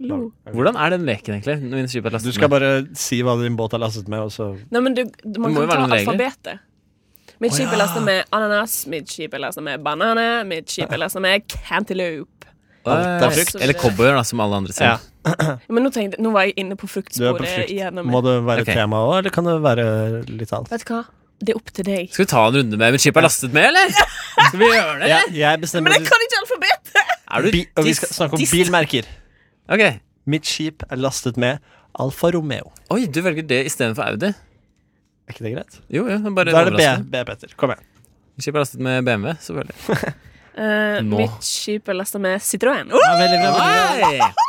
[SPEAKER 3] Lo.
[SPEAKER 2] Hvordan er den leken, egentlig? Når en skip
[SPEAKER 1] Du
[SPEAKER 2] er lastet
[SPEAKER 1] skal
[SPEAKER 2] med?
[SPEAKER 1] bare si hva din båt er lastet med, og så
[SPEAKER 3] Nei, men du, du- man
[SPEAKER 2] Det må jo
[SPEAKER 3] kan
[SPEAKER 2] være
[SPEAKER 3] ta
[SPEAKER 2] noen regler.
[SPEAKER 3] alfabetet. Mitt skip er lasta med ananas, mitt skip er lasta med bananer, mitt skip er lasta med cantaloupe.
[SPEAKER 1] Alt er
[SPEAKER 2] Oi.
[SPEAKER 1] frukt.
[SPEAKER 2] Eller cowboyer, da, som alle andre sier.
[SPEAKER 1] Ja.
[SPEAKER 3] Ja, Men nå, tenkte, nå var jeg inne
[SPEAKER 1] Du er
[SPEAKER 3] på
[SPEAKER 1] på
[SPEAKER 3] fruktsporet
[SPEAKER 1] flukt.
[SPEAKER 3] igjennom.
[SPEAKER 1] Må det være
[SPEAKER 2] Ok.
[SPEAKER 1] tema òg, eller kan det være litt annet?
[SPEAKER 3] Vet du hva? Det er opp til deg.
[SPEAKER 2] Skal vi ta en runde med Mitt skip er lastet med, eller? Skal vi gjøre det?
[SPEAKER 1] Jeg, jeg bestemmer
[SPEAKER 3] Men jeg kan ikke alfabetet!
[SPEAKER 2] Er du
[SPEAKER 1] bi, Og vi
[SPEAKER 2] dist-
[SPEAKER 1] skal snakke om
[SPEAKER 2] dist?
[SPEAKER 1] bilmerker.
[SPEAKER 2] Ok.
[SPEAKER 1] Mitt skip er lastet med Alfa Romeo.
[SPEAKER 2] Oi, du velger det istedenfor Audi?
[SPEAKER 1] Er ikke det greit?
[SPEAKER 2] Jo, jo, bare
[SPEAKER 1] Da er det B,
[SPEAKER 2] overraskende.
[SPEAKER 1] B Petter. Kom igjen.
[SPEAKER 2] Mitt skip er lastet med BMW, selvfølgelig.
[SPEAKER 3] Eh,
[SPEAKER 2] Nå.
[SPEAKER 3] mitt skip er lasta med Citroën. Oh!
[SPEAKER 2] Oi!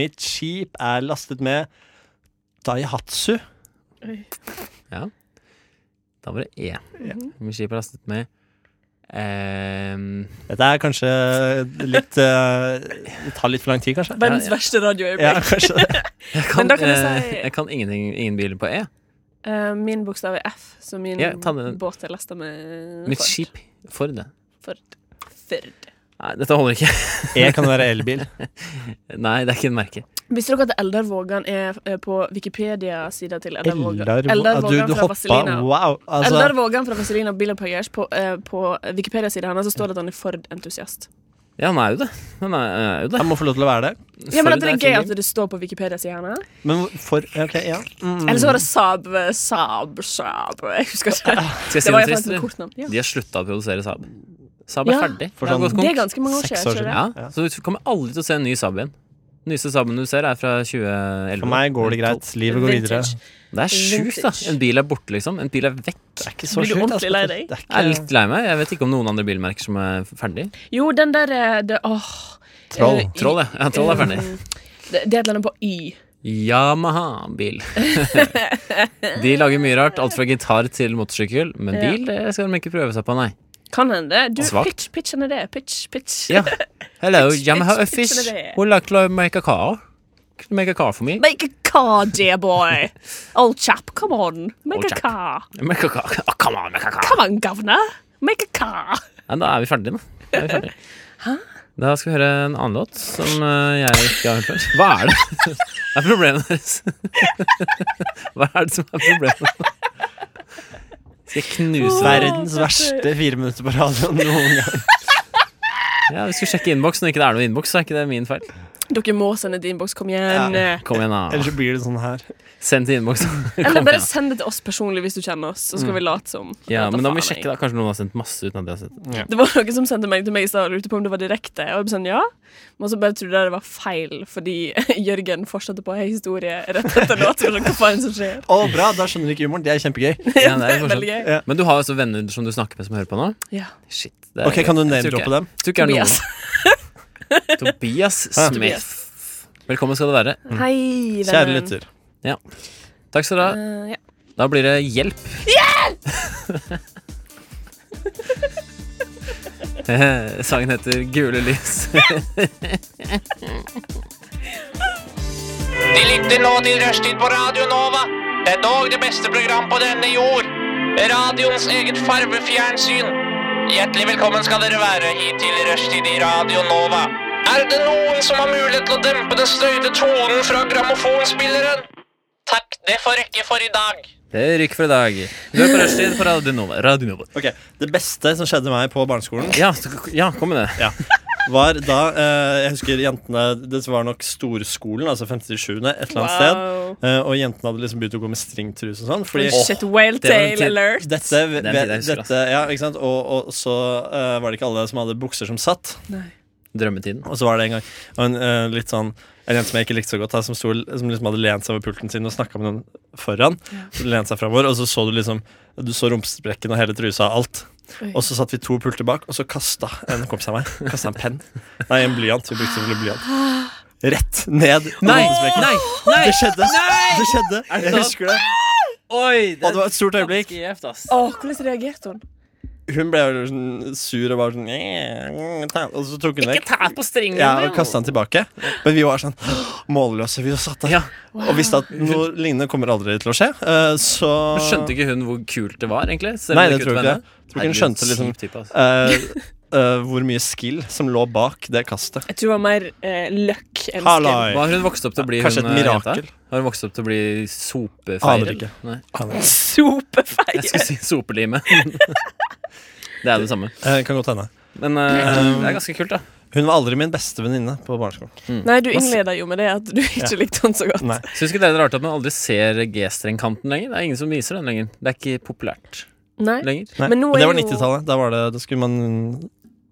[SPEAKER 1] Mitt skip er lastet med Daihatsu.
[SPEAKER 2] Da var det E. Mitt skip er lastet med ehm,
[SPEAKER 1] Dette er kanskje litt eh, Det tar litt for lang tid, kanskje?
[SPEAKER 3] Verdens
[SPEAKER 2] Ja, ja.
[SPEAKER 3] verste
[SPEAKER 1] Ja,
[SPEAKER 3] radioøyeblikk.
[SPEAKER 1] kanskje det.
[SPEAKER 2] jeg, kan,
[SPEAKER 3] da kan du
[SPEAKER 2] eh,
[SPEAKER 3] si-
[SPEAKER 2] jeg kan ingenting, ingen biler på E.
[SPEAKER 3] Eh, min bokstav er F, så min
[SPEAKER 2] Ja, ta den.
[SPEAKER 3] båt er lasta med
[SPEAKER 2] Mitt
[SPEAKER 3] Ford.
[SPEAKER 2] skip Ford. Nei,
[SPEAKER 3] Ford. Ford.
[SPEAKER 2] dette holder ikke.
[SPEAKER 1] E kan være elbil.
[SPEAKER 2] Nei, det er ikke en merke.
[SPEAKER 3] Visste dere at Eldar Vågan er eh, på Wikipedia-sida til Eldar Vågan?
[SPEAKER 1] Eldar Ah,
[SPEAKER 3] Eldar
[SPEAKER 1] Du,
[SPEAKER 3] Vågan
[SPEAKER 1] du
[SPEAKER 3] fra
[SPEAKER 1] hoppa.
[SPEAKER 3] Vazelina.
[SPEAKER 1] Wow.
[SPEAKER 3] Eldar
[SPEAKER 1] Altså,
[SPEAKER 3] Vågan fra Vazelina Bill Pagers på, eh, på Wikipedia-sida hans så står det at han er Ford-entusiast.
[SPEAKER 2] Ja, han er jo det. Han er, han er jo det.
[SPEAKER 1] han må få lov til å være det.
[SPEAKER 3] Ja, men at det
[SPEAKER 2] Ford
[SPEAKER 3] er gøy
[SPEAKER 2] fin
[SPEAKER 3] at det står på Wikipedia-sida hans.
[SPEAKER 1] Men hvor- for Ok, ja.
[SPEAKER 2] Mm.
[SPEAKER 3] Eller så var det Saab, eh, Saab, Saab Jeg husker ikke.
[SPEAKER 2] Skal jeg si
[SPEAKER 3] Det
[SPEAKER 2] noe
[SPEAKER 3] var
[SPEAKER 2] trist?
[SPEAKER 3] i hvert fall et
[SPEAKER 2] eller?
[SPEAKER 3] kort navn. Ja.
[SPEAKER 2] De har slutta å produsere Saab. Saab er
[SPEAKER 3] Ja.
[SPEAKER 2] ferdig.
[SPEAKER 1] For
[SPEAKER 2] Det har
[SPEAKER 1] sånn
[SPEAKER 2] gått konk.
[SPEAKER 3] Det er ganske mange år
[SPEAKER 1] Seks
[SPEAKER 3] siden.
[SPEAKER 1] år
[SPEAKER 3] ikke det?
[SPEAKER 1] siden.
[SPEAKER 2] Ja, så du kommer aldri til å se en ny Saab igjen. Nyeste Saaben du ser, er fra 2011.
[SPEAKER 1] For meg går det greit. Livet går videre.
[SPEAKER 3] Vintage.
[SPEAKER 2] Det er sjukt, da.
[SPEAKER 3] Vintage.
[SPEAKER 2] En bil er borte, liksom. En bil er vekk.
[SPEAKER 1] Det er ikke så
[SPEAKER 3] Blir du
[SPEAKER 1] sjukt,
[SPEAKER 3] ordentlig
[SPEAKER 1] altså.
[SPEAKER 3] lei deg?
[SPEAKER 1] Det er
[SPEAKER 2] Jeg er
[SPEAKER 1] ikke-
[SPEAKER 2] litt lei meg. Jeg vet ikke om noen andre bilmerker som er ferdig.
[SPEAKER 3] Jo, den der eh, det, åh,
[SPEAKER 1] Troll.
[SPEAKER 3] eh, i-
[SPEAKER 2] Troll, ja. ja troll er ferdig.
[SPEAKER 3] eh, Det, det er et eller annet på Y.
[SPEAKER 2] Yamaha-bil. De lager mye rart. Alt fra gitar til motorsykkel. Men
[SPEAKER 3] Ja.
[SPEAKER 2] bil det skal de ikke prøve seg på, nei.
[SPEAKER 3] Kan hende. Du,
[SPEAKER 2] Svakt.
[SPEAKER 3] pitch, pitch henne det. Pitch, pitch.
[SPEAKER 2] Ja. Hello,
[SPEAKER 3] Pitch,
[SPEAKER 2] Yamaha
[SPEAKER 3] pitch, pitch
[SPEAKER 2] office.
[SPEAKER 3] and a day.
[SPEAKER 2] Would like to make a car. Could you Make a car for me.
[SPEAKER 3] Make a car, dear boy. Old chap, come on. Make
[SPEAKER 2] Old
[SPEAKER 3] a
[SPEAKER 2] chap.
[SPEAKER 3] car.
[SPEAKER 2] Make a car. Oh, come on, make a car.
[SPEAKER 3] Come on, governor. Make a car.
[SPEAKER 2] Ja, da er vi ferdige, da. Da, er vi ferdige. da skal vi høre en annen låt som eh, jeg ikke har hørt før. Hva er det? Hva er problemet deres? Hva er det som er problemet? Skal jeg knuse deg?
[SPEAKER 1] Verdens verste fire minutter på radioen noen gang.
[SPEAKER 2] Ja, vi skulle sjekke innboks. Når ikke det er noe innboks, så er ikke det min feil.
[SPEAKER 3] Dere må sende til innboks. Kom igjen.
[SPEAKER 2] Kom igjen,
[SPEAKER 1] Ellers
[SPEAKER 2] da.
[SPEAKER 1] så blir det sånn her.
[SPEAKER 2] Send til innboks.
[SPEAKER 3] Eller bare send det til oss personlig hvis du kjenner oss, så skal vi late som.
[SPEAKER 2] Mm. Ja,
[SPEAKER 3] Vet
[SPEAKER 2] men da må vi
[SPEAKER 3] faen, jeg.
[SPEAKER 2] sjekke, da. Kanskje noen har sendt masse uten at de har sett. det.
[SPEAKER 3] Det var noen som sendte meg til meg i stad og lurte på om det var direkte. Og jeg ble sånn, ja Men så bare trodde jeg det var feil, fordi Jørgen fortsatte på ei historie rett etter låt. og sånn, Hva faen som skjer?
[SPEAKER 1] Å, bra, da skjønner du ikke humoren. Det er kjempegøy.
[SPEAKER 2] Ja, det er
[SPEAKER 3] Veldig
[SPEAKER 2] morsomt.
[SPEAKER 3] gøy.
[SPEAKER 2] Men du har jo også venner som du snakker med, som hører på nå.
[SPEAKER 3] Ja.
[SPEAKER 2] Shit. det er-
[SPEAKER 1] Ok, Kan du
[SPEAKER 2] Jeg tror ikke-
[SPEAKER 1] name-droppe dem?
[SPEAKER 2] jeg tror ikke det er
[SPEAKER 3] Tobias.
[SPEAKER 2] noen. Tobias Smith. Velkommen skal du være.
[SPEAKER 3] Hei,
[SPEAKER 1] Kjære lytter.
[SPEAKER 2] Takk skal du ha.
[SPEAKER 3] Eh, ja.
[SPEAKER 2] Da blir det hjelp. Hjelp! Sangen heter Gule lys.
[SPEAKER 8] De lytter nå til Rushtid på Radio Nova. Det er dog det beste program på denne jord. Radions eget farvefjernsyn. Hjertelig velkommen skal dere være hit til Rushtid i Radio Nova. Er det noen som har mulighet til å dempe den støyte tonen fra grammofonspilleren? Takk, det får rekke for i dag.
[SPEAKER 2] Det rykker for i dag. Du er på rushtid på Radio Nova. Radio Nova.
[SPEAKER 1] Ok, Det beste som skjedde meg på barneskolen,
[SPEAKER 2] Ja, så, ja, kom med det.
[SPEAKER 1] ja, var da eh, Jeg husker jentene Det var nok storskolen, altså 57., et eller annet sted.
[SPEAKER 3] Wow.
[SPEAKER 1] Eh, og jentene hadde liksom begynt å gå med stringtruse og sånn. Fordi
[SPEAKER 2] Åh,
[SPEAKER 3] Oh, Shit, whale
[SPEAKER 2] det var en
[SPEAKER 3] tail
[SPEAKER 2] tid-
[SPEAKER 3] alert.
[SPEAKER 1] dette,
[SPEAKER 2] Det er en tid jeg husker,
[SPEAKER 1] dette Ja, ikke sant? Og, og så eh, var det ikke alle som hadde bukser som satt.
[SPEAKER 2] Drømmetiden.
[SPEAKER 1] Og så var det en gang og en eh, litt sånn en jente som jeg ikke likte så godt, da, som, sto, som liksom hadde lent seg over pulten sin og snakka med noen foran. Så lent seg fremover, og så så du liksom Du så rumpesprekken og hele trusa og alt.
[SPEAKER 3] Oi.
[SPEAKER 1] Og så satt vi to pulter bak, og så kasta en kompis av meg Kastet en penn. Nei, en blyant. Vi brukte selvfølgelig blyant. Rett ned i rumpesprekken.
[SPEAKER 2] nei, nei!
[SPEAKER 1] Det skjedde! Det skjedde.
[SPEAKER 2] det
[SPEAKER 1] Jeg
[SPEAKER 2] sant?
[SPEAKER 1] husker det.
[SPEAKER 2] Oi!
[SPEAKER 1] Og det var et stort øyeblikk.
[SPEAKER 2] Skjevt, ass.
[SPEAKER 3] Åh, hvordan reagerte hun?
[SPEAKER 1] Hun ble jo sånn sur og bare sånn "Eh, eh, ta." Og så tok hun vekk.
[SPEAKER 2] ta på stringen
[SPEAKER 1] Ja, og kasta den tilbake. Men vi var sånn målløse. Vi satt der
[SPEAKER 2] Ja.
[SPEAKER 1] og visste at noe lignende kommer aldri til å skje. eh, Så
[SPEAKER 2] Skjønte ikke hun hvor kult det var, egentlig? Selv om
[SPEAKER 1] Nei,
[SPEAKER 2] det
[SPEAKER 1] det
[SPEAKER 2] kunne
[SPEAKER 1] tror jeg
[SPEAKER 2] være
[SPEAKER 1] ikke. Jeg Tror ikke hun skjønte
[SPEAKER 2] Herregud,
[SPEAKER 1] liksom
[SPEAKER 2] kjip type, ass.
[SPEAKER 1] eh, eh, hvor mye skill som lå bak det kastet.
[SPEAKER 3] Jeg tror det var mer eh, løkk enn skill.
[SPEAKER 1] Halloi!
[SPEAKER 2] Var hun vokst opp til å bli
[SPEAKER 1] Kanskje
[SPEAKER 2] hun,
[SPEAKER 1] et
[SPEAKER 2] eh,
[SPEAKER 1] mirakel.
[SPEAKER 2] jenta? Har hun vokst opp til å bli sopefeier?
[SPEAKER 1] Aner ikke.
[SPEAKER 2] Nei, jeg
[SPEAKER 3] Sopefeier.
[SPEAKER 2] skulle si sopelime. det er det samme.
[SPEAKER 1] Eh, Kan godt hende.
[SPEAKER 2] Men eh, det er ganske kult, da.
[SPEAKER 1] Hun var aldri min beste venninne på barneskolen.
[SPEAKER 3] Nei, du innleda jo med det at du ikke likte han så godt.
[SPEAKER 1] Nei.
[SPEAKER 2] Syns ikke dere det er rart at man aldri ser G-strengkanten lenger? Det er ingen som viser den lenger. Det er ikke populært
[SPEAKER 3] Nei.
[SPEAKER 2] lenger.
[SPEAKER 1] Nei.
[SPEAKER 3] Men nå
[SPEAKER 1] Men det
[SPEAKER 3] er
[SPEAKER 1] var
[SPEAKER 3] jo-
[SPEAKER 1] 90-tallet. Da, var det- da skulle man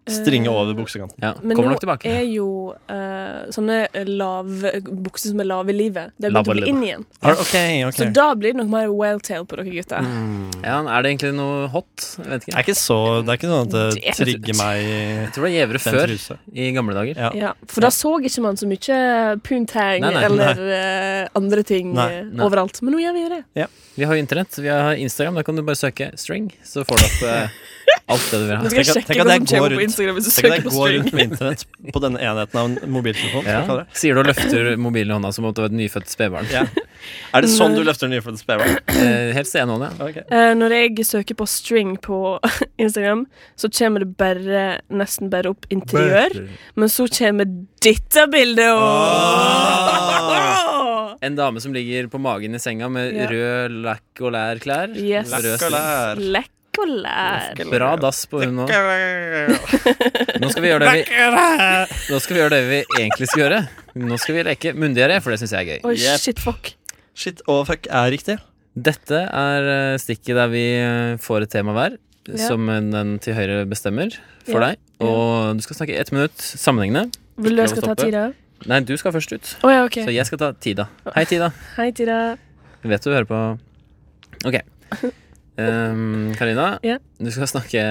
[SPEAKER 1] stringe over
[SPEAKER 3] Eh,
[SPEAKER 1] buksekanten.
[SPEAKER 2] Ja,
[SPEAKER 3] Men
[SPEAKER 2] kommer
[SPEAKER 3] nå
[SPEAKER 2] nok tilbake.
[SPEAKER 3] er jo eh, sånne lave bukser som er lave i livet, det er
[SPEAKER 2] Lave
[SPEAKER 3] begynt å
[SPEAKER 2] i
[SPEAKER 3] bli inn igjen.
[SPEAKER 1] Ah, ok, ok.
[SPEAKER 3] Så da blir det nok mer whaletail på dere gutter.
[SPEAKER 1] Mm.
[SPEAKER 2] Ja, er det egentlig noe hot? Jeg vet
[SPEAKER 1] Det er
[SPEAKER 2] ikke.
[SPEAKER 1] ikke så Det er ikke sånn at det
[SPEAKER 3] Det-
[SPEAKER 1] trigger meg
[SPEAKER 2] Jeg tror det var gjevere
[SPEAKER 1] den
[SPEAKER 2] før,
[SPEAKER 1] trusa.
[SPEAKER 2] i gamle dager.
[SPEAKER 1] Ja.
[SPEAKER 3] Ja, for da så ikke man så mye poontang
[SPEAKER 2] Nei, nei,
[SPEAKER 3] eller eh, andre ting
[SPEAKER 1] Nei,
[SPEAKER 3] eh,
[SPEAKER 2] nei.
[SPEAKER 3] overalt. Men nå gjør vi jo det.
[SPEAKER 2] Vi har jo internett, vi har Instagram. Da kan du bare søke 'string', så får du opp eh, alt det du vil
[SPEAKER 3] Nå
[SPEAKER 2] ha.
[SPEAKER 3] skal jeg
[SPEAKER 1] Tenk at-
[SPEAKER 3] sjekke
[SPEAKER 1] tenk at
[SPEAKER 3] hva
[SPEAKER 1] jeg
[SPEAKER 3] som kommer
[SPEAKER 1] går
[SPEAKER 3] på
[SPEAKER 1] rundt.
[SPEAKER 3] Instagram hvis du
[SPEAKER 1] Tenk at
[SPEAKER 3] søker
[SPEAKER 1] jeg
[SPEAKER 3] på
[SPEAKER 1] går
[SPEAKER 3] string.
[SPEAKER 1] rundt med internett på denne enheten av en mobiltelefon. skal jeg kalle
[SPEAKER 2] Ja.
[SPEAKER 1] det.
[SPEAKER 2] Sier du og løfter mobilen i hånda som om du var et nyfødt spedbarn.
[SPEAKER 1] Ja. Er det sånn du løfter nyfødte spedbarn?
[SPEAKER 2] Eh, helst i ene hånda. ja.
[SPEAKER 3] Eh, når jeg søker på string på Instagram, så kommer det bare, nesten bare opp interiør. Men så kommer dette bildet
[SPEAKER 1] Ah!
[SPEAKER 3] òg!
[SPEAKER 2] En dame som ligger på magen i senga med
[SPEAKER 3] Ja.
[SPEAKER 2] rød lakk og lær klær.
[SPEAKER 3] Yes.
[SPEAKER 2] Rød
[SPEAKER 1] Lakk og
[SPEAKER 2] strikk.
[SPEAKER 1] lær.
[SPEAKER 3] Lekk og lær.
[SPEAKER 2] Bra dass på hun nå. Nå skal vi gjøre det vi, nå skal vi, gjøre det vi egentlig skal gjøre. Nå skal vi leke myndigere, for det syns jeg er gøy.
[SPEAKER 3] Oi,
[SPEAKER 1] Yep.
[SPEAKER 3] shit, fuck.
[SPEAKER 1] Shit og fuck er riktig.
[SPEAKER 2] Dette er eh, stikket der vi eh, får et tema hver,
[SPEAKER 3] Ja.
[SPEAKER 2] som en- den til høyre bestemmer for
[SPEAKER 3] Ja.
[SPEAKER 2] deg. Og du skal snakke ett minutt sammenhengende.
[SPEAKER 3] Vil du jeg skal
[SPEAKER 2] Prøv
[SPEAKER 3] ta
[SPEAKER 2] å stoppe.
[SPEAKER 3] Tida?
[SPEAKER 2] Nei, du skal først ut.
[SPEAKER 3] Å ja, OK.
[SPEAKER 2] Så jeg skal ta Tida. Hei, Tida.
[SPEAKER 3] Hei, Tida.
[SPEAKER 2] Jeg vet du hører på Ok. Um, Karina,
[SPEAKER 3] Ja.
[SPEAKER 2] du skal snakke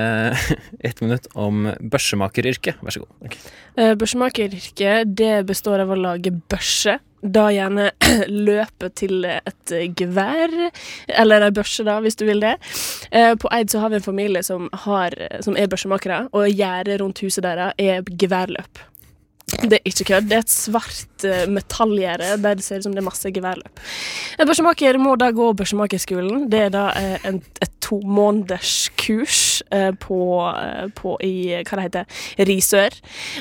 [SPEAKER 2] ett minutt om børsemakeryrket. Vær så god.
[SPEAKER 3] Uh, Børsemakeryrket det består av å lage børse. Da gjerne løpe til et gevær, eller ei børse, da, hvis du vil det. Eh, På Eid så har vi en familie som, har, som er børsemakere, og gjerdet rundt huset deres er geværløp. Det er ikke kødd. Det er et svart eh, metallgjerde der det ser ut som det er masse geværløp. En børsemaker må da gå børsemakerskolen. Det er da eh, en, et to måneders kurs eh, på, eh, på i eh, hva det heter, Risør.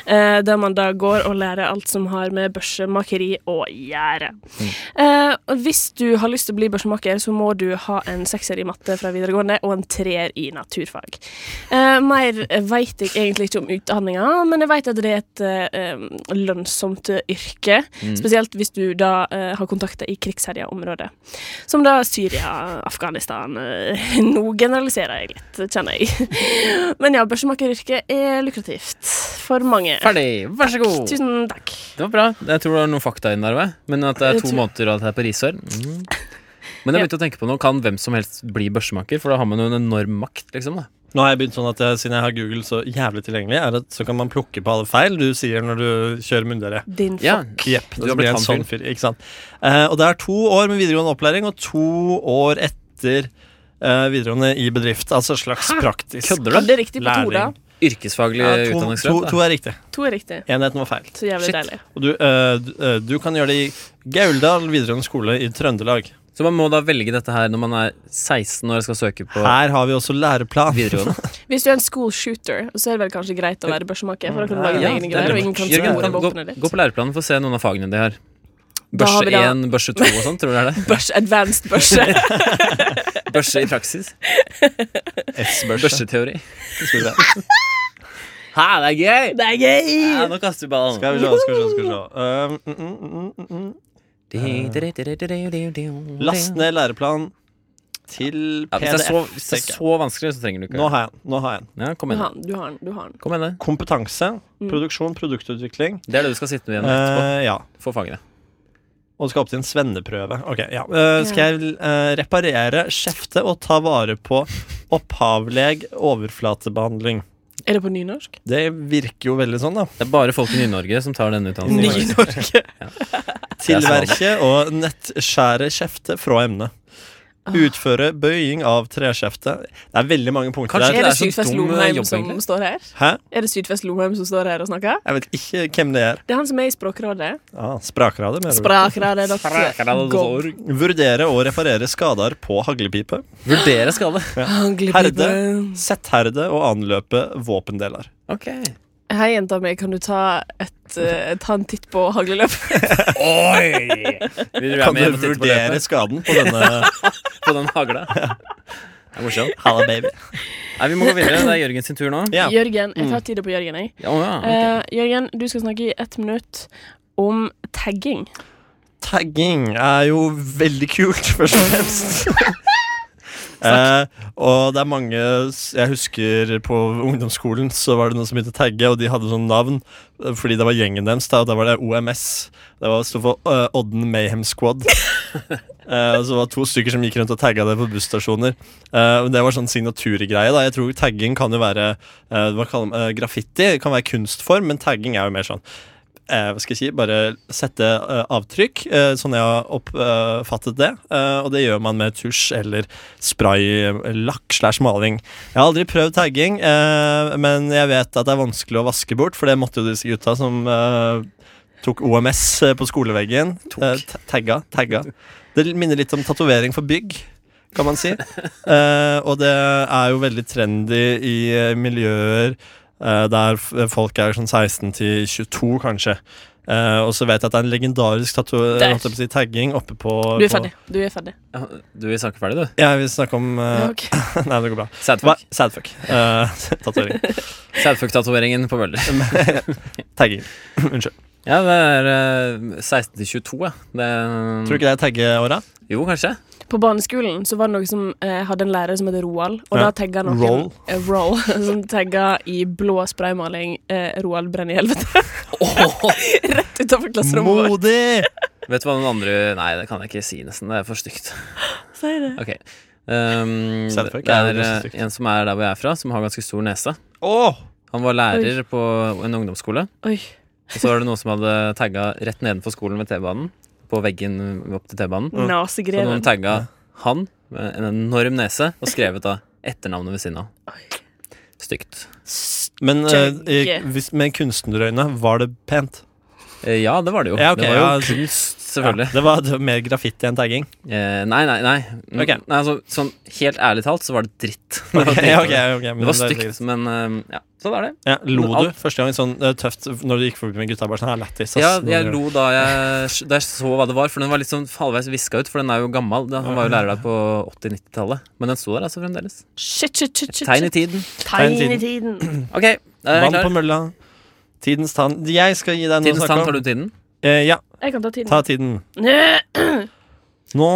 [SPEAKER 3] Eh, der man da går og lærer alt som har med børsemakeri å gjøre. Eh, og hvis du har lyst til å bli børsemaker, så må du ha en sekser i matte fra videregående og en treer i naturfag. Eh, mer vet jeg egentlig ikke om utdanninga, men jeg vet at det er et eh, em, lønnsomt yrke.
[SPEAKER 2] Mm.
[SPEAKER 3] Spesielt hvis du da eh, har kontakter i krigsherja områder. Som da Syria, Afghanistan eh, Nå generaliserer jeg litt, kjenner jeg. Men ja, børsemakeryrket er lukrativt for mange.
[SPEAKER 2] Ferdig. Vær så god.
[SPEAKER 3] Tusen takk.
[SPEAKER 2] Det var bra. Jeg tror det var noen fakta inn der òg. Men at det er
[SPEAKER 3] Jeg
[SPEAKER 2] to
[SPEAKER 3] tror-
[SPEAKER 2] måneder og alt det er på Risør. Mm. Men jeg begynte å tenke på nå kan hvem som helst bli børsemaker, for da har man jo en enorm makt, liksom. da
[SPEAKER 1] Nå har jeg begynt sånn at jeg, Siden jeg har Google så jævlig tilgjengelig, er at så kan man plukke på alle feil du sier når du kjører myndigere.
[SPEAKER 3] Din
[SPEAKER 2] Ja,
[SPEAKER 3] fuck.
[SPEAKER 1] Jepp.
[SPEAKER 2] Du
[SPEAKER 1] Du
[SPEAKER 2] har
[SPEAKER 1] blir
[SPEAKER 2] blitt
[SPEAKER 1] en
[SPEAKER 2] han
[SPEAKER 1] sånn fyr. Ikke sant. Eh, og det er to år med videregående opplæring og to år etter eh, videregående i bedrift. Altså slags praktisk
[SPEAKER 2] Kødder
[SPEAKER 3] Hadde
[SPEAKER 2] du?
[SPEAKER 3] jeg riktig på to, da?
[SPEAKER 1] læring.
[SPEAKER 2] Yrkesfaglig
[SPEAKER 1] Ja, to, to,
[SPEAKER 2] utdanningsløp.
[SPEAKER 1] to
[SPEAKER 2] da.
[SPEAKER 1] er riktig.
[SPEAKER 3] To er riktig.
[SPEAKER 1] Enheten var feil.
[SPEAKER 3] Så jævlig
[SPEAKER 2] Shit.
[SPEAKER 3] deilig.
[SPEAKER 1] Og du, eh, du, eh, du kan gjøre det i Gauldal videregående skole i Trøndelag.
[SPEAKER 2] Så man må da velge dette her når man er 16 år og skal søke på
[SPEAKER 1] Her har vi også læreplan.
[SPEAKER 2] videregående.
[SPEAKER 3] Hvis du er en school shooter, så er det vel kanskje greit å være børsemaker? For da kan du lage
[SPEAKER 2] Ja,
[SPEAKER 3] dine egne
[SPEAKER 2] det er
[SPEAKER 3] greier, og
[SPEAKER 2] lurt.
[SPEAKER 3] ingen kan
[SPEAKER 2] Jørgen,
[SPEAKER 3] spore
[SPEAKER 2] gå,
[SPEAKER 3] våpenet
[SPEAKER 2] gå
[SPEAKER 3] ditt.
[SPEAKER 2] på læreplanen for å se noen av fagene de har.
[SPEAKER 3] Da har
[SPEAKER 2] Børse
[SPEAKER 3] vi da-
[SPEAKER 2] 1, børse 2 og sånn, tror du det er det?
[SPEAKER 3] Børs, advanced børse.
[SPEAKER 2] Børse i praksis. Børseteori. Hæ, det er gøy!
[SPEAKER 3] Det er gøy!
[SPEAKER 2] Ja, nå kaster vi ballen.
[SPEAKER 1] Skal vi se, altså. skal vi se. Skal vi se. Um, mm, mm, mm, mm, mm. Last ned læreplan til
[SPEAKER 2] Ja, hvis, det er
[SPEAKER 1] PDF.
[SPEAKER 2] så, hvis det er
[SPEAKER 1] tenker jeg.
[SPEAKER 2] så vanskelig, så trenger du ikke
[SPEAKER 1] Nå har jeg den. nå har jeg den.
[SPEAKER 2] ja, Kom
[SPEAKER 3] Du
[SPEAKER 2] igjen.
[SPEAKER 3] har den, du har den. du har den.
[SPEAKER 2] Kom igjen. da.
[SPEAKER 1] Kompetanse, produksjon, produktutvikling.
[SPEAKER 2] Det er det du skal sitte med igjen etterpå.
[SPEAKER 1] Eh, ja.
[SPEAKER 2] Få fagene.
[SPEAKER 1] Og du skal opp til en svenneprøve. Ok, ja. Eh, skal jeg eh, reparere, skjefte og ta vare på opphavleg overflatebehandling?
[SPEAKER 3] Er det på nynorsk?
[SPEAKER 1] Det virker jo veldig sånn, da.
[SPEAKER 2] Det er bare folk i Ny-Norge som tar denne utdannelsen.
[SPEAKER 1] Nynorge.
[SPEAKER 2] sånn.
[SPEAKER 1] Tilverke og nettskjære kjefte fra emnet. Utføre bøying av treskjefte. Det er veldig mange punkter
[SPEAKER 2] Kanskje
[SPEAKER 1] der.
[SPEAKER 2] det
[SPEAKER 3] Er
[SPEAKER 2] er
[SPEAKER 3] det
[SPEAKER 2] så
[SPEAKER 3] Sydfest
[SPEAKER 2] dum, eh,
[SPEAKER 3] Lomheim
[SPEAKER 2] jobb,
[SPEAKER 3] som
[SPEAKER 2] egentlig.
[SPEAKER 3] står her?
[SPEAKER 1] Hæ?
[SPEAKER 3] Er det Sydfest Lomheim som står her og snakker?
[SPEAKER 1] Jeg vet ikke hvem det er.
[SPEAKER 3] Det er han som er i Språkrådet.
[SPEAKER 1] Ah, Sprakradet, mener du?
[SPEAKER 3] Sprakradet.com.
[SPEAKER 1] Vurdere og reparere skader på haglepipe.
[SPEAKER 2] Vurdere skade.
[SPEAKER 1] Herde, settherde og anløpe våpendeler.
[SPEAKER 2] Ok.
[SPEAKER 3] Hei, jenta mi, kan du ta, et, eh, ta en titt på hagleløp?
[SPEAKER 2] Vil du være
[SPEAKER 1] Kan du
[SPEAKER 2] med og titte på
[SPEAKER 1] vurdere
[SPEAKER 2] løpet?
[SPEAKER 1] skaden på denne?
[SPEAKER 2] På den hagla? Det er morsomt.
[SPEAKER 1] Halla, baby.
[SPEAKER 2] Nei, vi må gå videre. Det er Jørgen sin tur nå.
[SPEAKER 1] Ja.
[SPEAKER 3] Jørgen, jeg tar tida på Jørgen, jeg.
[SPEAKER 2] Ja, å ja, Mm. ok.
[SPEAKER 3] Eh, Jørgen, du skal snakke i ett minutt om tagging.
[SPEAKER 1] Tagging er jo veldig kult, først og fremst. Eh, og det er mange s- Jeg husker på ungdomsskolen så var det noen som begynte å tagge, og de hadde sånn navn eh, fordi det var gjengen deres. Da, og da var det OMS. Det var sto for eh, Odden Mayhem Squad. Eh, og så var det to stykker som gikk rundt og tagga det på busstasjoner. Eh, og det var sånn signaturgreie. da Jeg tror tagging kan jo være eh, hva kaller man, eh, Graffiti kan være kunstform, men tagging er jo mer sånn eh, hva skal jeg si, bare sette eh, avtrykk, eh, sånn jeg har oppfattet det. Eh, og det gjør man med tusj eller spray, eh, lakk slash maling. Jeg har aldri prøvd tagging, eh, men jeg vet at det er vanskelig å vaske bort, for det måtte jo disse gutta som eh, tok OMS eh, på skoleveggen. Eh, ta- tagga, tagga. Det minner litt om tatovering for bygg. Kan man si. Eh, og det er jo veldig trendy i eh, miljøer eh, der f- folk er sånn 16 til 22, kanskje. Eh, og så vet jeg at det er en legendarisk tatu eh,
[SPEAKER 3] Der.
[SPEAKER 1] holdt jeg på å si, tagging oppe på
[SPEAKER 3] Du er
[SPEAKER 1] på-
[SPEAKER 3] ferdig. Du er ferdig.
[SPEAKER 2] Ja, Du vil snakke ferdig, du?
[SPEAKER 1] Ja, vi snakker om eh,
[SPEAKER 3] Ok.
[SPEAKER 1] Nei, det går bra. Hva?
[SPEAKER 2] Sadfuck.
[SPEAKER 1] Sadfuck. Eh, Tatovering.
[SPEAKER 2] Sadfuck-tatoveringen på Møller.
[SPEAKER 1] Um. Tagging. Unnskyld.
[SPEAKER 2] Ja, det er eh, 16 til 22, ja. Det, um,
[SPEAKER 1] Tror du ikke det er taggeåra?
[SPEAKER 2] Jo, kanskje.
[SPEAKER 3] På barneskolen så var det noen som eh, hadde en lærer som het Roald, og
[SPEAKER 1] Ja.
[SPEAKER 3] da tagga noen
[SPEAKER 1] Roald.
[SPEAKER 3] Eh, Roald, som tagga i blå spraymaling eh, 'Roald brenn i helvete' rett utafor klasserommet vårt.
[SPEAKER 1] Modig!
[SPEAKER 2] Vet du hva den andre Nei, det kan jeg ikke si, nesten. Det er for stygt.
[SPEAKER 3] Si det.
[SPEAKER 2] Ok. Um,
[SPEAKER 1] Sadfuck
[SPEAKER 2] det
[SPEAKER 1] er
[SPEAKER 2] er
[SPEAKER 1] jo nesten
[SPEAKER 2] eh,
[SPEAKER 1] stygt.
[SPEAKER 2] en som er der hvor jeg er fra, som har ganske stor nese.
[SPEAKER 1] Åh!
[SPEAKER 2] Han var lærer på en ungdomsskole,
[SPEAKER 3] Oi.
[SPEAKER 2] og så var det noen som hadde tagga rett nedenfor skolen ved T-banen. På veggen opp til T-banen. Så hadde
[SPEAKER 3] Nasegreven.
[SPEAKER 2] noen tagga han med en enorm nese og skrevet da etternavnet ved siden av. Stygt.
[SPEAKER 1] Men eh, i,
[SPEAKER 3] Tagge.
[SPEAKER 1] hvis, med kunstnerøyne, var det pent?
[SPEAKER 2] Eh, Ja, det var det jo.
[SPEAKER 1] Ja, ok,
[SPEAKER 2] det var jo
[SPEAKER 1] ja, så-
[SPEAKER 2] kunst, selvfølgelig.
[SPEAKER 1] Ja, det, var, det var mer graffiti enn tagging?
[SPEAKER 2] Eh, nei, nei, nei. Mm,
[SPEAKER 1] Ok.
[SPEAKER 2] nei altså, sånn helt ærlig talt så var det dritt. Det var,
[SPEAKER 1] Ok,
[SPEAKER 2] dritt.
[SPEAKER 1] ja, ok, ok, men
[SPEAKER 2] det var
[SPEAKER 1] er liksom-
[SPEAKER 2] stygt, men eh, ja, sånn er det.
[SPEAKER 1] Ja, lo
[SPEAKER 2] Men
[SPEAKER 1] du
[SPEAKER 2] alt-
[SPEAKER 1] første gang sånn eh, tøft når du gikk forbi med gutta? Bare sånn, her, lættis, ass.
[SPEAKER 2] Ja,
[SPEAKER 1] Når
[SPEAKER 2] jeg
[SPEAKER 1] du-
[SPEAKER 2] lo da jeg, da jeg så hva det var, for den var litt sånn halvveis viska ut, for den er jo gammel. Den- Han var jo lærer der på 80-90-tallet, men den sto der altså fremdeles.
[SPEAKER 3] Shit, shit, shit, shit.
[SPEAKER 2] Tegn i tiden.
[SPEAKER 3] Tegn
[SPEAKER 1] Tegn i
[SPEAKER 3] i tiden.
[SPEAKER 2] Ok, er jeg
[SPEAKER 1] Vann på
[SPEAKER 2] klar.
[SPEAKER 1] mølla. Tidens tann. Jeg skal gi deg noe å
[SPEAKER 2] Tidens tann,
[SPEAKER 1] snakke
[SPEAKER 2] tar
[SPEAKER 1] om.
[SPEAKER 2] du tiden?
[SPEAKER 1] Eh, ja,
[SPEAKER 3] Jeg kan ta tiden.
[SPEAKER 1] ta tiden. Nå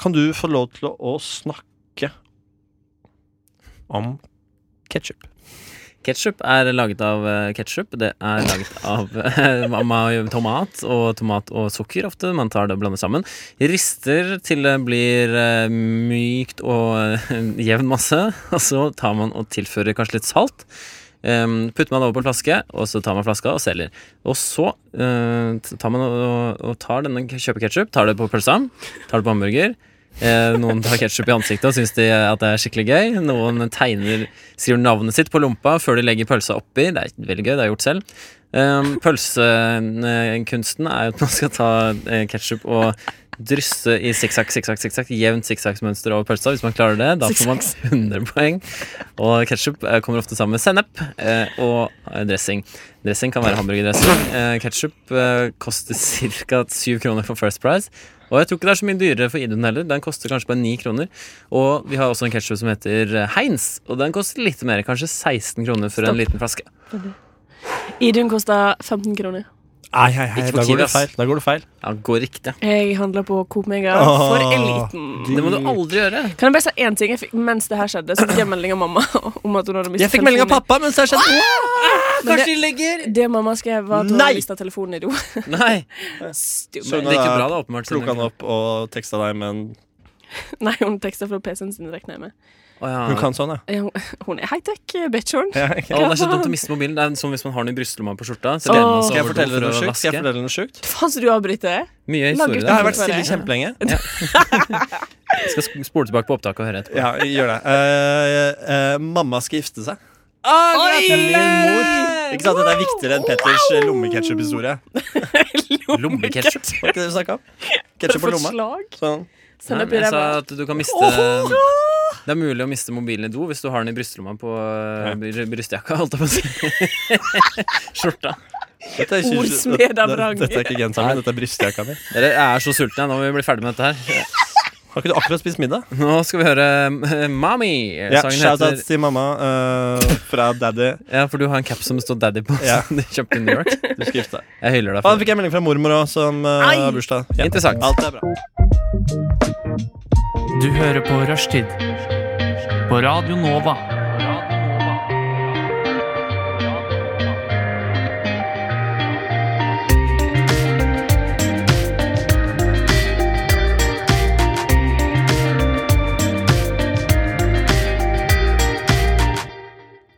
[SPEAKER 1] kan du få lov til å- å snakke om ketsjup.
[SPEAKER 2] Ketchup er laget av ketsjup. Det er laget av eh, ma- tomat og tomat og sukker ofte. Man tar det og blander sammen. Rister til det blir eh, mykt og eh, jevn masse. Og så tar man og tilfører kanskje litt salt. Em, putter man det over på en flaske, og så tar man flaska og selger. Og så eh, tar man og, og tar denne kjøper ketsjup, tar det på pølsa, tar det på hamburger. Eh, noen tar ketsjup i ansiktet og syns de at det er skikkelig gøy. Noen tegner, skriver navnet sitt på lompa før de legger pølsa oppi. Det er veldig gøy, det har jeg gjort selv. Eh, Um, Pølsekunsten er jo at man skal ta ketsjup eh, og drysse i sikksakk, sikksakk, sikksakk, jevnt sikksakkmønster over pølsa. Hvis man klarer det, da får man 100 poeng. Og ketsjup kommer ofte sammen med sennep eh, og eh, dressing. Dressing kan være hamburgerdressing. Eh, Ketsjup eh, koster ca. 7 kroner for First Price. Og jeg tror ikke det er så mye dyrere for Idun heller. Den koster kanskje bare 9 kroner. Og vi har også en ketsjup som heter eh, Heinz, og den koster litt mer, kanskje 16 kroner for
[SPEAKER 3] Stopp.
[SPEAKER 2] en liten flaske.
[SPEAKER 3] Idun koster 15 kroner.
[SPEAKER 1] Nei, hei, hei,
[SPEAKER 2] Ikke for
[SPEAKER 1] da går
[SPEAKER 2] tidlig,
[SPEAKER 1] det
[SPEAKER 2] ass.
[SPEAKER 1] feil. Da går det feil.
[SPEAKER 2] Ja, går riktig. ja.
[SPEAKER 3] Jeg handla på Coop Mega for
[SPEAKER 1] Åh,
[SPEAKER 3] eliten.
[SPEAKER 2] Det må du aldri gjøre.
[SPEAKER 3] Kan jeg bare si én ting? Jeg fikk, mens det her skjedde, så fikk jeg melding av mamma. om at hun hadde mistet
[SPEAKER 1] Jeg fikk melding av
[SPEAKER 3] telefonen.
[SPEAKER 1] pappa mens det skjedde.
[SPEAKER 3] Kanskje
[SPEAKER 2] de legger
[SPEAKER 3] Det mamma skrev, var at hun
[SPEAKER 1] Nei!
[SPEAKER 3] hadde mista telefonen i do.
[SPEAKER 2] Nei.
[SPEAKER 1] Så
[SPEAKER 3] Stupid.
[SPEAKER 1] hun
[SPEAKER 2] Det gikk jo
[SPEAKER 1] har
[SPEAKER 2] bra, da, åpenbart. siden
[SPEAKER 1] plukket han
[SPEAKER 2] hun-
[SPEAKER 1] opp og teksta deg, men
[SPEAKER 3] Nei, hun teksta fra PC-en sin, regner jeg med.
[SPEAKER 2] Å, ja.
[SPEAKER 1] hun kan sånn, ja.
[SPEAKER 3] Ja, hun- Hun er high-tech, bitchorn.
[SPEAKER 2] Å, det er så dumt å miste mobilen. Det er som hvis man har den i brystlomma på skjorta. Så
[SPEAKER 3] Åh.
[SPEAKER 2] lener man seg
[SPEAKER 1] Skal jeg
[SPEAKER 2] over
[SPEAKER 1] fortelle deg
[SPEAKER 2] do for
[SPEAKER 1] noe
[SPEAKER 2] å
[SPEAKER 1] sjukt? Skal jeg
[SPEAKER 2] vaske.
[SPEAKER 1] fortelle deg noe sjukt?
[SPEAKER 3] Faen, så du avbryter det?
[SPEAKER 2] Mye
[SPEAKER 3] Lag
[SPEAKER 2] historier
[SPEAKER 3] gutter.
[SPEAKER 1] Jeg har
[SPEAKER 2] der.
[SPEAKER 1] vært stille kjempelenge.
[SPEAKER 2] Jeg skal sk- spole tilbake på opptaket og høre etterpå.
[SPEAKER 1] Ja, gjør det. Eh, eh, mamma skal gifte seg. Ikke sant, Dette er viktigere enn Petters eh, lommeketchup-historie.
[SPEAKER 2] Lommeketchup.
[SPEAKER 1] Var ikke det vi snakket om? Ketchup på lomma.
[SPEAKER 3] Forslag?
[SPEAKER 1] Sånn.
[SPEAKER 3] Send
[SPEAKER 2] Nei,
[SPEAKER 3] opp i
[SPEAKER 2] men Jeg sa
[SPEAKER 3] ræva.
[SPEAKER 2] at du kan miste
[SPEAKER 3] Åh!
[SPEAKER 2] Det er mulig å miste mobilen i do hvis du har den i brystlomma på eh, bry- brystjakka, holdt jeg på å si. Skjorta.
[SPEAKER 1] Dette er ikke-
[SPEAKER 3] Ordsmed
[SPEAKER 1] dette-
[SPEAKER 3] av vrang.
[SPEAKER 1] Dette er ikke genseren min, dette er brystjakka mi.
[SPEAKER 2] Dere jeg er så sultne, jeg. nå må vi bli ferdig med dette her.
[SPEAKER 1] Har ikke du akkurat spist middag?
[SPEAKER 2] Nå skal vi høre eh, Mami.
[SPEAKER 1] Ja,
[SPEAKER 2] Sangen heter
[SPEAKER 1] Shoutouts til mamma eh, fra daddy.
[SPEAKER 2] Ja, for du har en cap som det står Daddy på,
[SPEAKER 1] Ja.
[SPEAKER 2] som du kjøpte i New York.
[SPEAKER 1] Du skal gifte deg.
[SPEAKER 2] Jeg hyller deg
[SPEAKER 1] Ah, da
[SPEAKER 2] for det.
[SPEAKER 1] fikk jeg melding fra mormor òg, som eh,
[SPEAKER 3] Ai!
[SPEAKER 1] har bursdag. Ja.
[SPEAKER 2] Interessant.
[SPEAKER 1] Alt er bra.
[SPEAKER 9] Du hører på Rushtid på Radio Nova.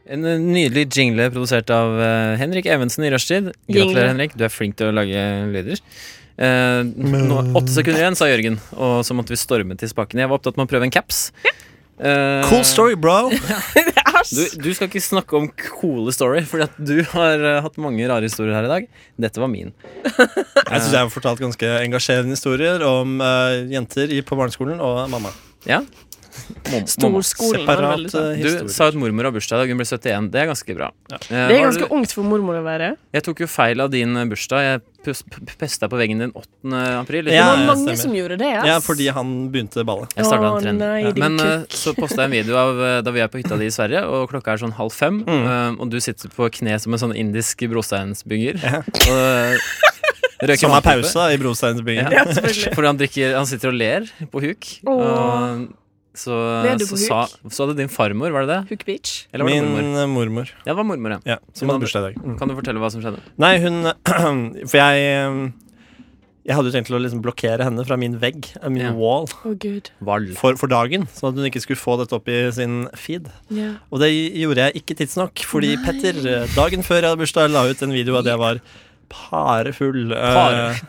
[SPEAKER 2] En eh, nydelig jingle produsert av eh, Henrik Evensen i Rushtid.
[SPEAKER 3] Jingle.
[SPEAKER 2] Gratulerer, Henrik. Du er flink til å lage lyder. Eh, nå, åtte sekunder igjen, sa Jørgen, og så måtte vi storme til spakene. Jeg var opptatt med å prøve en caps. Eh,
[SPEAKER 1] Cool story, bro.
[SPEAKER 2] Du, du skal ikke snakke om coole story, Fordi at du har eh, hatt mange rare historier her i dag. Dette var min.
[SPEAKER 1] Jeg syns jeg har fortalt ganske engasjerende historier om eh, jenter i, på barneskolen og mamma.
[SPEAKER 2] Ja? Mom- mamma.
[SPEAKER 3] Storskolen var
[SPEAKER 1] Separat,
[SPEAKER 3] veldig sånn.
[SPEAKER 1] eh,
[SPEAKER 2] Du
[SPEAKER 1] historie.
[SPEAKER 2] sa at mormor har bursdag i dag. Hun ble 71. Det er ganske bra. Eh,
[SPEAKER 3] Det er
[SPEAKER 2] har du-
[SPEAKER 3] ganske ungt for mormor å være.
[SPEAKER 2] Jeg tok jo feil av din eh, bursdag. Jeg pus- p- pesta på veggen din 8. april.
[SPEAKER 3] Det
[SPEAKER 1] Ja,
[SPEAKER 3] var
[SPEAKER 1] ja,
[SPEAKER 3] mange
[SPEAKER 1] stemmer.
[SPEAKER 3] som gjorde det. ass.
[SPEAKER 1] Ja, fordi han begynte ballet.
[SPEAKER 2] Jeg starta
[SPEAKER 3] Å,
[SPEAKER 2] en trend.
[SPEAKER 3] nei,
[SPEAKER 2] Ja.
[SPEAKER 3] din
[SPEAKER 2] Men eh,
[SPEAKER 3] kukk.
[SPEAKER 2] så posta jeg en video av eh, da vi er på hytta di i Sverige, og klokka er sånn halv fem,
[SPEAKER 1] Mm.
[SPEAKER 2] eh, og du sitter på kne som en sånn indisk brosteinsbygger. Og røyker
[SPEAKER 1] Som er
[SPEAKER 2] matpipe.
[SPEAKER 1] pausa i brosteinsbyggingen.
[SPEAKER 2] Ja. Fordi han drikker Han sitter og ler på huk.
[SPEAKER 3] Åh.
[SPEAKER 2] og Så,
[SPEAKER 3] Ler du
[SPEAKER 2] så,
[SPEAKER 3] på
[SPEAKER 2] sa,
[SPEAKER 3] huk?
[SPEAKER 2] så hadde din farmor, var det det?
[SPEAKER 3] Hook Beach.
[SPEAKER 2] Eller var det
[SPEAKER 1] Min
[SPEAKER 2] mormor?
[SPEAKER 1] eh, mormor.
[SPEAKER 2] Ja, det var mormor, ja.
[SPEAKER 1] Ja, som hadde
[SPEAKER 2] Hun hadde-
[SPEAKER 1] bursdag i dag. Mm.
[SPEAKER 2] Kan du fortelle hva som skjedde?
[SPEAKER 1] Nei, hun For jeg eh, Jeg hadde jo tenkt å liksom blokkere henne fra min vegg, eh, min
[SPEAKER 2] Ja.
[SPEAKER 1] wall,
[SPEAKER 3] Å, gud.
[SPEAKER 2] Val.
[SPEAKER 1] for, for dagen. Sånn at hun ikke skulle få dette opp i sin feed.
[SPEAKER 3] Ja.
[SPEAKER 1] Og det gjorde jeg ikke tidsnok, fordi Petter, eh, dagen før jeg hadde bursdag, la ut en video av at jeg var parefull. eh,
[SPEAKER 2] Pare.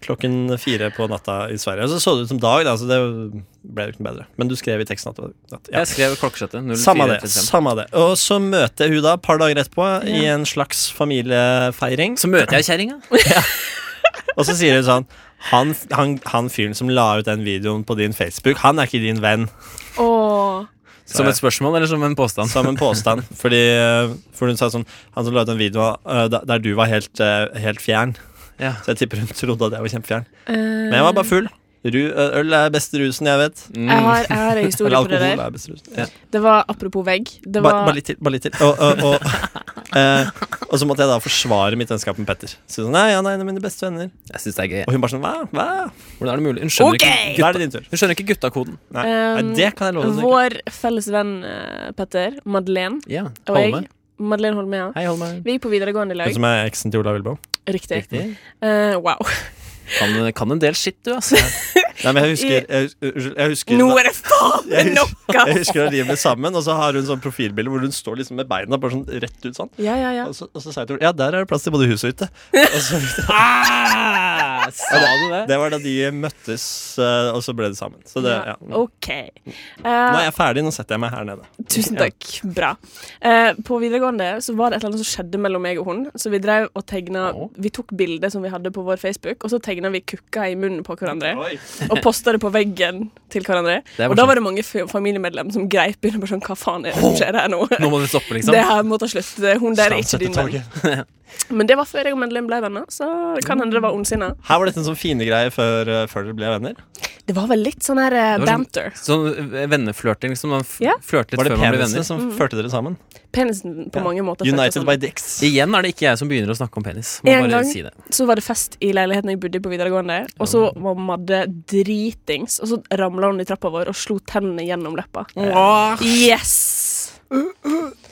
[SPEAKER 1] Klokken fire på natta i Sverige. Og så så det ut som dag, da, så det ble jo ikke noe bedre. Men du skrev i teksten at det var natt. Ja.
[SPEAKER 2] Jeg skrev klokkeslettet. 04.35.
[SPEAKER 1] Samme det. samme det Og så møter jeg hun da et par dager etterpå i en slags familiefeiring.
[SPEAKER 2] Så møter jeg kjerringa.
[SPEAKER 1] Og så sier hun sånn han, han, han fyren som la ut den videoen på din Facebook, han er ikke din venn.
[SPEAKER 3] Åh.
[SPEAKER 2] Som et spørsmål eller som en påstand?
[SPEAKER 1] Som en påstand. Fordi eh, for hun sa sånn Han som la ut den videoen eh, der- der du var helt, eh, helt fjern.
[SPEAKER 2] Ja.
[SPEAKER 1] Så jeg tipper hun trodde at jeg var kjempefjern.
[SPEAKER 3] Eh,
[SPEAKER 1] Men jeg var bare full. Ru, eh, øl er beste rusen jeg vet.
[SPEAKER 3] eh,
[SPEAKER 2] Mm.
[SPEAKER 3] jeg har, jeg har en historie
[SPEAKER 1] Eller
[SPEAKER 3] på det
[SPEAKER 1] alkohol
[SPEAKER 3] der.
[SPEAKER 1] er beste rusen. Ja.
[SPEAKER 3] Det var apropos vegg. Det
[SPEAKER 1] Bare
[SPEAKER 3] var
[SPEAKER 1] bare litt til. Bare litt til. Og, og, og, eh, og så måtte jeg da forsvare mitt vennskap med Petter. Så sånn, nei, han er en av mine beste venner
[SPEAKER 2] Jeg syns det er gøy.
[SPEAKER 1] Og hun bare sånn hva? Hva?
[SPEAKER 2] Hvordan er det mulig? Hun skjønner
[SPEAKER 3] Ok!
[SPEAKER 2] ikke
[SPEAKER 1] Da
[SPEAKER 2] gutta.
[SPEAKER 1] er det din tur.
[SPEAKER 2] Hun skjønner ikke guttakoden.
[SPEAKER 1] Nei, nei,
[SPEAKER 3] Um,
[SPEAKER 1] det kan jeg love. deg ikke.
[SPEAKER 3] Vår felles venn eh, Petter, Madeleine
[SPEAKER 2] Ja,
[SPEAKER 3] og
[SPEAKER 2] Holme.
[SPEAKER 3] jeg. Madeleine Holme, ja.
[SPEAKER 2] Hei, Holme.
[SPEAKER 3] Vi gikk på videregående i
[SPEAKER 1] Hun
[SPEAKER 3] lag.
[SPEAKER 1] som er eksen til Ola Wilbo.
[SPEAKER 3] Riktig.
[SPEAKER 2] Riktig.
[SPEAKER 3] Eh, wow.
[SPEAKER 2] Kan, kan en del skitt, du, altså.
[SPEAKER 1] Nei, men jeg husker jeg, hus- Unnskyld. Jeg husker
[SPEAKER 3] Nå er det faen meg
[SPEAKER 1] Jeg
[SPEAKER 3] noe!
[SPEAKER 1] Jeg husker da de ble sammen, og så har hun sånn profilbilde hvor hun står liksom med beina bare sånn rett ut sånn.
[SPEAKER 3] Ja, ja, ja.
[SPEAKER 1] Og så, og så sa jeg til henne ja, der er det plass til både hus og hytte. Og så,
[SPEAKER 2] Sa du det?
[SPEAKER 1] det var da de møttes, eh, og så ble de sammen. Så det, ja. Nå
[SPEAKER 3] OK. Eh,
[SPEAKER 1] er jeg ferdig, nå setter jeg meg her nede.
[SPEAKER 3] Tusen takk. Bra. Eh, på videregående så var det et eller annet som skjedde mellom meg og hun. Så vi drev og tegna
[SPEAKER 2] Å.
[SPEAKER 3] Vi tok bilder som vi hadde på vår Facebook, og så tegna egna vi kukka i munnen på hverandre. Og posta det på veggen til hverandre.
[SPEAKER 2] er
[SPEAKER 3] Og da
[SPEAKER 2] morsomt.
[SPEAKER 3] var det mange f- familiemedlemmer som greip inn og bare sånn Hva faen er det som skjer her nå?
[SPEAKER 2] Nå må det stoppe, liksom.
[SPEAKER 3] Det her må ta slutt. Det- Hun der er ikke din venn.
[SPEAKER 1] toget.
[SPEAKER 3] Men det var før jeg og Madeleine ble venner, så det kan hende det var ondsinna.
[SPEAKER 1] Her var dette en sånn fine greie før, eh, før dere ble venner.
[SPEAKER 3] Det var vel litt sånn her eh,
[SPEAKER 2] Det var sånn-
[SPEAKER 3] banter.
[SPEAKER 2] Sånn eh, venneflørting, liksom. Man f
[SPEAKER 3] Ja.
[SPEAKER 2] flørtet
[SPEAKER 1] Var det
[SPEAKER 2] før man ble venner.
[SPEAKER 1] penisene som førte dere sammen?
[SPEAKER 3] Penisen Mm. på mange måter. føltes
[SPEAKER 1] United
[SPEAKER 3] sånn.
[SPEAKER 1] by dicks.
[SPEAKER 2] Igjen er det ikke jeg som begynner å snakke om penis. Må
[SPEAKER 3] En
[SPEAKER 2] bare
[SPEAKER 3] gang
[SPEAKER 2] si det.
[SPEAKER 3] så var det fest i leiligheten jeg bodde i på videregående, og så var Madde dritings, og så ramla hun i trappa vår og slo tennene gjennom leppa. Ah. Yes!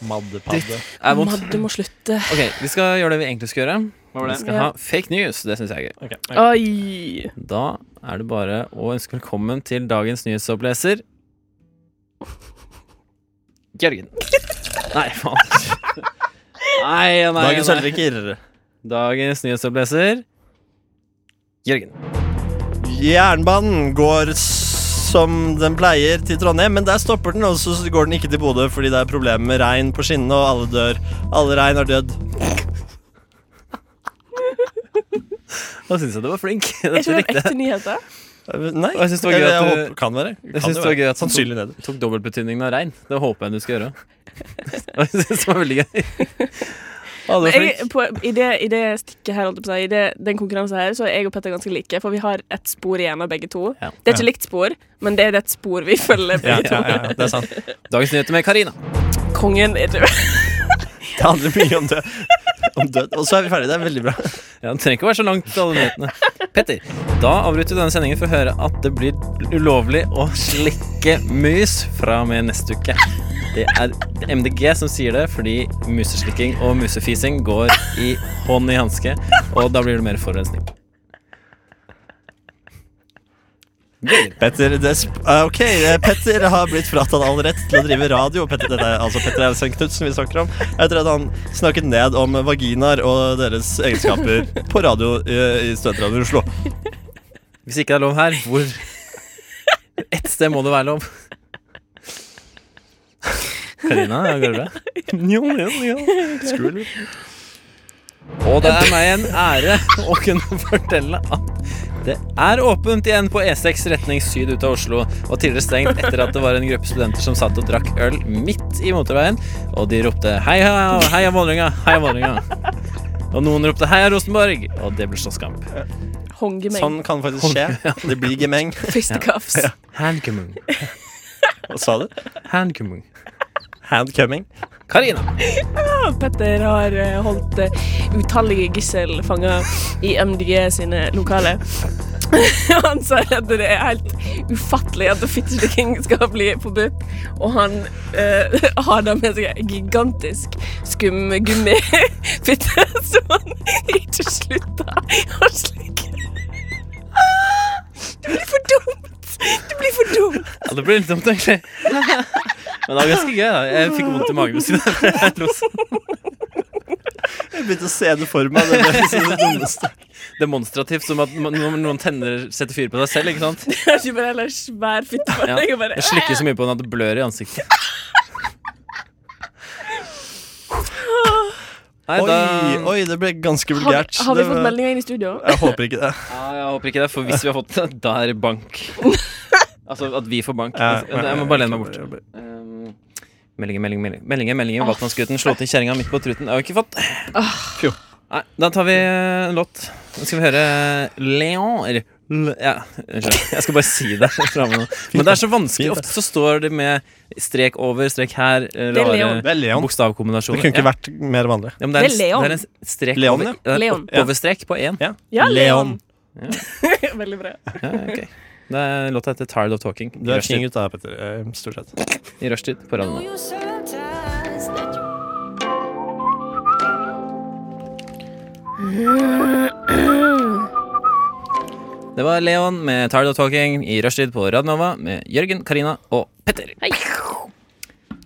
[SPEAKER 1] Maddepadde.
[SPEAKER 2] Er det vondt?
[SPEAKER 3] Madde må slutte.
[SPEAKER 2] Ok, Vi skal gjøre det vi egentlig skal gjøre.
[SPEAKER 1] var det?
[SPEAKER 2] Vi skal
[SPEAKER 3] Ja.
[SPEAKER 2] ha fake news. Det syns jeg er gøy.
[SPEAKER 1] Ok, ok.
[SPEAKER 3] Oi!
[SPEAKER 2] Da er det bare å ønske velkommen til dagens nyhetsoppleser. Jørgen. Nei, faen. Nei, nei, nei.
[SPEAKER 1] Dagens ølriker.
[SPEAKER 2] Dagens nyhetsoppleser. Jørgen.
[SPEAKER 1] Jernbanen går s- som den pleier til Trondheim, men der stopper den, og så går den ikke til Bodø fordi det er problemer med regn på skinnene, og alle dør. Alle regn er dødd.
[SPEAKER 2] Da syns jeg du var flink.
[SPEAKER 3] Er ikke
[SPEAKER 2] Dette
[SPEAKER 3] det
[SPEAKER 2] likte jeg.
[SPEAKER 3] ekte nyheter?
[SPEAKER 1] Nei,
[SPEAKER 2] Og jeg synes det var gøy
[SPEAKER 1] eller
[SPEAKER 2] at
[SPEAKER 1] jeg
[SPEAKER 2] du-
[SPEAKER 1] håper- kan være.
[SPEAKER 2] Jeg
[SPEAKER 1] Kan
[SPEAKER 2] synes det var gøy at du
[SPEAKER 1] Sannsynlig nede.
[SPEAKER 2] tok, tok dobbeltbetydningen av regn. Det håper jeg du skal gjøre. Jeg synes det var veldig gøy. Ja, det var flink.
[SPEAKER 3] Jeg, på, I det, i det stikket her, holdt jeg på å si, i det, den konkurransen her, så er jeg og Petter ganske like, for vi har ett spor igjen av begge to.
[SPEAKER 2] Ja.
[SPEAKER 3] Det er ikke likt spor, men det er det et spor vi følger
[SPEAKER 1] Ja,
[SPEAKER 3] begge
[SPEAKER 1] ja, ja, det er sant.
[SPEAKER 2] Dagens nyheter med Karina.
[SPEAKER 3] to. Kongen er du.
[SPEAKER 1] Det handler mye om død. Om død. Og så er vi ferdige. Det er veldig bra.
[SPEAKER 2] Ja, det trenger ikke å være så langt til alle nyhetene. Petter, da avbryter vi denne sendingen for å høre at det blir ulovlig å slikke mus fra og med neste uke. Det er MDG som sier det, fordi museslikking og musefising går i hånd i hanske, og da blir det mer forurensning.
[SPEAKER 1] Petter, det sp eh, ok, eh, Petter har blitt fratatt all rett til å drive radio. Petter, dette er, altså Petter Elsen Knutsen vi snakker om. Etter at han snakket ned om vaginaer og deres egenskaper på radio eh, i, i Studentradioen i Oslo.
[SPEAKER 2] Hvis ikke det er lov her, hvor Ett sted må det være lov. Karina, går det bra? Jo, jo, jo. Skrull. Og det er meg en ære å kunne fortelle at det er åpent igjen på E6 retning syd ut av Oslo, og tidligere stengt etter at det var en gruppe studenter som satt og drakk øl midt i motorveien, og de ropte heia, heia Vålerenga, heia Vålerenga. Og noen ropte heia Rosenborg, og det ble slåsskamp.
[SPEAKER 3] Honge meg.
[SPEAKER 1] Sånn kan faktisk skje. Det blir gemeng.
[SPEAKER 3] Fistecuffs.
[SPEAKER 2] Handcommung.
[SPEAKER 1] Hva sa du?
[SPEAKER 2] Handcommung.
[SPEAKER 1] Handcoming.
[SPEAKER 2] Karina.
[SPEAKER 3] Petter har eh, holdt eh, utallige gisselfanger i MDG sine lokaler. han sier at det er helt ufattelig at fitteslikking skal bli forbudt, og han eh, har da med seg en gigantisk skumgummifitte som han ikke slutter å slikke. Det blir for dumt! Det blir for dumt.
[SPEAKER 2] Ja, det ble litt dumt, egentlig. Men det var ganske gøy. da Jeg fikk vondt i magen. siden jeg lo sånn.
[SPEAKER 1] Jeg begynte å se det for meg. Det var liksom det dummeste.
[SPEAKER 2] Demonstrativt, som at man- når noen tenner setter fyr på seg selv. ikke sant?
[SPEAKER 3] Det er ikke bare heller svær fitte på
[SPEAKER 2] Ja.
[SPEAKER 3] deg. og
[SPEAKER 2] Jeg
[SPEAKER 3] bare-
[SPEAKER 2] slikker så mye på den at det blør i ansiktet. Nei,
[SPEAKER 1] Oi,
[SPEAKER 2] da
[SPEAKER 1] oi, det ble ganske
[SPEAKER 3] Har,
[SPEAKER 1] vulgært.
[SPEAKER 3] vi- har vi
[SPEAKER 1] Det
[SPEAKER 3] fått
[SPEAKER 1] var-
[SPEAKER 3] meldinger inn i studio?
[SPEAKER 1] Jeg håper ikke det.
[SPEAKER 2] ja, Jeg håper ikke det, for hvis vi har fått det, da er det bank. Altså at vi får bank.
[SPEAKER 1] Ja,
[SPEAKER 2] Jeg må bare lene meg bort. Um, Meldinger, meldinger, meldinger. Meldinger, meldinger Vatnansgutten slo til kjerringa midt på truten. Det har vi ikke fått. Jo. Nei, da tar vi en låt. Nå skal vi høre Leon eller L- ja, Unnskyld. Jeg skal bare si det. fremme nå. Men det er så vanskelig.
[SPEAKER 1] Fint, det.
[SPEAKER 2] Ofte så står det med strek over, strek her, eh,
[SPEAKER 3] Det er Leon.
[SPEAKER 2] rare
[SPEAKER 1] Det er Leon. Det
[SPEAKER 2] bokstavkombinasjoner.
[SPEAKER 1] kunne ikke
[SPEAKER 2] Ja.
[SPEAKER 1] vært mer vanlig.
[SPEAKER 2] Ja, men det, er en,
[SPEAKER 3] Det er Leon.
[SPEAKER 2] det er en strek
[SPEAKER 1] Leon, ja.
[SPEAKER 2] over, det er en
[SPEAKER 3] Leon.
[SPEAKER 2] oppoverstrek på én.
[SPEAKER 1] Ja,
[SPEAKER 3] Ja, Leon.
[SPEAKER 2] Ja.
[SPEAKER 3] Veldig bra.
[SPEAKER 2] Ja, ok. Det er Låta heter 'Tired of Talking'.
[SPEAKER 1] Du
[SPEAKER 2] I
[SPEAKER 1] er fin
[SPEAKER 2] rushtid,
[SPEAKER 1] gutt da, Petter. eh, Stort sett.
[SPEAKER 2] I rushtid på radioen. Det var Leon med Tired of Talking i rushtid på Radnova med Jørgen, Karina og Petter.
[SPEAKER 3] Hei.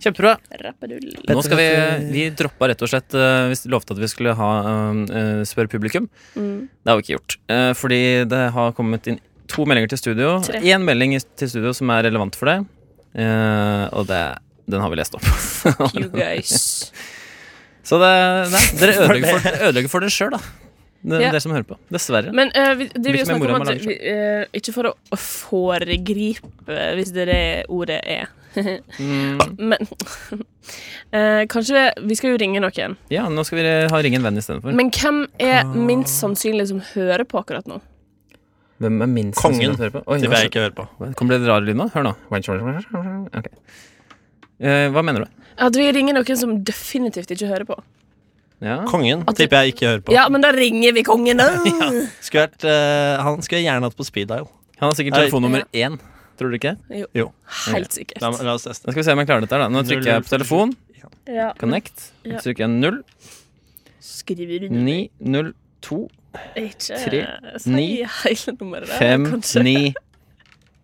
[SPEAKER 2] Kjempebra.
[SPEAKER 3] Rappadull.
[SPEAKER 2] Nå skal vi Vi droppa rett og slett eh, Vi lovte at vi skulle ha um, eh, Spør publikum.
[SPEAKER 3] Mm.
[SPEAKER 2] Det har vi ikke gjort. eh, fordi det har kommet inn to meldinger til studio.
[SPEAKER 3] Tre.
[SPEAKER 2] Én melding i- til studio som er relevant for deg, eh, og det, den har vi lest opp.
[SPEAKER 3] You guys.
[SPEAKER 2] Så det, nei, dere ødelegger for, ødelegger for dere sjøl, da. Det,
[SPEAKER 3] Ja.
[SPEAKER 2] Dere som hører på. Dessverre.
[SPEAKER 3] Men eh, vi, det vi
[SPEAKER 2] Litt mer
[SPEAKER 3] snakker
[SPEAKER 2] moro
[SPEAKER 3] om
[SPEAKER 2] med
[SPEAKER 3] at vi, eh, Ikke for å å foregripe, eh, hvis det er det ordet er.
[SPEAKER 2] Mm,
[SPEAKER 3] Men eh, Kanskje Vi skal jo ringe noen.
[SPEAKER 2] Ja, nå skal vi ha Ring en venn istedenfor.
[SPEAKER 3] Men hvem er minst sannsynlig som hører på akkurat nå?
[SPEAKER 2] Hvem er minst
[SPEAKER 1] Kongen.
[SPEAKER 2] sannsynlig til å høre på? Oi,
[SPEAKER 1] Det
[SPEAKER 2] nå
[SPEAKER 1] vil jeg ikke høre på.
[SPEAKER 2] skjø- Kommer det litt rar lyd nå? Hør nå. Ok. Eh, hva mener du?
[SPEAKER 3] At vi ringer noen som definitivt ikke hører på.
[SPEAKER 2] Ja.
[SPEAKER 1] Kongen
[SPEAKER 3] At-
[SPEAKER 1] tipper jeg ikke hører på.
[SPEAKER 3] Ja, men da ringer vi kongen, da!
[SPEAKER 1] Skulle vært, eh, han skulle jeg gjerne hatt på speed dial.
[SPEAKER 2] Han har sikkert
[SPEAKER 1] Nei.
[SPEAKER 2] telefonnummer én. Tror du ikke?
[SPEAKER 3] Helt
[SPEAKER 1] La,
[SPEAKER 3] sikkert.
[SPEAKER 1] la oss teste.
[SPEAKER 2] Da skal vi se om jeg klarer dette. her da Nå trykker jeg på telefon.
[SPEAKER 3] Ja, men
[SPEAKER 2] Connect. Så trykker jeg 0
[SPEAKER 3] skriver du
[SPEAKER 2] 9 0 2
[SPEAKER 3] ikke
[SPEAKER 2] tre,
[SPEAKER 3] Si
[SPEAKER 2] ni,
[SPEAKER 3] hele nummeret der,
[SPEAKER 2] 5
[SPEAKER 3] kanskje.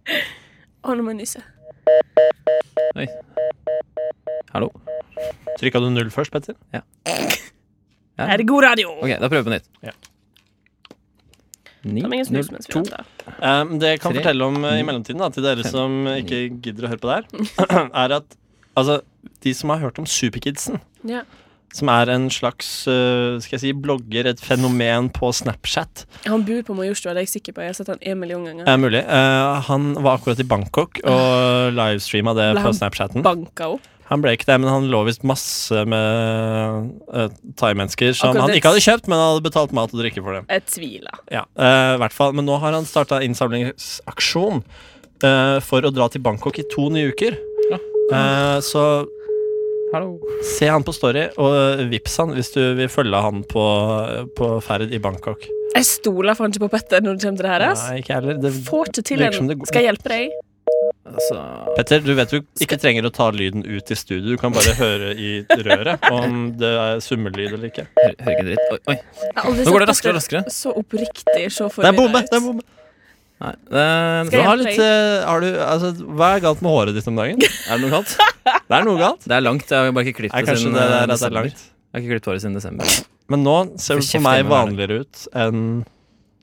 [SPEAKER 2] 9
[SPEAKER 3] Å, nå må jeg nyse.
[SPEAKER 2] Hallo.
[SPEAKER 1] Trykka du null først, Petter?
[SPEAKER 2] Ja.
[SPEAKER 3] Er det god radio?
[SPEAKER 2] Ok, da prøver vi på nytt.
[SPEAKER 1] Ja.
[SPEAKER 3] Ta meg
[SPEAKER 2] 9
[SPEAKER 3] en snus mens vi
[SPEAKER 2] 2
[SPEAKER 3] venter.
[SPEAKER 1] Um, det jeg kan
[SPEAKER 2] Tre,
[SPEAKER 1] fortelle om eh,
[SPEAKER 2] ni,
[SPEAKER 1] i mellomtiden, da, til dere
[SPEAKER 2] fem,
[SPEAKER 1] som eh, ikke gidder å høre på det her, er at altså, de som har hørt om Superkidsen,
[SPEAKER 3] Ja.
[SPEAKER 1] som er en slags eh, skal jeg si, blogger, et fenomen på Snapchat,
[SPEAKER 3] Han bor på Majorstua, det er jeg sikker på. Jeg har sett han en million ganger.
[SPEAKER 1] er mulig. Eh, han var akkurat i Bangkok
[SPEAKER 2] Ah.
[SPEAKER 1] og livestreama det
[SPEAKER 3] Ble
[SPEAKER 1] på
[SPEAKER 3] han
[SPEAKER 1] Snapchaten.
[SPEAKER 3] Banka opp.
[SPEAKER 1] Han ble ikke det, men han lå visst masse med uh, thaimennesker som
[SPEAKER 3] Akkurat
[SPEAKER 1] han
[SPEAKER 3] det-
[SPEAKER 1] ikke hadde kjøpt, men han hadde betalt mat og drikke for dem.
[SPEAKER 3] Jeg tviler.
[SPEAKER 1] Ja, eh, i hvert fall. Men nå har han starta innsamlingsaksjon eh, for å dra til Bangkok i to nye uker.
[SPEAKER 2] Ja.
[SPEAKER 1] Eh, så
[SPEAKER 2] Hallo.
[SPEAKER 1] se han på Story, og eh, vips han hvis du vil følge han på, på ferd i Bangkok.
[SPEAKER 3] Jeg stoler faen ikke på Petter når det kommer til det her. ass.
[SPEAKER 1] Nei, ikke heller. Det,
[SPEAKER 3] Får ikke til
[SPEAKER 1] virker som
[SPEAKER 3] en
[SPEAKER 1] det går-
[SPEAKER 3] Skal jeg hjelpe deg?
[SPEAKER 2] Altså
[SPEAKER 1] Petter, du vet du ikke trenger å ta lyden ut i studio. Du kan bare høre i røret om det er summelyd eller ikke.
[SPEAKER 2] Hører hører ikke dritt. Oi, oi.
[SPEAKER 3] Jeg har aldri
[SPEAKER 2] Nå går
[SPEAKER 3] sett
[SPEAKER 2] det raskere og
[SPEAKER 3] Petter
[SPEAKER 2] raskere.
[SPEAKER 3] Så oppriktig se for
[SPEAKER 1] Det er bombe! det er bombe
[SPEAKER 2] Nei. eh,
[SPEAKER 1] Du
[SPEAKER 3] jeg
[SPEAKER 1] har
[SPEAKER 3] hjelpe
[SPEAKER 1] litt, eh, har du, altså, Hva er galt med håret ditt om dagen?
[SPEAKER 2] er det noe galt?
[SPEAKER 1] Det er noe galt.
[SPEAKER 2] Det er langt. Jeg har bare ikke
[SPEAKER 1] Er
[SPEAKER 2] klippet det
[SPEAKER 1] kanskje
[SPEAKER 2] siden
[SPEAKER 1] det
[SPEAKER 2] eh,
[SPEAKER 1] der at det er
[SPEAKER 2] desember.
[SPEAKER 1] langt.
[SPEAKER 2] Jeg har ikke klippet håret siden desember.
[SPEAKER 1] Men nå ser
[SPEAKER 2] Får
[SPEAKER 1] du for
[SPEAKER 2] kjeft
[SPEAKER 1] meg
[SPEAKER 2] hjemme,
[SPEAKER 1] vanligere ut enn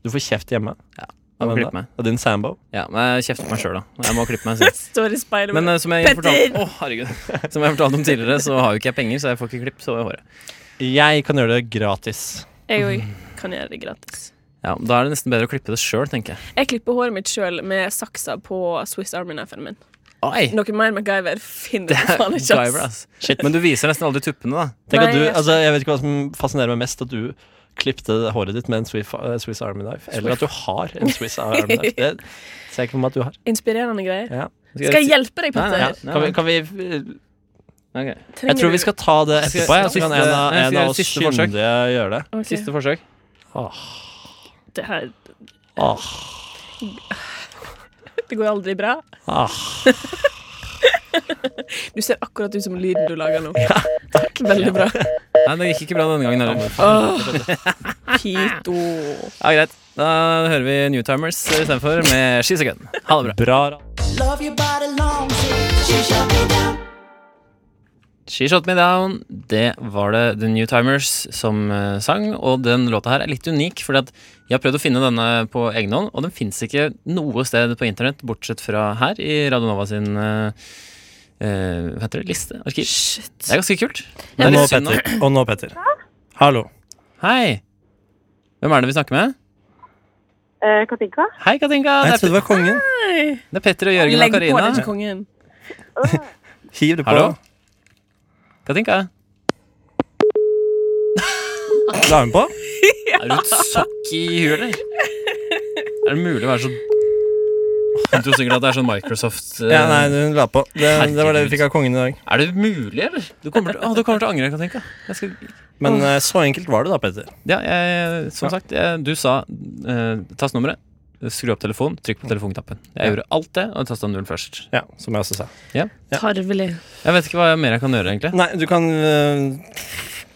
[SPEAKER 1] Du får kjeft hjemme.
[SPEAKER 2] Jeg
[SPEAKER 1] av
[SPEAKER 2] må
[SPEAKER 1] den
[SPEAKER 2] klippe
[SPEAKER 1] der.
[SPEAKER 2] meg.
[SPEAKER 1] Av din Sambo.
[SPEAKER 2] Ja, men jeg kjefter på meg sjøl, da. Jeg må klippe meg. Siden.
[SPEAKER 3] Står i speilet
[SPEAKER 2] Men eh, som jeg
[SPEAKER 3] Petter!
[SPEAKER 2] fortalte Å, herregud. Som jeg fortalte om tidligere, så har jo ikke jeg penger, så jeg får ikke klipp så i håret.
[SPEAKER 1] Jeg kan gjøre det gratis. eh,
[SPEAKER 3] Jeg òg kan gjøre det gratis.
[SPEAKER 2] Ja, Da er det nesten bedre å klippe det sjøl, tenker jeg.
[SPEAKER 3] Jeg klipper håret mitt sjøl med saksa på Swiss Army-knifen min.
[SPEAKER 2] Oi!
[SPEAKER 3] Noe mer MacGyver finner
[SPEAKER 2] Det
[SPEAKER 3] jeg
[SPEAKER 2] er
[SPEAKER 3] faen ikke.
[SPEAKER 2] diver,
[SPEAKER 3] ass.
[SPEAKER 2] ass. Men du viser nesten aldri tuppene, da.
[SPEAKER 1] Tenk
[SPEAKER 3] Nei,
[SPEAKER 1] at du,
[SPEAKER 3] jeg-
[SPEAKER 1] altså, jeg vet ikke hva som fascinerer meg mest, at du klipte håret ditt med en Swiss, eh, Swiss Army Knife. Eller at du har en Swiss Army Knife. Det ser jeg ikke for meg at du har.
[SPEAKER 3] Inspirerende greier.
[SPEAKER 1] Ja.
[SPEAKER 3] Skal jeg hjelpe deg,
[SPEAKER 2] Nei, nei,
[SPEAKER 3] Petter?
[SPEAKER 2] ja.
[SPEAKER 1] Kan vi, kan vi eh,
[SPEAKER 2] Ok.
[SPEAKER 1] Jeg tror vi skal ta det
[SPEAKER 2] Skal-
[SPEAKER 1] etterpå, ja, så kan en av,
[SPEAKER 2] Nei, jeg skal
[SPEAKER 1] en
[SPEAKER 2] gjøre
[SPEAKER 1] av oss
[SPEAKER 2] siste forsøk.
[SPEAKER 1] kyndige gjøre det.
[SPEAKER 3] Ok.
[SPEAKER 2] Siste forsøk.
[SPEAKER 3] Det her
[SPEAKER 1] Åh,
[SPEAKER 3] det går aldri bra.
[SPEAKER 1] ah.
[SPEAKER 3] Du ser akkurat ut som lyden du lager nå. Takk, veldig bra.
[SPEAKER 2] Nei, det gikk ikke bra denne gangen heller.
[SPEAKER 3] Pito.
[SPEAKER 2] Ja, greit. Da hører vi Newtimers istedenfor med She's a Gun. Ha det bra.
[SPEAKER 1] Bra.
[SPEAKER 2] She Shot Me Down, det var det The Newtimers som eh, sang. Og den låta her er litt unik, fordi at jeg har prøvd å finne denne på egen hånd, og den fins ikke noe sted på internett bortsett fra her i Radio Nova sin eh, eh, Hva heter det? Liste? Arkiv? Det er ganske kult. Det
[SPEAKER 1] Og
[SPEAKER 2] er
[SPEAKER 1] nå,
[SPEAKER 2] litt synd nå.
[SPEAKER 1] Petter. Og nå, Petter. Hallo.
[SPEAKER 2] Hei! Hvem er det vi snakker med?
[SPEAKER 3] Eh,
[SPEAKER 10] Katinka?
[SPEAKER 2] Hei, Katinka. Det
[SPEAKER 1] Jeg
[SPEAKER 2] er,
[SPEAKER 1] trodde det var kongen.
[SPEAKER 2] Pet- det er Petter og Jørgen
[SPEAKER 3] Legg
[SPEAKER 2] og
[SPEAKER 3] på
[SPEAKER 2] Karina.
[SPEAKER 3] den, kongen.
[SPEAKER 1] Hiv det på.
[SPEAKER 2] Hallo? Katinka,
[SPEAKER 1] La hun på?
[SPEAKER 2] er du et sokk i huet, eller? Er det mulig å være så Du synger at det er sånn Microsoft eh,
[SPEAKER 1] Ja, nei, hun la på. Det, det var det vi fikk av kongen i dag.
[SPEAKER 2] Er det mulig, eller? Du kommer til, å, du kommer til å angre, kan jeg tenke. Jeg skal,
[SPEAKER 1] Men eh, så enkelt var det da, Petter.
[SPEAKER 2] ja, jeg, som sagt, jeg, du sa eh, tastnummeret. Skru opp telefonen, trykk på telefonknappen. Jeg gjorde alt det, og tasta null først.
[SPEAKER 1] Ja, som jeg også sa.
[SPEAKER 3] Tarvelig.
[SPEAKER 2] Jeg vet ikke hva mer jeg kan gjøre, egentlig.
[SPEAKER 1] Nei, du kan eh,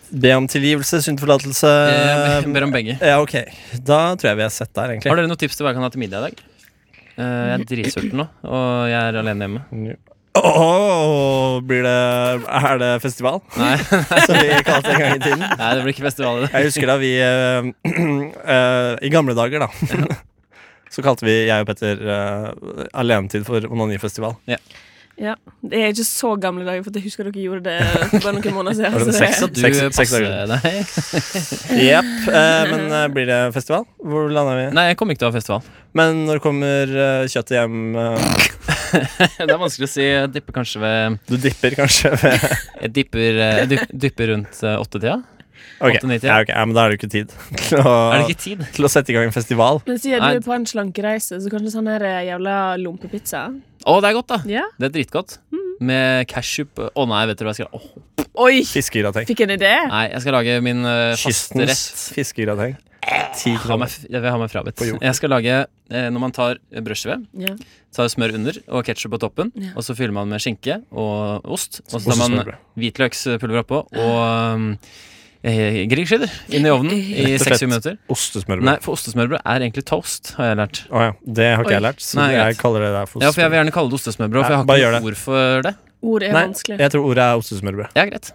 [SPEAKER 1] be om tilgivelse, syndforlatelse
[SPEAKER 2] Eh, Jeg ber om begge.
[SPEAKER 1] Ja, ok. Da tror jeg vi er sett der, egentlig.
[SPEAKER 2] Har dere noen tips til hva jeg kan ha til middag i dag? Eh, jeg er dritsulten nå, og jeg er alene hjemme.
[SPEAKER 1] Åh, blir det Er det festival?
[SPEAKER 2] Nei,
[SPEAKER 1] Som vi kalte det en gang i tiden.
[SPEAKER 2] nei det blir ikke festival i dag.
[SPEAKER 1] Jeg husker da vi eh, eh, I gamle dager, da. Så kalte vi, jeg og Petter, eh, alenetid for onanifestival.
[SPEAKER 3] Ja. Jeg er ikke så gammel i dag, for jeg husker dere gjorde det for bare noen måneder siden.
[SPEAKER 1] Var det
[SPEAKER 3] så
[SPEAKER 1] seks,
[SPEAKER 3] det-
[SPEAKER 1] du Seks- seks dager
[SPEAKER 2] passer
[SPEAKER 1] siden.
[SPEAKER 2] deg.
[SPEAKER 1] Jepp. Eh, men eh, blir det festival? Hvor lander vi?
[SPEAKER 2] Nei, jeg kommer ikke til å ha festival.
[SPEAKER 1] Men når kommer eh, kjøttet hjem? eh?
[SPEAKER 2] Det er vanskelig å si. Jeg dipper kanskje ved
[SPEAKER 1] Du dipper kanskje ved
[SPEAKER 2] Jeg dipper, eh, dyp- dipper rundt eh, åttetida.
[SPEAKER 1] Ok,
[SPEAKER 2] Åtte-ni-tida.
[SPEAKER 1] ja, ok, ja, men da er det jo ikke tid til å,
[SPEAKER 2] Er det ikke tid?
[SPEAKER 1] Til å sette i gang en festival.
[SPEAKER 3] Men siden
[SPEAKER 2] Nei.
[SPEAKER 3] du er på en slankereise, så kanskje sånn her eh, jævla lompepizza?
[SPEAKER 2] Å, det er godt, da.
[SPEAKER 3] Ja.
[SPEAKER 2] Det er dritgodt. Med cashew på- Å nei, vet dere hva jeg skal Åh.
[SPEAKER 3] Oi!
[SPEAKER 1] Fiskegrateng.
[SPEAKER 3] Fikk en idé?
[SPEAKER 2] Nei, jeg skal lage min eh, faste
[SPEAKER 1] Kystens
[SPEAKER 2] rett.
[SPEAKER 1] fiskegrateng. Ti
[SPEAKER 2] Jeg har meg f- jeg vil ha meg frabedt.
[SPEAKER 1] På jord.
[SPEAKER 2] Jeg skal lage eh, Når man tar brødskive,
[SPEAKER 3] Ja.
[SPEAKER 2] tar smør under og ketsjup på toppen,
[SPEAKER 3] Ja.
[SPEAKER 2] og så fyller man med skinke og ost, og
[SPEAKER 1] Og
[SPEAKER 2] så
[SPEAKER 1] så
[SPEAKER 2] tar man
[SPEAKER 1] smørbrød.
[SPEAKER 2] hvitløkspulver oppå og um, eh, grillskiver inn i ovnen i
[SPEAKER 1] Rett og
[SPEAKER 2] 60
[SPEAKER 1] slett
[SPEAKER 2] minutter.
[SPEAKER 1] ostesmørbrød.
[SPEAKER 2] Nei, for ostesmørbrød er egentlig toast, har jeg lært.
[SPEAKER 1] Å ja. Det har ikke
[SPEAKER 3] Oi.
[SPEAKER 1] jeg lært, så
[SPEAKER 2] Nei,
[SPEAKER 1] jeg
[SPEAKER 2] greit.
[SPEAKER 1] kaller det der for
[SPEAKER 2] Ja, for jeg vil gjerne kalle det ostesmørbrød, for
[SPEAKER 1] Ja,
[SPEAKER 2] jeg
[SPEAKER 1] bare
[SPEAKER 2] har
[SPEAKER 1] gjør
[SPEAKER 2] ikke noe ord for det.
[SPEAKER 3] Ordet er
[SPEAKER 1] Nei,
[SPEAKER 3] vanskelig.
[SPEAKER 1] jeg tror ordet er ostesmørbrød.
[SPEAKER 2] Ja, greit.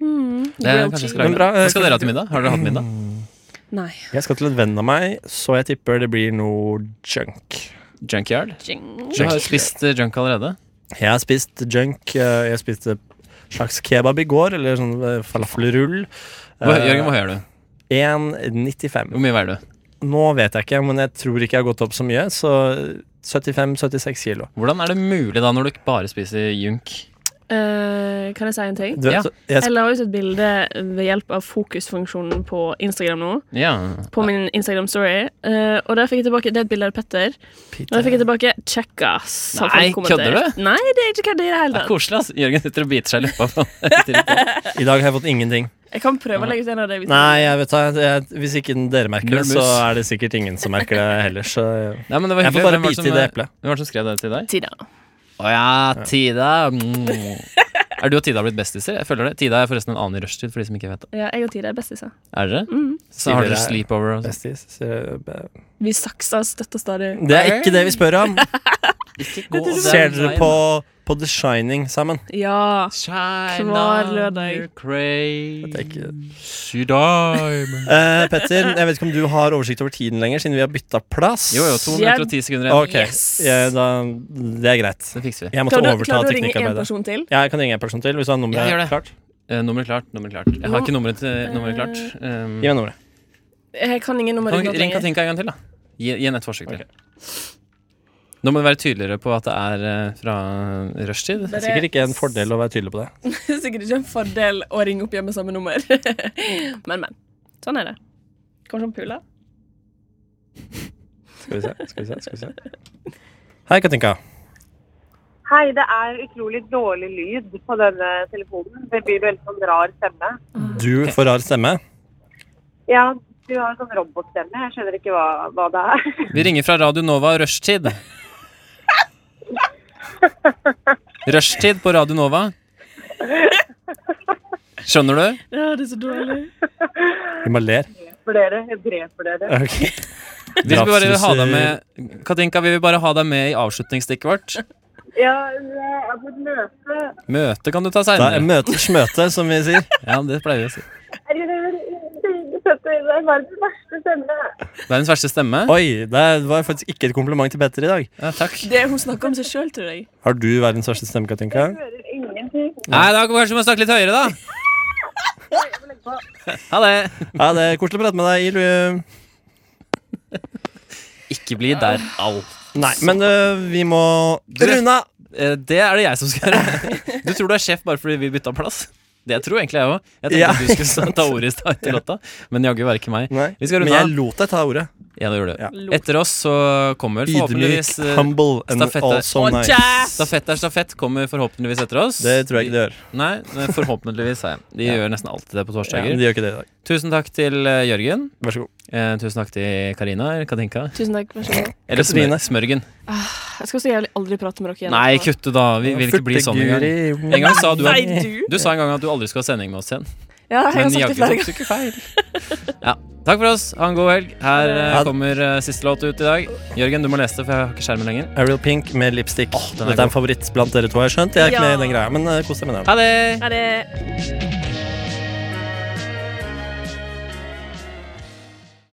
[SPEAKER 3] Mm,
[SPEAKER 2] Det er kanskje
[SPEAKER 3] grilled
[SPEAKER 2] jeg skal
[SPEAKER 3] cheese.
[SPEAKER 2] lage.
[SPEAKER 1] Men bra, eh,
[SPEAKER 2] Hva skal dere ha til middag? Har dere hatt middag?
[SPEAKER 3] Nei.
[SPEAKER 1] Jeg skal til en venn av meg, så jeg tipper det blir noe junk.
[SPEAKER 2] Junkyard?
[SPEAKER 3] Mm. Jing.
[SPEAKER 2] Du har jo spist eh, junk allerede.
[SPEAKER 1] Jeg har spist junk. eh, Jeg spiste slags kebab i går, eller sånn eh, falafelrull.
[SPEAKER 2] Hva,
[SPEAKER 1] Eh.
[SPEAKER 2] Jørgen, hva gjør du?
[SPEAKER 1] 1,95.
[SPEAKER 2] Hvor mye veier du?
[SPEAKER 1] Nå vet jeg ikke, men jeg tror ikke jeg har gått opp så mye, så 75-76 kilo.
[SPEAKER 2] Hvordan er det mulig da, når du bare spiser junk?
[SPEAKER 3] Eh, kan jeg si en ting?
[SPEAKER 1] Du,
[SPEAKER 2] Ja.
[SPEAKER 1] så jeg,
[SPEAKER 3] Jeg la ut et bilde ved hjelp av fokusfunksjonen på Instagram nå.
[SPEAKER 2] Ja.
[SPEAKER 3] På min Instagram-story. eh, og der fikk jeg tilbake Det er et bilde av Petter. Og der fikk jeg tilbake 'Checkass'. har
[SPEAKER 2] Nei,
[SPEAKER 3] folk kommentert.
[SPEAKER 2] kødder
[SPEAKER 3] Nei, det er ikke kødd i det hele
[SPEAKER 2] Det er
[SPEAKER 3] tatt.
[SPEAKER 2] koselig, ass. Jørgen sitter og biter seg i leppa.
[SPEAKER 1] I dag har jeg fått ingenting.
[SPEAKER 3] Jeg kan prøve å legge ut en av det. hvis-
[SPEAKER 1] Nei, jeg vet da, jeg, hvis ikke dere merker det,
[SPEAKER 2] Null
[SPEAKER 1] så
[SPEAKER 2] mus.
[SPEAKER 1] er det sikkert ingen som merker det heller. Så eh,
[SPEAKER 2] Nei, men det var
[SPEAKER 1] jeg
[SPEAKER 2] hyggelig.
[SPEAKER 1] får bare
[SPEAKER 2] Hvem var
[SPEAKER 1] bite
[SPEAKER 2] som- eh,
[SPEAKER 1] i det eplet.
[SPEAKER 2] Hvem var det som skrev det til deg?
[SPEAKER 3] Tida.
[SPEAKER 2] Å ja, Tida. Mm. Er du og Tida blitt bestiser? Jeg føler det. Tida er forresten en annen i rushtid, for de som ikke vet det.
[SPEAKER 3] Ja, jeg og Tida er bestiser.
[SPEAKER 2] Er dere?
[SPEAKER 3] Mm.
[SPEAKER 2] Så har dere
[SPEAKER 1] Tidligere-
[SPEAKER 2] sleepover og sånn.
[SPEAKER 1] Besties, sier jeg.
[SPEAKER 3] Vi saksa støtt og stadig.
[SPEAKER 1] Det er ikke det vi spør om.
[SPEAKER 2] sånn. Gå den
[SPEAKER 1] Ser dere
[SPEAKER 2] veien.
[SPEAKER 1] på, på The Shining sammen?
[SPEAKER 3] Ja.
[SPEAKER 2] Shine
[SPEAKER 3] Hver
[SPEAKER 2] on,
[SPEAKER 3] lørdag.
[SPEAKER 2] you crazy
[SPEAKER 1] Det er ikke...
[SPEAKER 2] dime.
[SPEAKER 1] Eh, Petter, jeg vet ikke om du har oversikt over tiden lenger, siden vi har bytta plass.
[SPEAKER 2] Jo, jo, 210 sekunder igjen.
[SPEAKER 1] Ok,
[SPEAKER 3] Yes.
[SPEAKER 1] jeg, da, det er greit.
[SPEAKER 2] Det fikser vi.
[SPEAKER 1] Jeg måtte
[SPEAKER 3] Klarer du,
[SPEAKER 1] overta
[SPEAKER 3] klarer du å ringe én
[SPEAKER 1] teknikkarbeidet.
[SPEAKER 3] person til?
[SPEAKER 1] Ja, jeg kan ringe en person til hvis du har nummeret
[SPEAKER 2] Ja, gjør det.
[SPEAKER 1] klart.
[SPEAKER 2] Eh, nummeret klart, nummeret klart. Jeg har
[SPEAKER 3] Nå-
[SPEAKER 2] ikke nummeret, til, nummeret klart. Um,
[SPEAKER 1] Gi meg nummeret.
[SPEAKER 3] Jeg kan ingen nummer
[SPEAKER 2] kan
[SPEAKER 3] utenat
[SPEAKER 2] du ring
[SPEAKER 3] lenger.
[SPEAKER 2] Katinka en gang til, da. Gi, gi henne et forsøk til. Nå må vi være tydeligere på at det er eh, fra rushtid.
[SPEAKER 1] Det er sikkert ikke en fordel å være tydelig på det.
[SPEAKER 3] Det er sikkert ikke en fordel å ringe opp igjen med samme nummer. men, men. Sånn er det. Kanskje hun puler?
[SPEAKER 1] Skal vi se, skal vi se. skal vi se Hei, Katinka.
[SPEAKER 10] Hei, det er utrolig dårlig lyd på denne telefonen. Det blir veldig sånn rar stemme.
[SPEAKER 1] Du får rar stemme.
[SPEAKER 10] Ja, du har sånn robotstemme. Jeg skjønner ikke hva, hva det er.
[SPEAKER 2] Vi ringer fra Radio Nova rushtid. Rushtid på Radio Nova. Skjønner du?
[SPEAKER 3] Ja, det er så dårlig.
[SPEAKER 1] Vi bare ler.
[SPEAKER 10] For dere, jeg dreper dere.
[SPEAKER 1] Ok.
[SPEAKER 2] Vi vil bare ha deg
[SPEAKER 1] Drapstrusler.
[SPEAKER 2] med Katinka, vi vil bare ha deg med i avslutningsstikket vårt.
[SPEAKER 10] Ja, jeg er på et møte.
[SPEAKER 2] Møte kan du ta
[SPEAKER 1] Da eh, er
[SPEAKER 2] seinere.
[SPEAKER 1] møte smøte, som vi sier.
[SPEAKER 2] Ja, det pleier vi å si.
[SPEAKER 10] Herregud, Det er verdens verste stemme.
[SPEAKER 2] Verdens verste stemme.
[SPEAKER 1] Oi, det var faktisk ikke et kompliment til Petter i dag.
[SPEAKER 2] Ja, takk.
[SPEAKER 3] Det hun snakker om seg sjøl, tror jeg.
[SPEAKER 1] Har du verdens verste stemme, Katinka?
[SPEAKER 10] Jeg hører ingenting.
[SPEAKER 2] Nei, da kanskje vi må snakke litt høyere, da. Ha det.
[SPEAKER 1] Ja, det er koselig å prate med deg. i lu-
[SPEAKER 2] Ikke bli der, au.
[SPEAKER 1] Nei, men øh, vi må runde av.
[SPEAKER 2] Eh, Det er det jeg som skal gjøre. Du tror du er sjef bare fordi vi bytta plass? Det tror egentlig jeg òg. Jeg tenkte
[SPEAKER 1] Ja,
[SPEAKER 2] at du skulle ta ordet i stad etter låta, men jaggu var det ikke meg.
[SPEAKER 1] Nei,
[SPEAKER 2] Vi skal
[SPEAKER 1] Men
[SPEAKER 2] runde
[SPEAKER 1] jeg
[SPEAKER 2] av.
[SPEAKER 1] lot deg ta ordet.
[SPEAKER 2] Ja, det gjorde du.
[SPEAKER 3] Ja.
[SPEAKER 2] Etter oss så kommer forhåpentligvis
[SPEAKER 1] Ydmyk,
[SPEAKER 2] eh,
[SPEAKER 1] humble and
[SPEAKER 2] stafett er-
[SPEAKER 1] also
[SPEAKER 3] Og
[SPEAKER 1] nice.
[SPEAKER 3] jazz!
[SPEAKER 2] Stafett er stafett kommer forhåpentligvis etter oss.
[SPEAKER 1] Det tror jeg ikke det gjør.
[SPEAKER 2] Nei, men forhåpentligvis, sa jeg. De gjør nesten alltid det på
[SPEAKER 1] Ja, men
[SPEAKER 2] torsdager.
[SPEAKER 1] de gjør ikke det i dag.
[SPEAKER 2] Tusen takk til eh, Jørgen.
[SPEAKER 1] Vær så god.
[SPEAKER 2] Eh, tusen takk til Karina eller Katinka.
[SPEAKER 3] Tusen takk. Vær så god.
[SPEAKER 2] Eller
[SPEAKER 1] Katrine.
[SPEAKER 2] Smør Smørgen.
[SPEAKER 3] Jeg skal så jævlig aldri prate med dere igjen.
[SPEAKER 2] Nei, kutte, da. Vi vil ikke bli sånn engang.
[SPEAKER 1] Furteguri.
[SPEAKER 2] En gang sa du, at,
[SPEAKER 3] altså. Nei, du.
[SPEAKER 2] du sa en gang at du aldri skal ha sending med oss igjen.
[SPEAKER 3] Ja, jeg har
[SPEAKER 2] Men
[SPEAKER 3] sagt
[SPEAKER 2] jaggu
[SPEAKER 3] det flere
[SPEAKER 2] tok du
[SPEAKER 3] ganger.
[SPEAKER 2] ikke feil. Ja. Takk for oss. Ha en god helg. Her eh,
[SPEAKER 1] Ha det.
[SPEAKER 2] kommer eh, siste låt ut i dag. Jørgen, du må lese det, for jeg har ikke skjermen lenger.
[SPEAKER 1] Ariel Pink med lipstick.
[SPEAKER 2] Åh, den er
[SPEAKER 1] Dette er en favoritt blant dere to, har jeg skjønt. Jeg er ikke
[SPEAKER 3] Ja.
[SPEAKER 1] med i den greia, men eh, kos deg med den.
[SPEAKER 2] Ha det!
[SPEAKER 3] Ha det.
[SPEAKER 1] Hei.